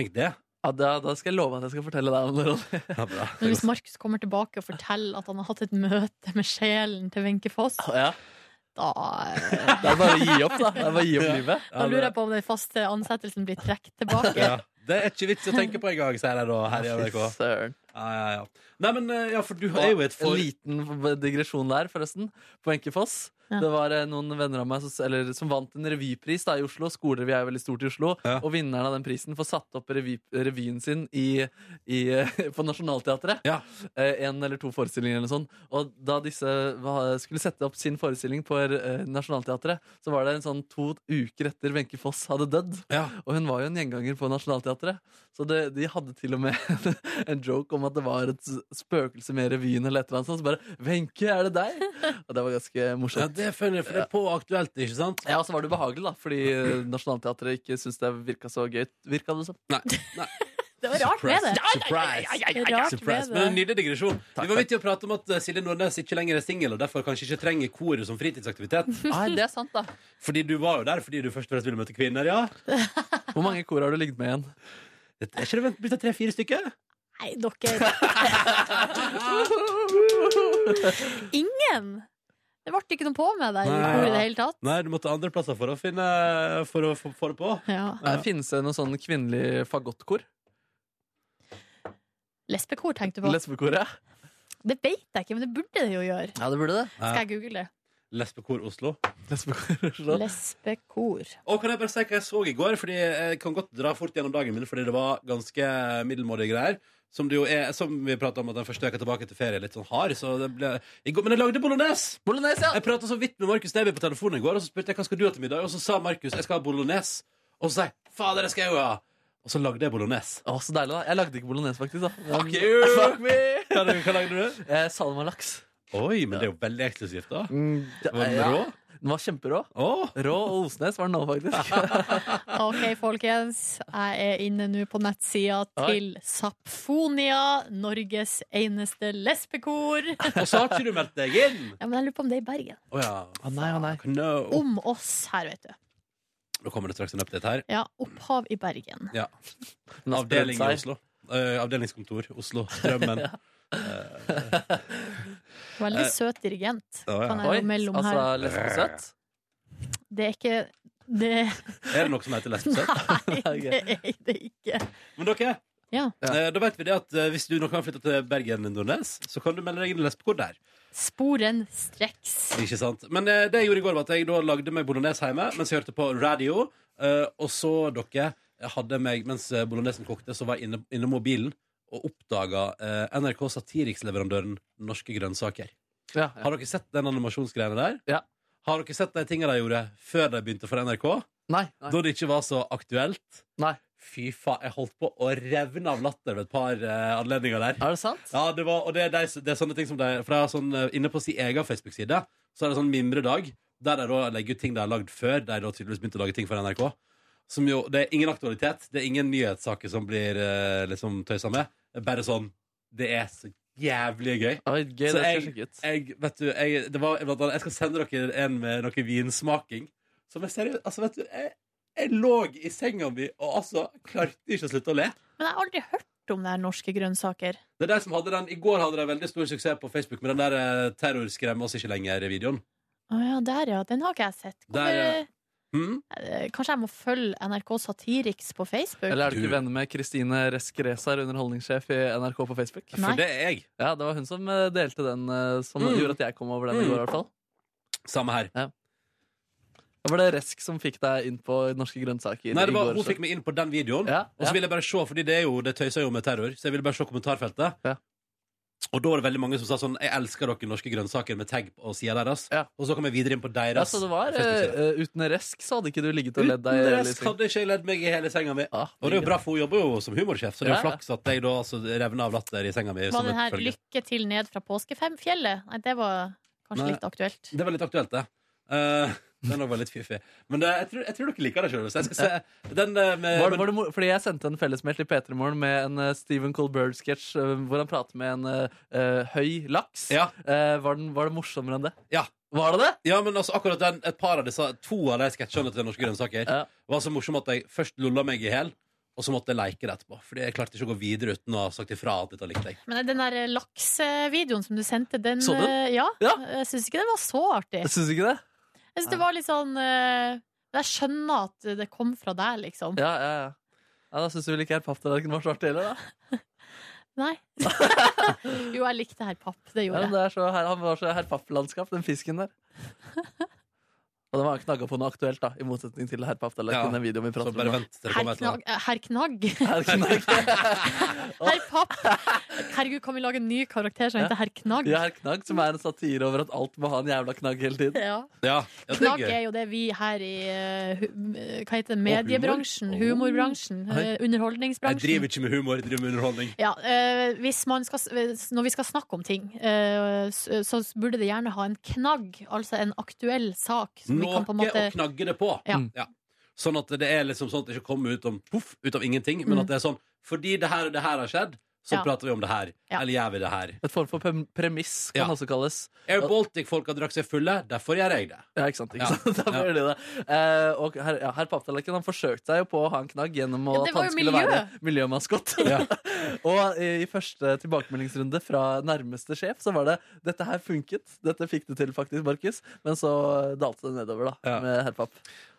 [SPEAKER 1] tenk det.
[SPEAKER 3] Ja, da, da skal jeg love at jeg skal fortelle deg om det.
[SPEAKER 1] *laughs*
[SPEAKER 3] Ronny.
[SPEAKER 1] Ja, bra.
[SPEAKER 4] Men hvis Markus kommer tilbake og forteller at han har hatt et møte med sjelen til Wenche Foss,
[SPEAKER 1] Ah.
[SPEAKER 3] Ja.
[SPEAKER 4] da, eh,
[SPEAKER 3] Det er bare å gi opp, da. Det er bare å gi opp livet.
[SPEAKER 4] da lurer jeg på om den faste ansettelsen blir trukket tilbake.
[SPEAKER 1] Ja, det er ikke vits å tenke på engang, sier jeg da her i NRK.
[SPEAKER 3] Fy søren.
[SPEAKER 1] Ja, ja, ja. Nei, men eh, ja, for du er jo et for...
[SPEAKER 3] En liten digresjon der, forresten. På Wenche Foss. Det var eh, noen venner av meg som, eller, som vant en revypris da, i Oslo. Skolerevy er jo veldig stort i Oslo. Og vinneren av den prisen får satt opp revy, revyen sin i, i, *laughs* på Nationaltheatret. Eh, en eller to forestillinger eller noe sånt. Og da disse hva- skulle sette opp sin forestilling på eh, Nationaltheatret, så var det en sånn to uker etter Wenche Foss hadde dødd. Og hun var jo en gjenganger på Nationaltheatret. Så det, de hadde til og med *laughs* en joke om at det var et s- spøkelse med i revyen eller et eller annet sånt. Så bare 'Wenche, er det deg?' Og det var ganske morsomt.
[SPEAKER 1] Ja, det føler jeg, for det er på aktuelt, ikke sant?
[SPEAKER 3] Ja, og så var det ubehagelig, da, fordi eh, Nationaltheatret ikke syntes det virka så gøy. Virka det som?
[SPEAKER 1] Nei.
[SPEAKER 4] Det var rart med det.
[SPEAKER 1] Surprise!
[SPEAKER 4] Rart
[SPEAKER 1] Surprise. Men
[SPEAKER 4] med
[SPEAKER 1] en
[SPEAKER 4] det.
[SPEAKER 1] Nydelig digresjon. det var vittig å prate om at eh, Silje Nordnes ikke lenger er singel, og derfor kanskje ikke trenger koret som fritidsaktivitet.
[SPEAKER 3] *laughs* Nei, det er sant, da.
[SPEAKER 1] Fordi du var jo der fordi du først og fremst ville møte kvinner, ja.
[SPEAKER 3] Hvor mange kor har du ligget med igjen?
[SPEAKER 1] Det er ikke det blitt til tre-fire stykker?
[SPEAKER 4] Nei, dere Ingen! Det ble ikke noe på med deg i
[SPEAKER 1] Nei.
[SPEAKER 4] koret i det hele tatt.
[SPEAKER 1] Nei, du måtte andre plasser for å finne For å få få det på.
[SPEAKER 4] Ja.
[SPEAKER 3] Nei, Finnes det noe sånn kvinnelig fagottkor?
[SPEAKER 4] Lesbekor tenkte du på.
[SPEAKER 3] Lesbekoret?
[SPEAKER 4] Det vet jeg ikke, men det burde det jo gjøre.
[SPEAKER 3] Ja, det burde det.
[SPEAKER 4] Skal jeg google det?
[SPEAKER 1] Lesbekor Oslo.
[SPEAKER 3] Lesbekor Oslo.
[SPEAKER 4] Lesbekor.
[SPEAKER 1] Og kan jeg bare si hva jeg så i går? Fordi Jeg kan godt dra fort gjennom dagen min, fordi det var ganske middelmådige greier. Som, det jo er, som vi prata om at den første uka tilbake til ferie er litt sånn hard. Så det ble, i går, men jeg lagde bolognese!
[SPEAKER 3] Bolognese, ja
[SPEAKER 1] Jeg prata så vidt med Markus Neby på telefonen i går, og så spurte jeg hva skal du ha til middag. Og så sa Markus jeg skal ha bolognese. Og så sa jeg fader, det skal jeg jo ha! Og så lagde jeg bolognese.
[SPEAKER 3] Å, så deilig, da. Jeg lagde ikke bolognese, faktisk. da
[SPEAKER 1] Fuck
[SPEAKER 3] *laughs*
[SPEAKER 1] you!
[SPEAKER 3] Fuck me!
[SPEAKER 1] Hva lagde du?
[SPEAKER 3] Eh, Salmalaks.
[SPEAKER 1] Oi, men det er jo veldig eksklusivt, da.
[SPEAKER 3] Det-
[SPEAKER 1] Var den
[SPEAKER 3] Mm, ja.
[SPEAKER 1] rå?
[SPEAKER 3] Den var kjemperå.
[SPEAKER 1] Åh.
[SPEAKER 3] Rå og Osnes var den nå, faktisk.
[SPEAKER 4] OK, folkens. Jeg er inne nå på nettsida
[SPEAKER 3] Oi.
[SPEAKER 4] til Sapfonia, Norges eneste
[SPEAKER 1] *laughs*
[SPEAKER 4] lesbekor. Ja,
[SPEAKER 1] Og så har ikke du meldt deg inn!
[SPEAKER 4] men jeg lurer på om det er i Bergen.
[SPEAKER 1] Å ja.
[SPEAKER 3] *laughs* Å nei, å nei.
[SPEAKER 1] No.
[SPEAKER 4] Om oss her, vet du.
[SPEAKER 1] Nå kommer det straks en update her.
[SPEAKER 4] Ja, opphav i Bergen.
[SPEAKER 1] Ja.
[SPEAKER 3] Den har spredt
[SPEAKER 1] Avdeling i
[SPEAKER 3] seg.
[SPEAKER 1] Oslo. Eh, avdelingskontor Oslo.
[SPEAKER 4] *laughs*
[SPEAKER 1] Strømmen.
[SPEAKER 4] Veldig
[SPEAKER 1] Eh.
[SPEAKER 4] søt dirigent.
[SPEAKER 1] Å, ja.
[SPEAKER 4] Kan
[SPEAKER 3] Oi,
[SPEAKER 4] jeg jo melde om
[SPEAKER 3] altså
[SPEAKER 4] her.
[SPEAKER 3] lesbesøt?
[SPEAKER 4] Det er ikke det,
[SPEAKER 1] Er det noe som heter
[SPEAKER 3] Sånn.
[SPEAKER 1] lesbesøtt?
[SPEAKER 3] *laughs*
[SPEAKER 4] Nei, det er det ikke.
[SPEAKER 1] Men dere,
[SPEAKER 4] Ja.
[SPEAKER 1] eh, da vet vi det at eh, hvis du noen gang flytter til Bergen, Nordnes, så kan du melde deg inn i lesbekor der.
[SPEAKER 4] Sporen streks.
[SPEAKER 1] Ikke sant? Men eh, det jeg gjorde i går, var at jeg da lagde meg bolognese hjemme mens jeg hørte på radio. eh, og så, dere, jeg hadde meg mens eh, bolognesen kokte, så var jeg inne, inne mobilen og oppdaga eh, NRK Satiriksleverandøren Norske grønnsaker.
[SPEAKER 3] Ja, ja.
[SPEAKER 1] Har dere sett den animasjonsgreiene der?
[SPEAKER 3] Ja.
[SPEAKER 1] Har dere sett de tingene de gjorde før de begynte for NRK?
[SPEAKER 3] Nei, nei.
[SPEAKER 1] Da det ikke var så aktuelt?
[SPEAKER 3] nei.
[SPEAKER 1] Fy faen, jeg holdt på å revne av latter ved et par eh, anledninger der.
[SPEAKER 3] Er det sant?
[SPEAKER 1] Ja, det var, og det er, de, det er sånne ting som de For jeg har sånn, eh, inne på sin egen Facebook-side Så er det sånn mimredag Der de da legger ut ting de har lagd før De har da tydeligvis begynt å lage ting for NRK Som jo, det er ingen aktualitet Det er ingen nyhetssaker som blir eh, liksom tøysa med Det er Bare sånn, det er så jævlig gøy
[SPEAKER 3] Oi, gøy, det
[SPEAKER 1] Så
[SPEAKER 3] skal jeg
[SPEAKER 1] jeg-
[SPEAKER 3] sjekke ut.
[SPEAKER 1] jeg, vet du, jeg, det var, blant annet, jeg skal sende dere en med noe vinsmaking. Som er seriøst Altså, vet du, jeg, jeg lå i senga mi og altså klarte ikke å slutte å le.
[SPEAKER 4] Men jeg har aldri hørt om det her norske grønnsaker.
[SPEAKER 1] Det er de som hadde den I går hadde de veldig stor suksess på Facebook med den der eh, 'Terror skremmer oss ikke eh, lenger'-videoen.
[SPEAKER 4] Å ja, der ja. Den har ikke jeg sett. Hvorfor,
[SPEAKER 1] Der, Hm?
[SPEAKER 4] eh, Kanskje jeg må følge NRK Satiriks på Facebook?
[SPEAKER 3] Eller er du
[SPEAKER 1] Du-
[SPEAKER 3] ikke venner med Kristine Resk Rezar, underholdningssjef i NRK på Facebook?
[SPEAKER 4] Nei.
[SPEAKER 1] For det er jeg.
[SPEAKER 3] Ja, det var hun som eh, delte den, eh, som
[SPEAKER 1] Mm.
[SPEAKER 3] gjorde at jeg kom over den i
[SPEAKER 1] Mm.
[SPEAKER 3] går, i hvert fall.
[SPEAKER 1] Samme her.
[SPEAKER 3] Det var det Resk som fikk deg inn på norske grønnsaker
[SPEAKER 1] Nei, det
[SPEAKER 3] i
[SPEAKER 1] var,
[SPEAKER 3] går.
[SPEAKER 1] Hun
[SPEAKER 3] så-
[SPEAKER 1] fikk meg inn på den videoen.
[SPEAKER 3] Ja,
[SPEAKER 1] Og så
[SPEAKER 3] ja.
[SPEAKER 1] ville jeg bare se, fordi det, er jo, det tøyser jo med terror, så jeg ville bare se kommentarfeltet.
[SPEAKER 3] Ja.
[SPEAKER 1] Og da var det veldig mange som sa sånn 'Jeg elsker dere norske grønnsaker' med tag på sida deres.
[SPEAKER 3] Ja.
[SPEAKER 1] Og så kom jeg videre inn på
[SPEAKER 3] Ja,
[SPEAKER 1] deres.
[SPEAKER 3] så det var,
[SPEAKER 1] Facebook-side.
[SPEAKER 3] eh, eh, uten Resk så hadde ikke du ligget og ledd deg.
[SPEAKER 1] Uten
[SPEAKER 3] Elise.
[SPEAKER 1] resk hadde ikke jeg ledd meg i hele senga mi.
[SPEAKER 3] Ah,
[SPEAKER 1] Og det er jo bra, for hun jobber jo som humorsjef, så det er jo
[SPEAKER 3] Ja, ja.
[SPEAKER 1] flaks at jeg da altså, revner av latter i senga mi. som
[SPEAKER 4] Var
[SPEAKER 1] et
[SPEAKER 4] den her
[SPEAKER 1] følge.
[SPEAKER 4] 'Lykke til ned fra påskefjellet'? Nei, det var kanskje
[SPEAKER 1] Nei.
[SPEAKER 4] litt aktuelt.
[SPEAKER 1] Det var litt aktuelt, det. Eh, den var litt fiffig. Men det, jeg, tror, jeg tror dere liker det sjøl. Så jeg skal se den eh, med
[SPEAKER 3] Var,
[SPEAKER 1] men-
[SPEAKER 3] var det, mor- fordi jeg sendte en fellesmail til P3 Morgen med en eh, Stephen Colbert-sketsj eh, hvor han prater med en eh, eh, høy laks.
[SPEAKER 1] ja,
[SPEAKER 3] Eh, var, den, var det morsommere enn det?
[SPEAKER 1] ja.
[SPEAKER 3] Var det det?
[SPEAKER 1] ja, men altså, akkurat den, et par av disse, to av de sketsjene til Norske Grønnsaker
[SPEAKER 3] Ja.
[SPEAKER 1] var så morsomme at jeg først lulla meg i hjel, og så måtte jeg leke det etterpå. Fordi jeg klarte ikke å gå videre uten å ha sagt ifra at dette likte jeg.
[SPEAKER 4] Men den der eh, laksevideoen som du sendte, den
[SPEAKER 3] Så du den?
[SPEAKER 4] eh, Ja.
[SPEAKER 3] Ja.
[SPEAKER 4] Jeg syns ikke den var så artig.
[SPEAKER 3] Jeg syns ikke det.
[SPEAKER 4] Jeg syns det var litt sånn eh, Jeg skjønner at det kom fra deg, liksom.
[SPEAKER 3] Ja, ja, ja. ja da syns du vel ikke helt papptallerkenen var svart heller, da?
[SPEAKER 4] Nei.
[SPEAKER 3] *laughs*
[SPEAKER 4] jo, jeg likte herr Papp. Det
[SPEAKER 3] Ja,
[SPEAKER 4] gjorde
[SPEAKER 3] men
[SPEAKER 4] jeg.
[SPEAKER 3] det er så, her, han var så herpapplandskap, den fisken der. Og den var knagga på noe aktuelt, da, i motsetning til herpapp. Det er
[SPEAKER 1] Ja,
[SPEAKER 3] kun den videoen vi prater
[SPEAKER 1] Så
[SPEAKER 3] *laughs*
[SPEAKER 1] bare
[SPEAKER 3] om. nå.
[SPEAKER 1] vent til det
[SPEAKER 4] Herr
[SPEAKER 1] kommer et eller
[SPEAKER 4] Knagg.
[SPEAKER 1] annet.
[SPEAKER 4] eh, Herr Knagg.
[SPEAKER 1] *laughs*
[SPEAKER 3] Her knagg.
[SPEAKER 4] Herr Papp. Herregud, kan vi lage en ny karakter som
[SPEAKER 3] Ja.
[SPEAKER 4] heter herr Knagg?
[SPEAKER 3] Ja, herr Knagg, som er en satire over at alt må ha en jævla knagg hele tiden.
[SPEAKER 4] Ja.
[SPEAKER 1] Ja, ja, det
[SPEAKER 4] Knagg
[SPEAKER 1] er
[SPEAKER 4] er
[SPEAKER 1] gøy.
[SPEAKER 4] jo det vi her i eh, hu- m- hva heter det, mediebransjen, humorbransjen, eh,
[SPEAKER 1] Jeg
[SPEAKER 4] underholdningsbransjen.
[SPEAKER 1] driver ikke med humor, jeg driver med underholdning.
[SPEAKER 4] Ja, eh, hvis man skal, s- hvis- når vi skal snakke om ting, eh, s- så burde det gjerne ha en knagg, altså en aktuell sak. Som vi
[SPEAKER 1] Noe
[SPEAKER 4] kan på en måte
[SPEAKER 1] å knagge det på.
[SPEAKER 4] Ja.
[SPEAKER 1] Ja. Sånn at det er liksom sånn at det ikke kommer ut, om, puff, ut av ingenting, men
[SPEAKER 4] Mm.
[SPEAKER 1] at det er sånn fordi det her og det her har skjedd, så
[SPEAKER 4] Ja.
[SPEAKER 1] prater vi om det her.
[SPEAKER 4] Ja.
[SPEAKER 1] Eller gjør vi det her.
[SPEAKER 3] Et form for prem- premiss, kan
[SPEAKER 1] Ja.
[SPEAKER 3] også kalles.
[SPEAKER 1] Air Baltic-folka drakk seg fulle, derfor gjør jeg det.
[SPEAKER 3] Ja, ikke sant?
[SPEAKER 1] Ja.
[SPEAKER 3] Ikke sant? *laughs* Da
[SPEAKER 1] Ja.
[SPEAKER 3] blir det det. Eh, og her, ja, herr Papptallerken han forsøkte seg jo på å ha en knagg gjennom å,
[SPEAKER 4] Ja, det
[SPEAKER 3] at
[SPEAKER 4] var
[SPEAKER 3] han
[SPEAKER 4] jo
[SPEAKER 3] skulle
[SPEAKER 4] miljø.
[SPEAKER 3] være *laughs* miljømaskott. og i, i første tilbakemeldingsrunde fra nærmeste sjef så var det 'dette her funket', 'dette fikk du til faktisk, Markus', men så dalte det nedover da,
[SPEAKER 1] Ja.
[SPEAKER 3] med herr Papp.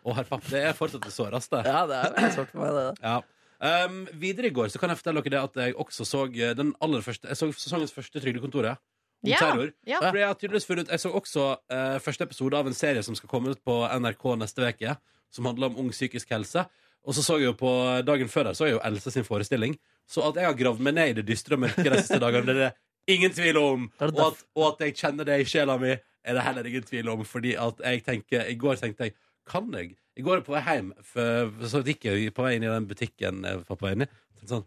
[SPEAKER 1] Og herr Papp, det er fortsatt det såreste.
[SPEAKER 3] Ja, det er *clears throat* veldig svårt for meg, det. da.
[SPEAKER 1] Ja. Um, videre i går så kan jeg fortelle dere det at jeg også så eh, den aller første Jeg så sesongens første Trygdekontoret. Om
[SPEAKER 4] Ja,
[SPEAKER 1] terror.
[SPEAKER 4] ja.
[SPEAKER 1] For Jeg har tydeligvis funnet ut Jeg så også eh, første episode av en serie som skal komme ut på NRK neste uke, som handler om ung psykisk helse. Og så så jeg jo på dagen før der så jeg jo Else sin forestilling. Så at jeg har gravd meg ned i det dystre og mørke de siste dagene, det er det ingen tvil om.
[SPEAKER 3] Er det
[SPEAKER 1] Og at, og at jeg kjenner det i sjela mi, er det heller ingen tvil om. Fordi at jeg tenker I går tenkte jeg Kan jeg? I går på vei hjem, for, så gikk jeg på vei inn i den butikken jeg var på vei inn i. tenkte Sånn.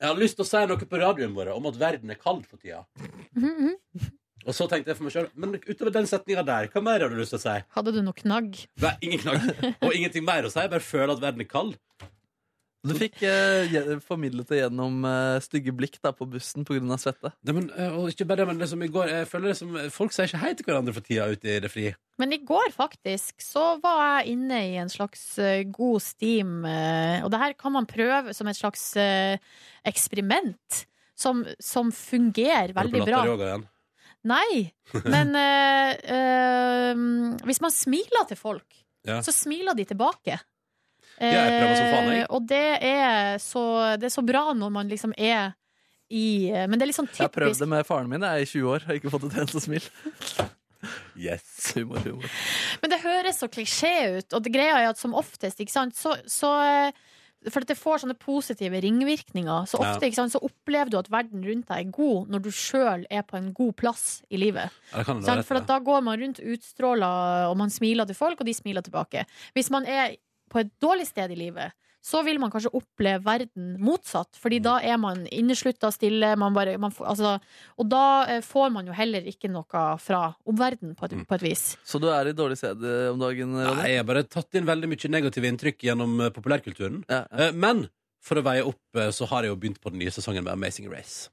[SPEAKER 1] Jeg hadde lyst til å si noe på radioen vår om at verden er kald for tida. Og så tenkte jeg for meg sjøl Men utover den setninga der, hva mer har du lyst til å si?
[SPEAKER 4] Hadde du noe knagg?
[SPEAKER 1] Nei, ingen
[SPEAKER 3] *laughs*
[SPEAKER 1] knagg. Og ingenting mer å si. Jeg bare føler at verden er kald.
[SPEAKER 3] Du fikk eh, gje- formidlet det gjennom eh, stygge blikk da, på bussen pga. svette.
[SPEAKER 1] Nei, men, eh, og ikke bare det, men liksom i går Jeg føler det som Folk sier ikke hei til hverandre for tida ute i det fri.
[SPEAKER 4] Men i går faktisk så var jeg inne i en slags eh, god steam, eh, og det her kan man prøve som et slags eh, eksperiment. Som, som fungerer veldig bra.
[SPEAKER 1] Har du på latter yoga igjen? *laughs*
[SPEAKER 4] Nei, men eh, eh, hvis man smiler til folk,
[SPEAKER 1] Ja.
[SPEAKER 4] så smiler de tilbake.
[SPEAKER 1] jeg prøver som faen, jeg.
[SPEAKER 4] Eh, og det er, så, det er så bra når man liksom er i Men det er litt sånn
[SPEAKER 3] Jeg har prøvd
[SPEAKER 4] typisk.
[SPEAKER 3] det med faren min jeg, i 20 år, har ikke fått et eneste smil.
[SPEAKER 1] Yes.
[SPEAKER 3] Humor, humor.
[SPEAKER 4] Men det høres så klisjé ut, og det greia er at som oftest, ikke sant, så, så eh, for at det får sånne positive ringvirkninger. Så
[SPEAKER 1] Ja.
[SPEAKER 4] ofte ikke sant, så opplever du at verden rundt deg er god når du sjøl er på en god plass i livet.
[SPEAKER 1] Ja, det kan det
[SPEAKER 4] Sant?
[SPEAKER 1] være
[SPEAKER 4] For
[SPEAKER 1] rett,
[SPEAKER 4] at
[SPEAKER 1] ja.
[SPEAKER 4] da går man rundt utstråla, og man smiler til folk, og de smiler tilbake. Hvis man er på et dårlig sted i livet, så vil man kanskje oppleve verden motsatt, fordi da er man inneslutta, stille, man bare man får, altså, Og da eh, får man jo heller ikke noe fra omverdenen, på, et- på et vis.
[SPEAKER 3] Så du er i dårlig CD om dagen? Ronny?
[SPEAKER 1] Nei, jeg har bare tatt inn veldig mye negative inntrykk gjennom eh, populærkulturen.
[SPEAKER 3] Ja, ja.
[SPEAKER 1] Eh, Men for å veie opp, eh, så har jeg jo begynt på den nye sesongen med Amazing Race.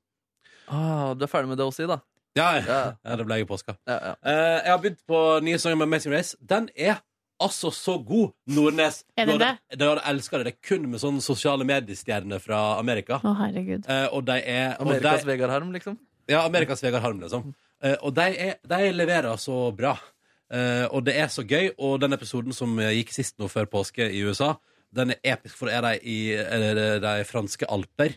[SPEAKER 3] Ah, du er ferdig med det også, da?
[SPEAKER 1] Ja, ja.
[SPEAKER 3] Ja.
[SPEAKER 1] ja det ble jeg i påska.
[SPEAKER 3] Ja, ja.
[SPEAKER 1] Eh, jeg har begynt på den nye sesongen med Amazing Race. Den er altså så god, Nordnes!
[SPEAKER 4] Er den
[SPEAKER 1] Du hadde- Du hadde elska det. Det er kun med sånne sosiale mediestjerner fra Amerika.
[SPEAKER 4] Å, herregud.
[SPEAKER 1] Eh, og de er og
[SPEAKER 3] Amerikas
[SPEAKER 1] de,
[SPEAKER 3] Vegard Harm, liksom?
[SPEAKER 1] Ja, Amerikas Vegard Harm, liksom. Eh, og de, er, de leverer så bra. Eh, og det er så gøy. Og den episoden som eh, gikk sist nå før påske i USA, den er episk, for det er de i eh, de franske alper.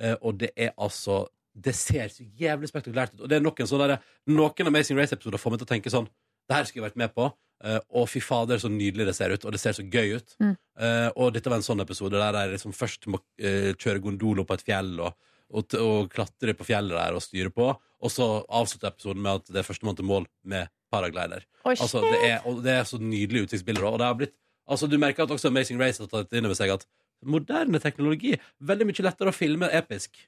[SPEAKER 1] Eh, og det er altså Det ser så jævlig spektakulært ut. Og det er noen sånne der, Noen Amazing Race-episoder får meg til å tenke sånn Det her skulle jeg vært med på. Eh, og fy fader, så nydelig det ser ut. Og det ser så gøy ut.
[SPEAKER 4] Mm.
[SPEAKER 1] Eh, og dette var en sånn episode der de liksom først må eh, kjøre gondolo på et fjell. og og, t- og klatre på fjellet der og styre på. Og så avslutter episoden med at det er førstemann til mål med paraglider.
[SPEAKER 4] Oi,
[SPEAKER 1] Altså, det er, og det er så nydelige utsiktsbilder. Og det har blitt, altså, du merker at også Amazing Race har tatt inn over seg at moderne teknologi Veldig mye lettere å filme episk.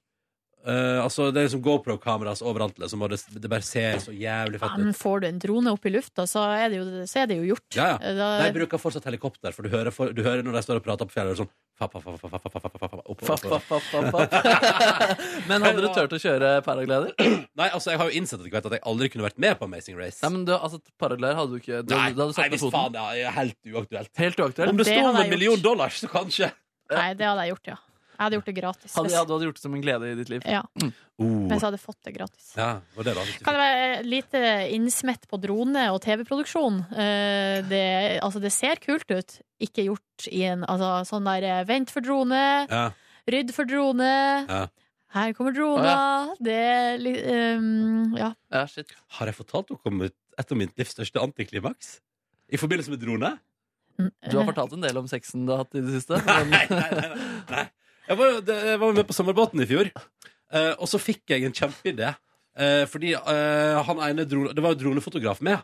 [SPEAKER 1] Eh, altså, det er liksom GoPro-kameras overalt, liksom, og det, det bare ser så jævlig
[SPEAKER 4] Ja,
[SPEAKER 1] fett
[SPEAKER 4] men
[SPEAKER 1] ut.
[SPEAKER 4] får du en drone opp i lufta, så er det jo, så er det jo gjort.
[SPEAKER 1] Ja, ja.
[SPEAKER 4] Eh, Da,
[SPEAKER 1] De bruker fortsatt helikopter, for du hører, for, du hører når de står og prater på fjellet, sånn fapp, fapp, fapp, fapp, fapp, fapp, fapp, fapp, opp,
[SPEAKER 3] Fapp,
[SPEAKER 1] opp, opp.
[SPEAKER 3] fapp, fapp, fapp, fapp. *laughs* Men hadde du turt å kjøre paraglider?
[SPEAKER 1] Nei, altså, jeg har jo innsett at jeg, vet at jeg aldri kunne vært med på Amazing Race.
[SPEAKER 3] Nei, men du, altså, paraglider hadde du ikke du,
[SPEAKER 1] Nei,
[SPEAKER 3] du hadde
[SPEAKER 1] nei
[SPEAKER 3] satt ned
[SPEAKER 1] hvis
[SPEAKER 3] foten.
[SPEAKER 1] faen, ja, det er helt uaktuelt.
[SPEAKER 3] Helt
[SPEAKER 1] Om
[SPEAKER 3] uaktuelt.
[SPEAKER 1] det,
[SPEAKER 4] det
[SPEAKER 1] sto
[SPEAKER 4] hadde
[SPEAKER 1] om
[SPEAKER 4] jeg
[SPEAKER 1] en million
[SPEAKER 4] gjort.
[SPEAKER 1] dollars, så kanskje.
[SPEAKER 4] nei, det hadde jeg gjort, ja. Jeg hadde gjort det gratis.
[SPEAKER 3] Hadde,
[SPEAKER 4] Hvis,
[SPEAKER 3] hadde du gjort det som en glede i ditt liv?
[SPEAKER 4] ja, hvis jeg hadde fått det gratis.
[SPEAKER 1] Oh, Ja, var det da?
[SPEAKER 4] Kan det være lite innsmett på drone og TV-produksjon? Eh, Det, altså, det ser kult ut. Ikke gjort i en altså, sånn der eh, vent for drone,
[SPEAKER 1] Ja.
[SPEAKER 4] rydd for drone.
[SPEAKER 1] Ja.
[SPEAKER 4] Her kommer droner.
[SPEAKER 1] Å,
[SPEAKER 4] Det er litt ehm, Ja.
[SPEAKER 1] Har jeg fortalt dere om et et av mitt livs største antiklimaks? I forbindelse med drone?
[SPEAKER 3] Du har fortalt en del om sexen du har hatt i det siste.
[SPEAKER 1] Nei, nei, nei, nei. Jeg var, jo- det- jeg var jo med på Sommerbåten i fjor, eh, og så fikk jeg en kjempeidé. Eh, fordi eh, han ene drone, Det var jo dronefotograf med.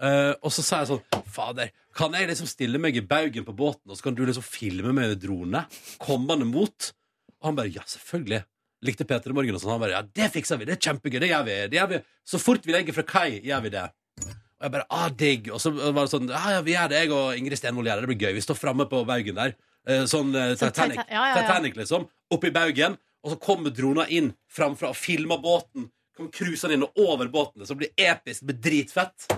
[SPEAKER 1] Eh, og så sa jeg sånn Fader, kan jeg liksom stille meg i baugen på båten, og så kan du liksom filme med en drone? Kommende mot? Og han bare Ja, selvfølgelig. Likte Peter i Morgen og sånn. Han bare Ja, det fikser vi. Det er kjempegøy. Det gjør vi. Det gjør vi. Så fort vi legger fra kai, gjør vi det. Og jeg bare, ah, digg Og så var det sånn, ja, ja, vi gjør det, jeg og Ingrid Stenvold gjør det Det blir gøy, vi står fremme på baugen der Eh, Sånn eh,
[SPEAKER 4] Sånn
[SPEAKER 1] Titanic,
[SPEAKER 4] Titan- ja, ja, ja.
[SPEAKER 1] Titanic liksom Oppe i baugen, og så kommer drona inn Framfra og filmer båten Kommer cruiseren inn og over båten Så det blir episk, det blir dritfett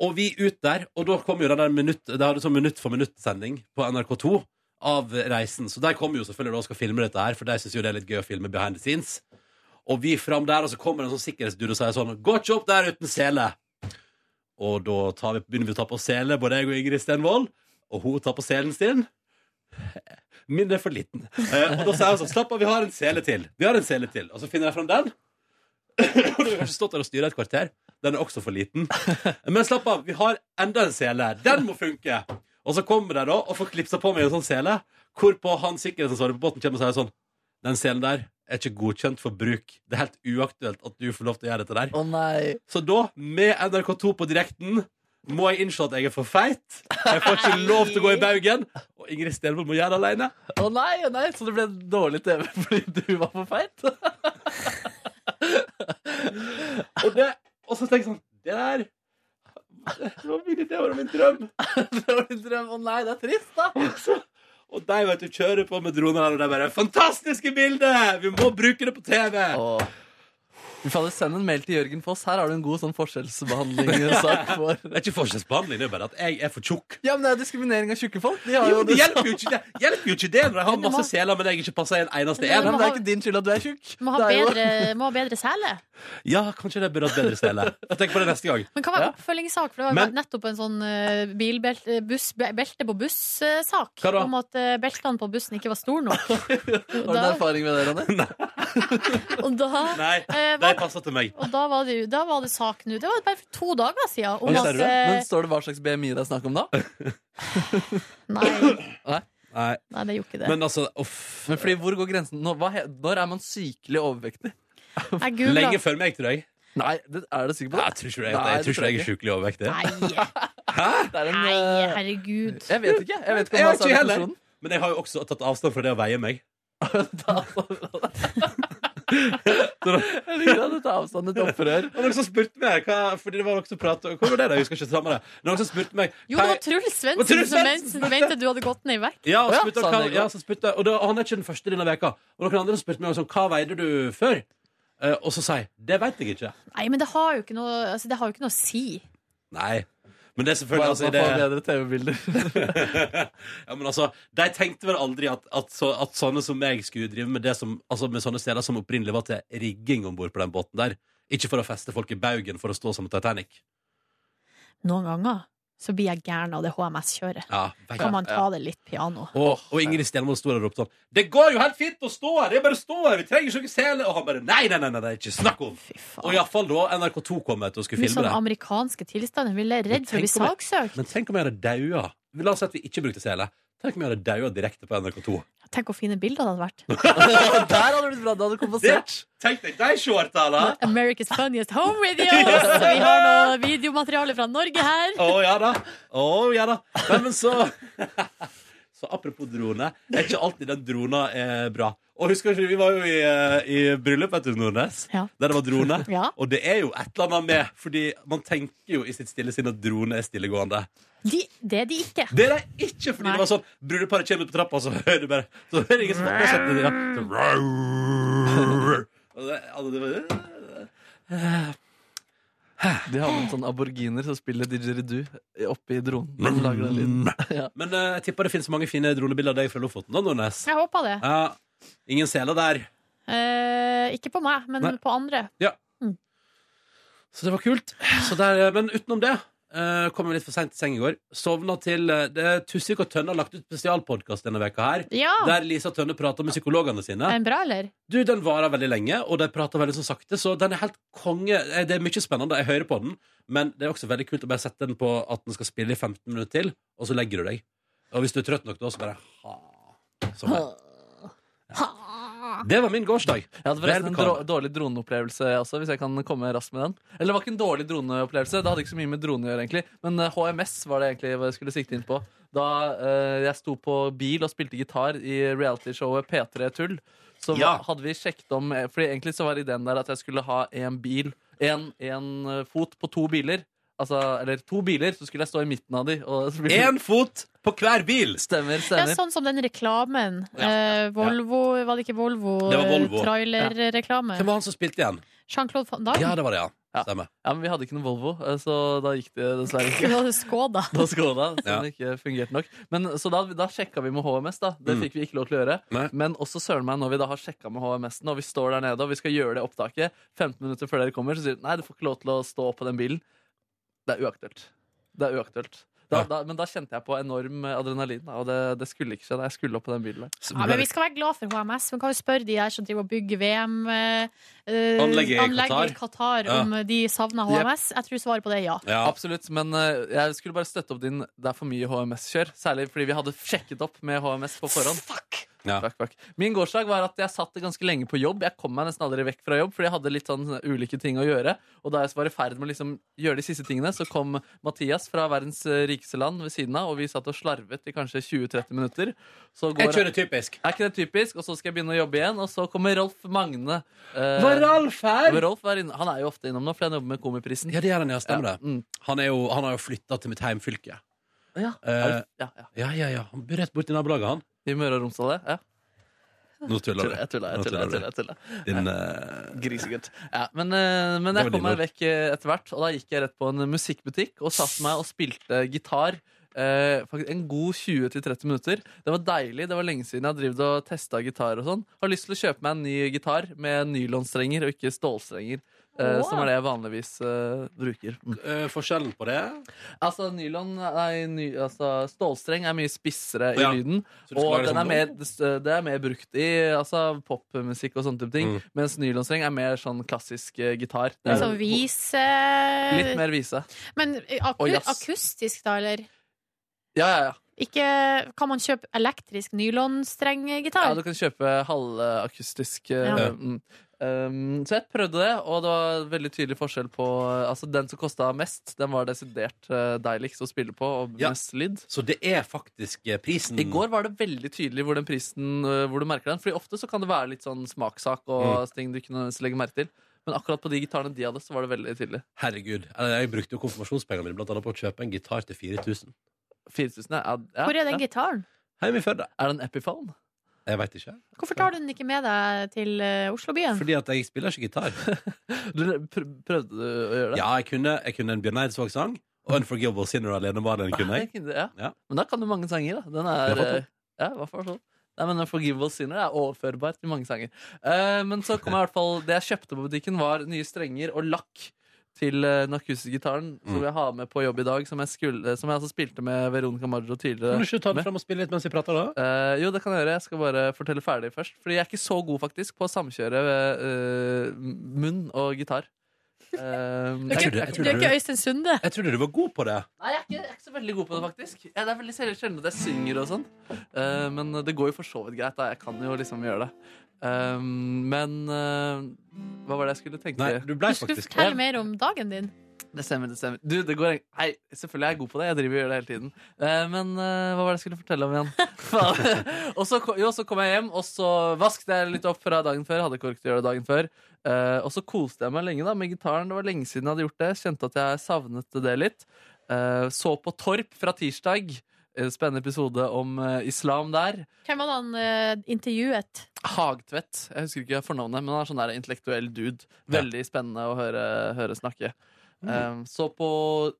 [SPEAKER 1] Og vi ut der, og da kom jo den der minutt Det hadde sånn minutt for minutt sending På NRK2 av reisen Så der kommer jo selvfølgelig da og skal filme dette her For de synes jo det er litt gøy å filme behind the scenes Og vi fram der, og så kommer det en sånn sikkerhetsdude Og sier sånn, gå ikke opp der uten sele og da tar vi, begynner vi å ta på sele, både jeg og Ingrid Stenvold. Og hun tar på selen sin. Min er for liten. Eh, og da sier hun sånn Slapp av, vi har en sele til. Vi har en sele til. Og så finner jeg fram den. Og du har kanskje stått der og styra et kvarter. Den er også for liten. Men slapp av, vi har enda en sele. Den må funke. Og så kommer de da og får klipsa på meg en sånn sele, hvorpå han sikkerhetsansvarlig på båten kommer og sier sånn Den selen der er ikke godkjent for bruk. Det er helt uaktuelt at du får lov til å gjøre dette der. Så da, med NRK2 på direkten, må jeg innse at jeg er for feit. Jeg får ikke lov til å gå i baugen. Og Ingrid Stenvold må gjøre det aleine.
[SPEAKER 3] Å nei, å nei, så det ble dårlig TV fordi du var for feit? *laughs*
[SPEAKER 1] og, det, og så tenker jeg sånn Det der det var min idé, det var min drøm.
[SPEAKER 3] det var din drøm. Å nei, det er trist,
[SPEAKER 1] da. Og de vet du kjører på med droner her, og det er bare 'Fantastiske bilder! Vi må bruke det på TV!'
[SPEAKER 3] Vi får sende en mail til Jørgen Foss. Her har du en god sånn forskjellsbehandlingssak *laughs* for
[SPEAKER 1] Det er ikke forskjellsbehandling, det er bare at jeg er for tjukk.
[SPEAKER 3] Ja, men det er diskriminering av tjukke folk. De har
[SPEAKER 1] Jo,
[SPEAKER 3] jo
[SPEAKER 1] men det hjelper jo ikke det, hjelper jo ikke det når jeg har masse seler, men jeg ikke passer i en eneste
[SPEAKER 3] Nei,
[SPEAKER 1] en.
[SPEAKER 3] men det er ikke din skyld at du er tjukk.
[SPEAKER 4] Må ha
[SPEAKER 3] Det er jo-
[SPEAKER 4] bedre, må ha bedre sele.
[SPEAKER 1] Ja, kanskje det burde hatt bedre sele. Tenk på det neste gang.
[SPEAKER 4] Men hva var oppfølgingssak? For det var jo
[SPEAKER 1] Men-
[SPEAKER 4] nettopp en sånn eh, bilbelte buss, be- belte på buss-sak.
[SPEAKER 3] Hva da?
[SPEAKER 4] Om at eh, beltene på bussen ikke var store nok.
[SPEAKER 3] Har du en erfaring med det, Ronny?
[SPEAKER 4] Og da,
[SPEAKER 1] Nei,
[SPEAKER 4] eh,
[SPEAKER 1] de
[SPEAKER 4] var-
[SPEAKER 1] passer til meg.
[SPEAKER 4] og da, var, det, jo- da var det sak nå. Det var bare for to dager siden. Om at,
[SPEAKER 1] altså,
[SPEAKER 4] eh,
[SPEAKER 3] Men står det hva slags BMI det er snakk om da? Nei.
[SPEAKER 1] Nei.
[SPEAKER 4] Nei, det gjorde ikke det.
[SPEAKER 3] Men
[SPEAKER 1] altså,
[SPEAKER 3] Men fordi hvor går grensen? Nå, hva, he- når er man sykelig overvektig?
[SPEAKER 4] Jeg googlet- Lenge
[SPEAKER 1] før meg, tror jeg.
[SPEAKER 3] Nei, det, er du sikker på det?
[SPEAKER 1] Jeg tror ikke, det, jeg, jeg, tror ikke jeg er sjukelig overvektig.
[SPEAKER 4] Nei, herregud.
[SPEAKER 3] eh, Jeg vet ikke.
[SPEAKER 1] Jeg
[SPEAKER 3] Jeg vet ikke om det
[SPEAKER 1] vet
[SPEAKER 3] er
[SPEAKER 1] ikke
[SPEAKER 3] samme
[SPEAKER 1] heller.
[SPEAKER 3] person.
[SPEAKER 1] Men jeg har jo også tatt avstand fra det å veie meg.
[SPEAKER 4] *laughs*
[SPEAKER 3] Jeg liker at du tar avstand til et opprør.
[SPEAKER 1] Og noen som spurte meg hva, Fordi det var noen som pratet Hvor var det da? Jeg husker ikke sammen det Noen som spurte meg
[SPEAKER 4] Jo, det
[SPEAKER 1] hva-
[SPEAKER 4] var Truls
[SPEAKER 1] Og
[SPEAKER 4] Svendsen
[SPEAKER 1] Truls
[SPEAKER 4] som
[SPEAKER 1] Svendsen
[SPEAKER 4] mente- mente du hadde gått ned i vekt.
[SPEAKER 1] ja, og
[SPEAKER 4] Å ja,
[SPEAKER 1] spurte
[SPEAKER 4] sa
[SPEAKER 1] hva,
[SPEAKER 4] han det i går.
[SPEAKER 1] ja, så spurte jeg Og da, og han er ikke den første denne veka Og noen andre spurte meg sånn Hva veide du før? Eh, og så sa jeg Det vet jeg ikke
[SPEAKER 4] Nei, men det har jo ikke noe, altså, det har jo ikke noe å si.
[SPEAKER 1] Nei Men det er selvfølgelig
[SPEAKER 3] Bare at
[SPEAKER 1] altså,
[SPEAKER 3] man
[SPEAKER 1] det...
[SPEAKER 3] får bedre
[SPEAKER 1] *laughs*
[SPEAKER 3] TV-bilder.
[SPEAKER 1] Ja, men altså De tenkte vel aldri at, at, så, at sånne som meg skulle drive med det som Altså med sånne steder som opprinnelig var til rigging ombord på den båten der Ikke for å feste folk i baugen For å stå som Titanic
[SPEAKER 4] Noen ganger så blir jeg gæren av det HMS-kjøret.
[SPEAKER 1] Ja, vet
[SPEAKER 4] Kan
[SPEAKER 1] jeg.
[SPEAKER 4] man ta det litt piano?
[SPEAKER 1] Og, og Ingrid Stenvold sto der og ropte sånn Det går jo helt fint å stå her, det er bare å stå her Vi trenger ikke noen sele Og han bare, nei, nei, nei, nei, det er ikke snakk om Og i alle fall da NRK2 kom etter og skulle
[SPEAKER 4] Mye
[SPEAKER 1] filme
[SPEAKER 4] sånn
[SPEAKER 1] det
[SPEAKER 4] amerikanske tilstander. Vil jeg redd for å bli
[SPEAKER 1] tenk om jeg-
[SPEAKER 4] saksøkt?
[SPEAKER 1] Men tenk om jeg hadde daua Vi La oss si at vi ikke brukte sele Tenk om jeg hadde daua direkte på NRK2
[SPEAKER 4] Tenk hvor fine bilder det hadde vært.
[SPEAKER 3] Der hadde det blitt bra. Du hadde kompensert.
[SPEAKER 1] Tenk deg, de shorta, da
[SPEAKER 4] America's Funniest
[SPEAKER 1] *laughs*
[SPEAKER 4] Home Videos! Så vi har noe videomateriale fra Norge her.
[SPEAKER 1] Å ja da, å ja da Nei, men så Så apropos drone Er ikke alltid den drona er bra Og husker ikke, vi var jo i, eh, i bryllup etter Nordnes
[SPEAKER 4] Ja.
[SPEAKER 1] Der det var drone
[SPEAKER 4] *laughs* Ja.
[SPEAKER 1] Og det er jo et eller annet med Fordi man tenker jo i sitt stille sinn at drone er stillegående
[SPEAKER 4] De, det er de ikke.
[SPEAKER 1] Det er det ikke, fordi det var sånn Brudeparet kommer ut på trappa, og så hører du bare Så hører ingen som har sett det ja. Så- Og det- altså, det var-
[SPEAKER 3] De har med sånne aboriginer som spiller didgeridoo oppi dronen. De lager den lyden. Ja.
[SPEAKER 1] Men eh, jeg tipper det finnes mange fine dronebilder av deg fra Lofoten da, Nordnes
[SPEAKER 4] Jeg håper det.
[SPEAKER 1] Ja, ingen seler der
[SPEAKER 4] Eh, ikke på meg, men
[SPEAKER 1] Nei.
[SPEAKER 4] på andre.
[SPEAKER 1] Ja. Så det var kult. Så der, men utenom det, Eh, kom litt for seint til seng i går. Sovna til eh, det er Tusvik og Tønne har lagt ut spesialpodkast denne veka her.
[SPEAKER 4] Ja.
[SPEAKER 1] Der Lisa Tønne prater med psykologene sine.
[SPEAKER 4] Er den bra, eller?
[SPEAKER 1] Du, Den varer veldig lenge, og de prater veldig så sakte, så den er helt konge. Eh, Det er mye spennende. Jeg hører på den, men det er også veldig kult å bare sette den på at den skal spille i 15 minutter til, og så legger du deg. Og hvis du er trøtt nok da, så bare ha. Sånn. Ja. Det var min gårsdag.
[SPEAKER 3] Jeg hadde forresten
[SPEAKER 1] Vel,
[SPEAKER 3] en
[SPEAKER 1] Karl.
[SPEAKER 3] drå- dårlig droneopplevelse også, hvis jeg kan komme raskt med den. Eller det var ikke en dårlig droneopplevelse, det hadde ikke så mye med drone å gjøre, egentlig. Men eh, HMS var det egentlig hva jeg skulle sikte inn på. Da eh, jeg sto på bil og spilte gitar i realityshowet P3 Tull, så
[SPEAKER 1] Ja.
[SPEAKER 3] hva- hadde vi sjekket om eh, Fordi egentlig så var ideen der at jeg skulle ha en bil, en, en eh, fot på to biler. Altså, eller to biler, så skulle jeg stå i midten av de. og så blir-
[SPEAKER 1] Én fot på hver bil!
[SPEAKER 3] Stemmer,
[SPEAKER 4] Ja,
[SPEAKER 3] stemmer.
[SPEAKER 4] sånn som den reklamen. Eh, Volvo, var det ikke Volvo?
[SPEAKER 1] Det var Volvo.
[SPEAKER 4] eh, Trailerreklame.
[SPEAKER 1] Hvem var han som spilte igjen?
[SPEAKER 4] Jean-Claude van Damme? *laughs*
[SPEAKER 1] Ja, det var det, ja. Stemmer.
[SPEAKER 3] Ja, men vi hadde ikke noen Volvo, eh, så da gikk det dessverre
[SPEAKER 4] Du
[SPEAKER 3] ikke.
[SPEAKER 4] hadde Skoda.
[SPEAKER 3] på Skoda, som
[SPEAKER 1] Ja.
[SPEAKER 3] ikke fungerte nok. Men, så da, da sjekka vi med HMS, da. Det
[SPEAKER 1] Mm.
[SPEAKER 3] fikk vi ikke lov til å gjøre.
[SPEAKER 1] Nei.
[SPEAKER 3] Men også søren meg, når vi da har sjekka med HMS-en, og vi står der nede og vi skal gjøre det opptaket, 15 minutter før dere kommer, så sier de nei, du får ikke lov til å stå på den bilen. Det er uaktuelt. Det er uaktuelt. Da,
[SPEAKER 1] Ja.
[SPEAKER 3] da, men da kjente jeg på enorm adrenalin, da, og det, det skulle ikke skje. da. Jeg skulle opp på den bilen der.
[SPEAKER 1] Så
[SPEAKER 4] Ja, men vi skal være glad for HMS. Vi kan jo spørre de der som driver og bygger VM-anlegget
[SPEAKER 1] Anlegget i
[SPEAKER 4] eh, i Qatar,
[SPEAKER 1] Ja.
[SPEAKER 4] om de savner
[SPEAKER 3] Yep.
[SPEAKER 4] HMS. Jeg tror svaret på det er ja.
[SPEAKER 1] Ja.
[SPEAKER 3] Absolutt, men eh, jeg skulle bare støtte opp din Det er for mye HMS-kjør. Særlig fordi vi hadde sjekket opp med HMS på forhånd.
[SPEAKER 1] Ja.
[SPEAKER 3] Fuck, fuck. Min gårsdag var at jeg satt ganske lenge på jobb. Jeg kom meg nesten aldri vekk fra jobb, fordi jeg hadde litt sånn ulike ting å gjøre. Og da jeg var i ferd med å liksom gjøre de siste tingene, så kom Mathias fra verdens eh, rikeste land ved siden av, og vi satt og slarvet i kanskje 20-30 minutter. Så
[SPEAKER 1] Jeg
[SPEAKER 3] går
[SPEAKER 1] kjører typisk.
[SPEAKER 3] er ikke det typisk? Og så skal jeg begynne å jobbe igjen, og så kommer Rolf Magne. eh,
[SPEAKER 1] Var Ralf her?
[SPEAKER 3] Rolf er inne, han er jo ofte innom nå, for han jobber med Komiprisen.
[SPEAKER 1] Ja, det gjør han, ja. Stemmer
[SPEAKER 3] Ja,
[SPEAKER 1] det.
[SPEAKER 3] mm.
[SPEAKER 1] Han, er jo, han har jo flytta til mitt heimfylke.
[SPEAKER 3] Ja.
[SPEAKER 1] Eh,
[SPEAKER 3] ja, ja.
[SPEAKER 1] Ja, ja, ja. Han bor rett borti nabolaget, han.
[SPEAKER 3] I Møre og Romsdal, ja.
[SPEAKER 1] Nå tuller du.
[SPEAKER 3] Jeg tuller, jeg
[SPEAKER 1] Nå
[SPEAKER 3] tuller.
[SPEAKER 1] tuller
[SPEAKER 3] jeg
[SPEAKER 1] du.
[SPEAKER 3] tuller, jeg tuller.
[SPEAKER 1] Din, eh,
[SPEAKER 3] Grisegutt. Ja, men, eh, men
[SPEAKER 1] Det
[SPEAKER 3] jeg
[SPEAKER 1] var
[SPEAKER 3] kom meg
[SPEAKER 1] din
[SPEAKER 3] vekk eh, etter hvert, og da gikk jeg rett på en musikkbutikk og satt meg og spilte gitar. Eh, faktisk en god 20-30 minutter. Det var deilig. Det var lenge siden jeg har drevet og testa gitar. og sånn Har lyst til å kjøpe meg en ny gitar med nylonstrenger og ikke stålstrenger. eh,
[SPEAKER 4] Åh.
[SPEAKER 3] Som er det jeg vanligvis eh, bruker. Mm.
[SPEAKER 1] eh, forskjellen på det
[SPEAKER 3] Altså, nylon, nei, ny, altså, Stålstreng er mye spissere i
[SPEAKER 1] Ja.
[SPEAKER 3] lyden.
[SPEAKER 1] Så du skal
[SPEAKER 3] Og
[SPEAKER 1] lage
[SPEAKER 3] den er
[SPEAKER 1] sånn-
[SPEAKER 3] mer, det er mer brukt i altså, popmusikk og sånne type ting.
[SPEAKER 1] Mm.
[SPEAKER 3] Mens nylonstreng er mer sånn klassisk eh, gitar. Det er
[SPEAKER 4] Altså vise
[SPEAKER 3] Litt mer vise.
[SPEAKER 4] eh, Men eh, aku
[SPEAKER 3] Og jazz.
[SPEAKER 4] akustisk, da, eller?
[SPEAKER 3] Ja, ja, ja.
[SPEAKER 4] Ikke, kan man kjøpe elektrisk
[SPEAKER 3] ja
[SPEAKER 4] nylonstrenggitar?
[SPEAKER 3] du kan kjøpe halvakustisk. eh,
[SPEAKER 4] Ja.
[SPEAKER 3] mm. Um, så jeg prøvde det, og det var veldig tydelig forskjell på eh, Altså, den som kosta mest, den var desidert eh, deiligst å spille på, og
[SPEAKER 1] Ja.
[SPEAKER 3] mest lyd.
[SPEAKER 1] Så det er faktisk eh, prisen
[SPEAKER 3] I går var det veldig tydelig hvor den prisen øh, Hvor du merker den. Fordi ofte så kan det være litt sånn smakssak og
[SPEAKER 1] Mm.
[SPEAKER 3] ting du ikke nødvendigvis legger merke til. Men akkurat på de gitarene de hadde, så var det veldig tydelig.
[SPEAKER 1] Herregud. Eh, Jeg brukte jo konfirmasjonspengene mine blant annet på å kjøpe en gitar til 4000.
[SPEAKER 3] 4000, ja. ja
[SPEAKER 4] Hvor er den
[SPEAKER 3] ja.
[SPEAKER 4] gitaren?
[SPEAKER 1] Hjemme i Førde.
[SPEAKER 3] Er det en Epiphone?
[SPEAKER 1] Jeg veit ikke.
[SPEAKER 4] Hvorfor tar du den ikke med deg til eh, Oslobyen?
[SPEAKER 1] Fordi at jeg spiller ikke gitar.
[SPEAKER 3] Du pr prøvde du å gjøre det?
[SPEAKER 1] Ja, jeg kunne, jeg kunne en Bjørn Eidsvåg-sang. Og Unforgivable Sinner alene var den kunne jeg.
[SPEAKER 3] Ja.
[SPEAKER 1] Ja.
[SPEAKER 3] Men da kan du mange sanger, da. Den
[SPEAKER 1] Ja,
[SPEAKER 3] er
[SPEAKER 1] for faen.
[SPEAKER 3] øh, Ja, hva for faen. Nei, men Forgivable Sinner er overførbar til mange sanger. Eh, men så kom jeg i hvert fall Det jeg kjøpte på butikken, var nye strenger og lakk til eh, den akustiske gitaren
[SPEAKER 1] Mm.
[SPEAKER 3] som jeg har med på jobb i dag, som jeg, skulle, som jeg altså spilte med Veronica Maggio
[SPEAKER 1] Kan
[SPEAKER 3] tidligere.
[SPEAKER 1] du ikke ta den fram og spille litt mens vi prater, da?
[SPEAKER 3] Eh, jo, det kan jeg gjøre. Jeg skal bare fortelle ferdig først. Fordi jeg er ikke så god faktisk på å samkjøre eh, munn og gitar.
[SPEAKER 4] Du
[SPEAKER 3] Eh,
[SPEAKER 1] Jeg tror
[SPEAKER 4] er
[SPEAKER 1] det- jeg
[SPEAKER 4] ikke-
[SPEAKER 3] jeg,
[SPEAKER 1] tror
[SPEAKER 4] du er
[SPEAKER 1] det-
[SPEAKER 4] ikke Øystein Sunde?
[SPEAKER 1] Jeg trodde du var god på det.
[SPEAKER 3] nei, jeg er, ikke, jeg er ikke så veldig god på det, faktisk. Ja, det er veldig sjelden sjelden at jeg synger og sånn. Eh, men det går jo for så vidt greit. da Jeg kan jo liksom gjøre det. Eh, men eh, hva var det jeg skulle tenke?
[SPEAKER 1] Nei, du blei
[SPEAKER 4] Du skulle
[SPEAKER 1] faktisk
[SPEAKER 4] fortelle mer om dagen din.
[SPEAKER 3] Det stemmer, det stemmer. Du, det går Nei, selvfølgelig er jeg god på det. Jeg driver og gjør det hele tiden. Eh, men eh, hva var det jeg skulle fortelle om igjen? *laughs* Faen. og så, ko- jo, så kom jeg hjem, og så vasket jeg litt opp fra dagen før. Hadde ikke orket å gjøre det dagen før. Eh, og så koste jeg meg lenge da med gitaren. Det var lenge siden jeg hadde gjort det. Kjente at jeg savnet det litt. Eh, så på Torp fra tirsdag. Eh, Spennende episode om eh, islam der.
[SPEAKER 4] Hvem var det han eh, intervjuet?
[SPEAKER 3] Hagtvedt. Jeg husker ikke fornavnet, men han er sånn der intellektuell dude. Veldig spennende å høre, høre snakke. Um, så på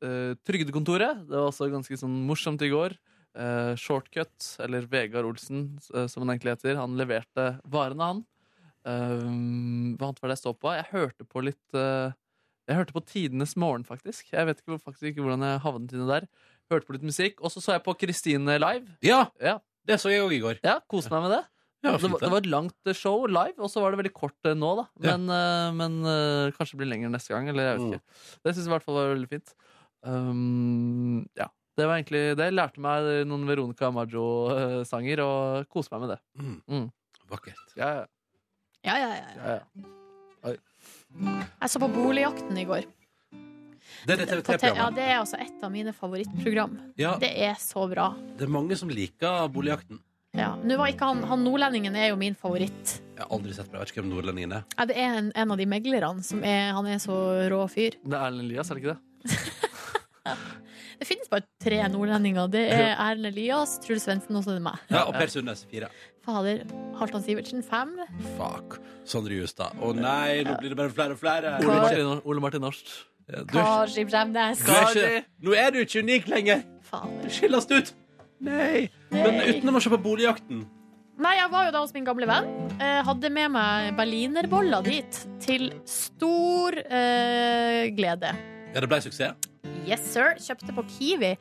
[SPEAKER 3] eh, Trygdekontoret. Det var også ganske sånn morsomt i går. Eh, Shortcut, eller Vegard Olsen, eh, som han egentlig heter, han Ehm, leverte varene, han. Um, hva annet var det jeg så på? Jeg hørte på litt eh, Jeg hørte på Tidenes morgen, faktisk. Jeg vet ikke, hvor- faktisk ikke hvordan jeg havnet inne der. Hørte på litt musikk, og så så jeg på Kristine live.
[SPEAKER 1] Ja,
[SPEAKER 3] Det så jeg òg i går. Ja, Kos meg med det.
[SPEAKER 1] Ja,
[SPEAKER 3] det,
[SPEAKER 1] fint,
[SPEAKER 3] var,
[SPEAKER 1] det.
[SPEAKER 3] det var et langt eh, show live, og så var det veldig kort eh, nå, da.
[SPEAKER 1] Ja.
[SPEAKER 3] Men, eh, men eh, kanskje det blir lenger neste gang, eller jeg vet ikke. Det syns jeg i hvert fall var veldig fint. Um, ja. Det var egentlig det. Jeg lærte meg noen Veronica Maggio-sanger, og koste meg med det. Mm.
[SPEAKER 1] Vakkert.
[SPEAKER 3] Ja, ja.
[SPEAKER 4] Ja, ja, ja.
[SPEAKER 3] ja, ja. Oi.
[SPEAKER 4] Jeg så på Boligjakten i går.
[SPEAKER 1] Det er det
[SPEAKER 4] På te- ja,
[SPEAKER 1] TV3-programmet.
[SPEAKER 4] det er altså et av mine favorittprogram.
[SPEAKER 1] Ja.
[SPEAKER 4] Det er så bra.
[SPEAKER 1] Det er mange som liker boligjakten.
[SPEAKER 4] Ja. Nå var ikke han, han nordlendingen er jo min favoritt.
[SPEAKER 1] Jeg har aldri sett på det. Jeg vet ikke hvem nordlendingen er.
[SPEAKER 4] Ja, det er en, en av de meglerne som er Han er så rå fyr.
[SPEAKER 3] Det er Erlend Elias, er det ikke det?
[SPEAKER 4] Det finnes bare tre nordlendinger. Det er Erlend Elias, Truls Svendsen og så er det meg.
[SPEAKER 1] Ja, og Per Sundnes fire.
[SPEAKER 4] Fader. Halvdan Sivertsen fem.
[SPEAKER 1] Fuck. Sondre Justad. Å nei, nå blir det bare flere og flere.
[SPEAKER 4] Ole Martin-
[SPEAKER 3] Ole Martin Norst.
[SPEAKER 1] Du er,
[SPEAKER 4] Kari Bremnes.
[SPEAKER 1] ikke- du er ikke, nå er du ikke unik lenger.
[SPEAKER 4] Fader.
[SPEAKER 1] Du skilles ut. Nei. Men
[SPEAKER 4] Nei.
[SPEAKER 1] utenom å se på Boligjakten.
[SPEAKER 4] Nei, jeg var jo da hos min gamle venn. Eh, hadde med meg berlinerboller dit. Til stor eh, glede.
[SPEAKER 1] Ja, det ble suksess.
[SPEAKER 4] Yes, sir. Kjøpte på Kiwi.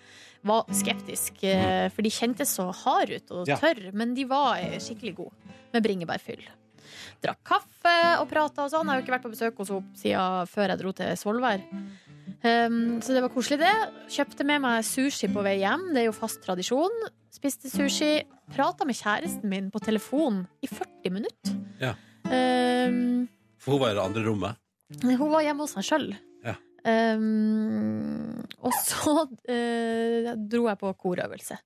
[SPEAKER 4] Var skeptisk, eh, for de kjentes så harde ut
[SPEAKER 1] Mm.
[SPEAKER 4] og
[SPEAKER 1] Ja.
[SPEAKER 4] tørre. Men de var eh, skikkelig gode. Med bringebærfyll. Drakk kaffe og prata og sånn. Jeg har jo ikke vært på besøk hos henne siden før jeg dro til Svolvær. Um, så det var koselig, det. Kjøpte med meg sushi på vei hjem. Det er jo fast tradisjon. Spiste sushi. Prata med kjæresten min på telefon i 40 minutter.
[SPEAKER 1] Ja.
[SPEAKER 4] Um,
[SPEAKER 1] For hun var i det andre rommet.
[SPEAKER 4] hun var hjemme hos seg sjøl.
[SPEAKER 1] Ja.
[SPEAKER 4] Um, og så eh, dro jeg på korøvelse.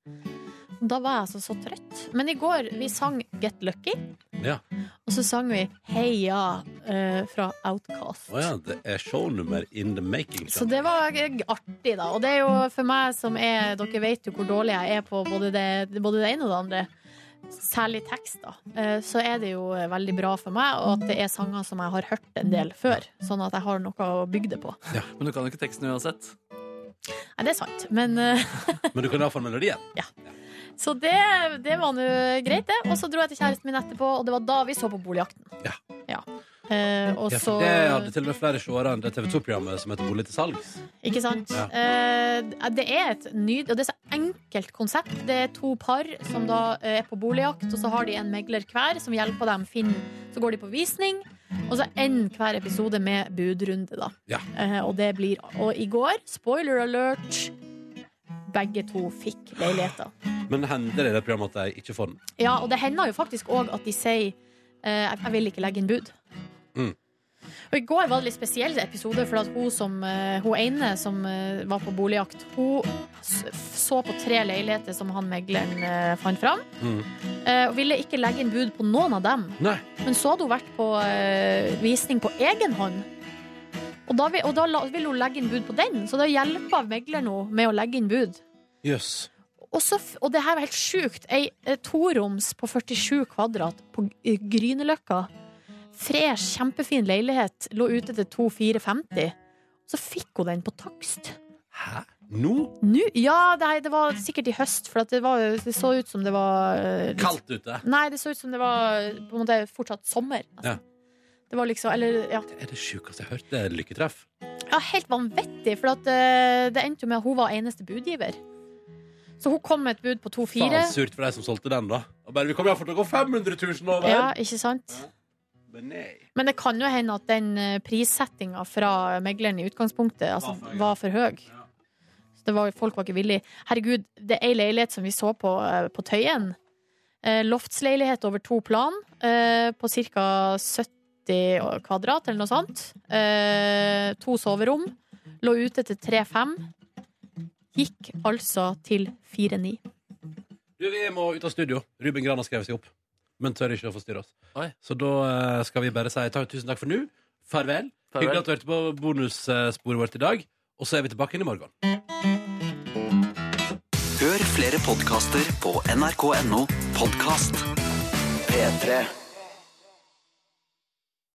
[SPEAKER 4] Da var jeg altså så trøtt. Men i går vi sang Get Lucky,
[SPEAKER 1] Ja.
[SPEAKER 4] og så sang vi Heia eh, fra Outcast.
[SPEAKER 1] Å ja, det er shownummer in the making.
[SPEAKER 4] Så det var g- artig, da. Og det er jo for meg som er Dere vet jo hvor dårlig jeg er på både det, både det ene og det andre. Særlig tekst, da. Eh, Så er det jo veldig bra for meg, og at det er sanger som jeg har hørt en del før. Sånn at jeg har noe å bygge det på.
[SPEAKER 3] Men du kan jo ikke teksten uansett.
[SPEAKER 4] Nei, det er sant. Men, eh,
[SPEAKER 1] Men du kan iallfall melodien.
[SPEAKER 4] så det, det var nå greit, det. Og så dro jeg til kjæresten min etterpå, og det var da vi så på Boligjakten.
[SPEAKER 1] Ja.
[SPEAKER 4] Eh, og
[SPEAKER 1] Ja,
[SPEAKER 4] så
[SPEAKER 1] for det hadde til og med flere seere enn det TV2-programmet som heter Bolig til salgs.
[SPEAKER 4] Ikke sant?
[SPEAKER 1] Ja.
[SPEAKER 4] Eh, det er et nyd, og det er så enkelt konsept. Det er to par som da eh, er på boligjakt, og så har de en megler hver som hjelper dem å finne Så går de på visning, og så ender hver episode med budrunde, da.
[SPEAKER 1] Ja.
[SPEAKER 4] Eh, og det blir Og i går, spoiler alert, begge to fikk leiligheter.
[SPEAKER 1] Men hender det i det programmet at de ikke får den?
[SPEAKER 4] Ja, og det hender jo faktisk òg at de sier eh, jeg- Jeg vil ikke legge inn bud.
[SPEAKER 1] Mm.
[SPEAKER 4] Og I går var det litt spesiell episode, for at hun, som, eh, hun ene som eh, var på boligjakt, hun s- så på tre leiligheter som han megleren eh, fant fram,
[SPEAKER 1] Mm.
[SPEAKER 4] eh, og ville ikke legge inn bud på noen av dem.
[SPEAKER 1] Nei.
[SPEAKER 4] Men så hadde hun vært på eh, visning på egen hånd. Og da, vil- og da la- ville hun legge inn bud på den, så da hjelpa megleren henne med å legge inn bud.
[SPEAKER 1] Jøss.
[SPEAKER 4] Og, så, f- og det her var helt sjukt. Ei eh, toroms på 47 kvadrat på G- eh, Grünerløkka. Fresh, kjempefin leilighet. Lå ute til 2450. Så fikk hun den på takst.
[SPEAKER 1] Hæ? Nå?
[SPEAKER 4] Nå? Ja, det, her- det var sikkert i høst, for at det, var, det så ut som det var eh, litt-
[SPEAKER 1] Kaldt ute.
[SPEAKER 4] Nei, det så ut som det var eh, på en måte fortsatt sommer. nesten.
[SPEAKER 1] Ja.
[SPEAKER 4] Det var liksom Eller, ja.
[SPEAKER 1] Det er det sjukeste jeg har hørt. Det er lykketreff.
[SPEAKER 4] Ja, helt vanvittig, for at, eh, det endte jo med at hun var eneste budgiver. Så hun kom med et bud på 2-4.
[SPEAKER 1] Faen surt for de som solgte den, da. Og bare, vi kommer iallfall til å gå 500 000 over!
[SPEAKER 4] Ja, ikke sant?
[SPEAKER 1] Men nei.
[SPEAKER 4] Men det kan jo hende at den eh, prissettinga fra megleren i utgangspunktet altså,
[SPEAKER 1] Var for høy.
[SPEAKER 4] var for høy. Så det var, folk var ikke villige. Herregud, det er ei leilighet som vi så på eh, på Tøyen. Eh, Loftsleilighet over to plan eh, på ca. 70 kvadrat eller noe sånt. Eh, To soverom. Lå ute til 3,5. Gikk altså til 4,9.
[SPEAKER 1] Du, vi må ut av studio. Ruben Gran har skrevet seg opp. Men tør ikke å forstyrre oss.
[SPEAKER 3] Oi.
[SPEAKER 1] Så da eh, skal vi bare si takk, tusen takk for nå. Farvel.
[SPEAKER 3] Farvel.
[SPEAKER 1] Hyggelig at du hørte på bonussporet vårt i dag. Og så er vi tilbake inn i morgen.
[SPEAKER 11] Hør flere podkaster på nrk.no podkast. P3.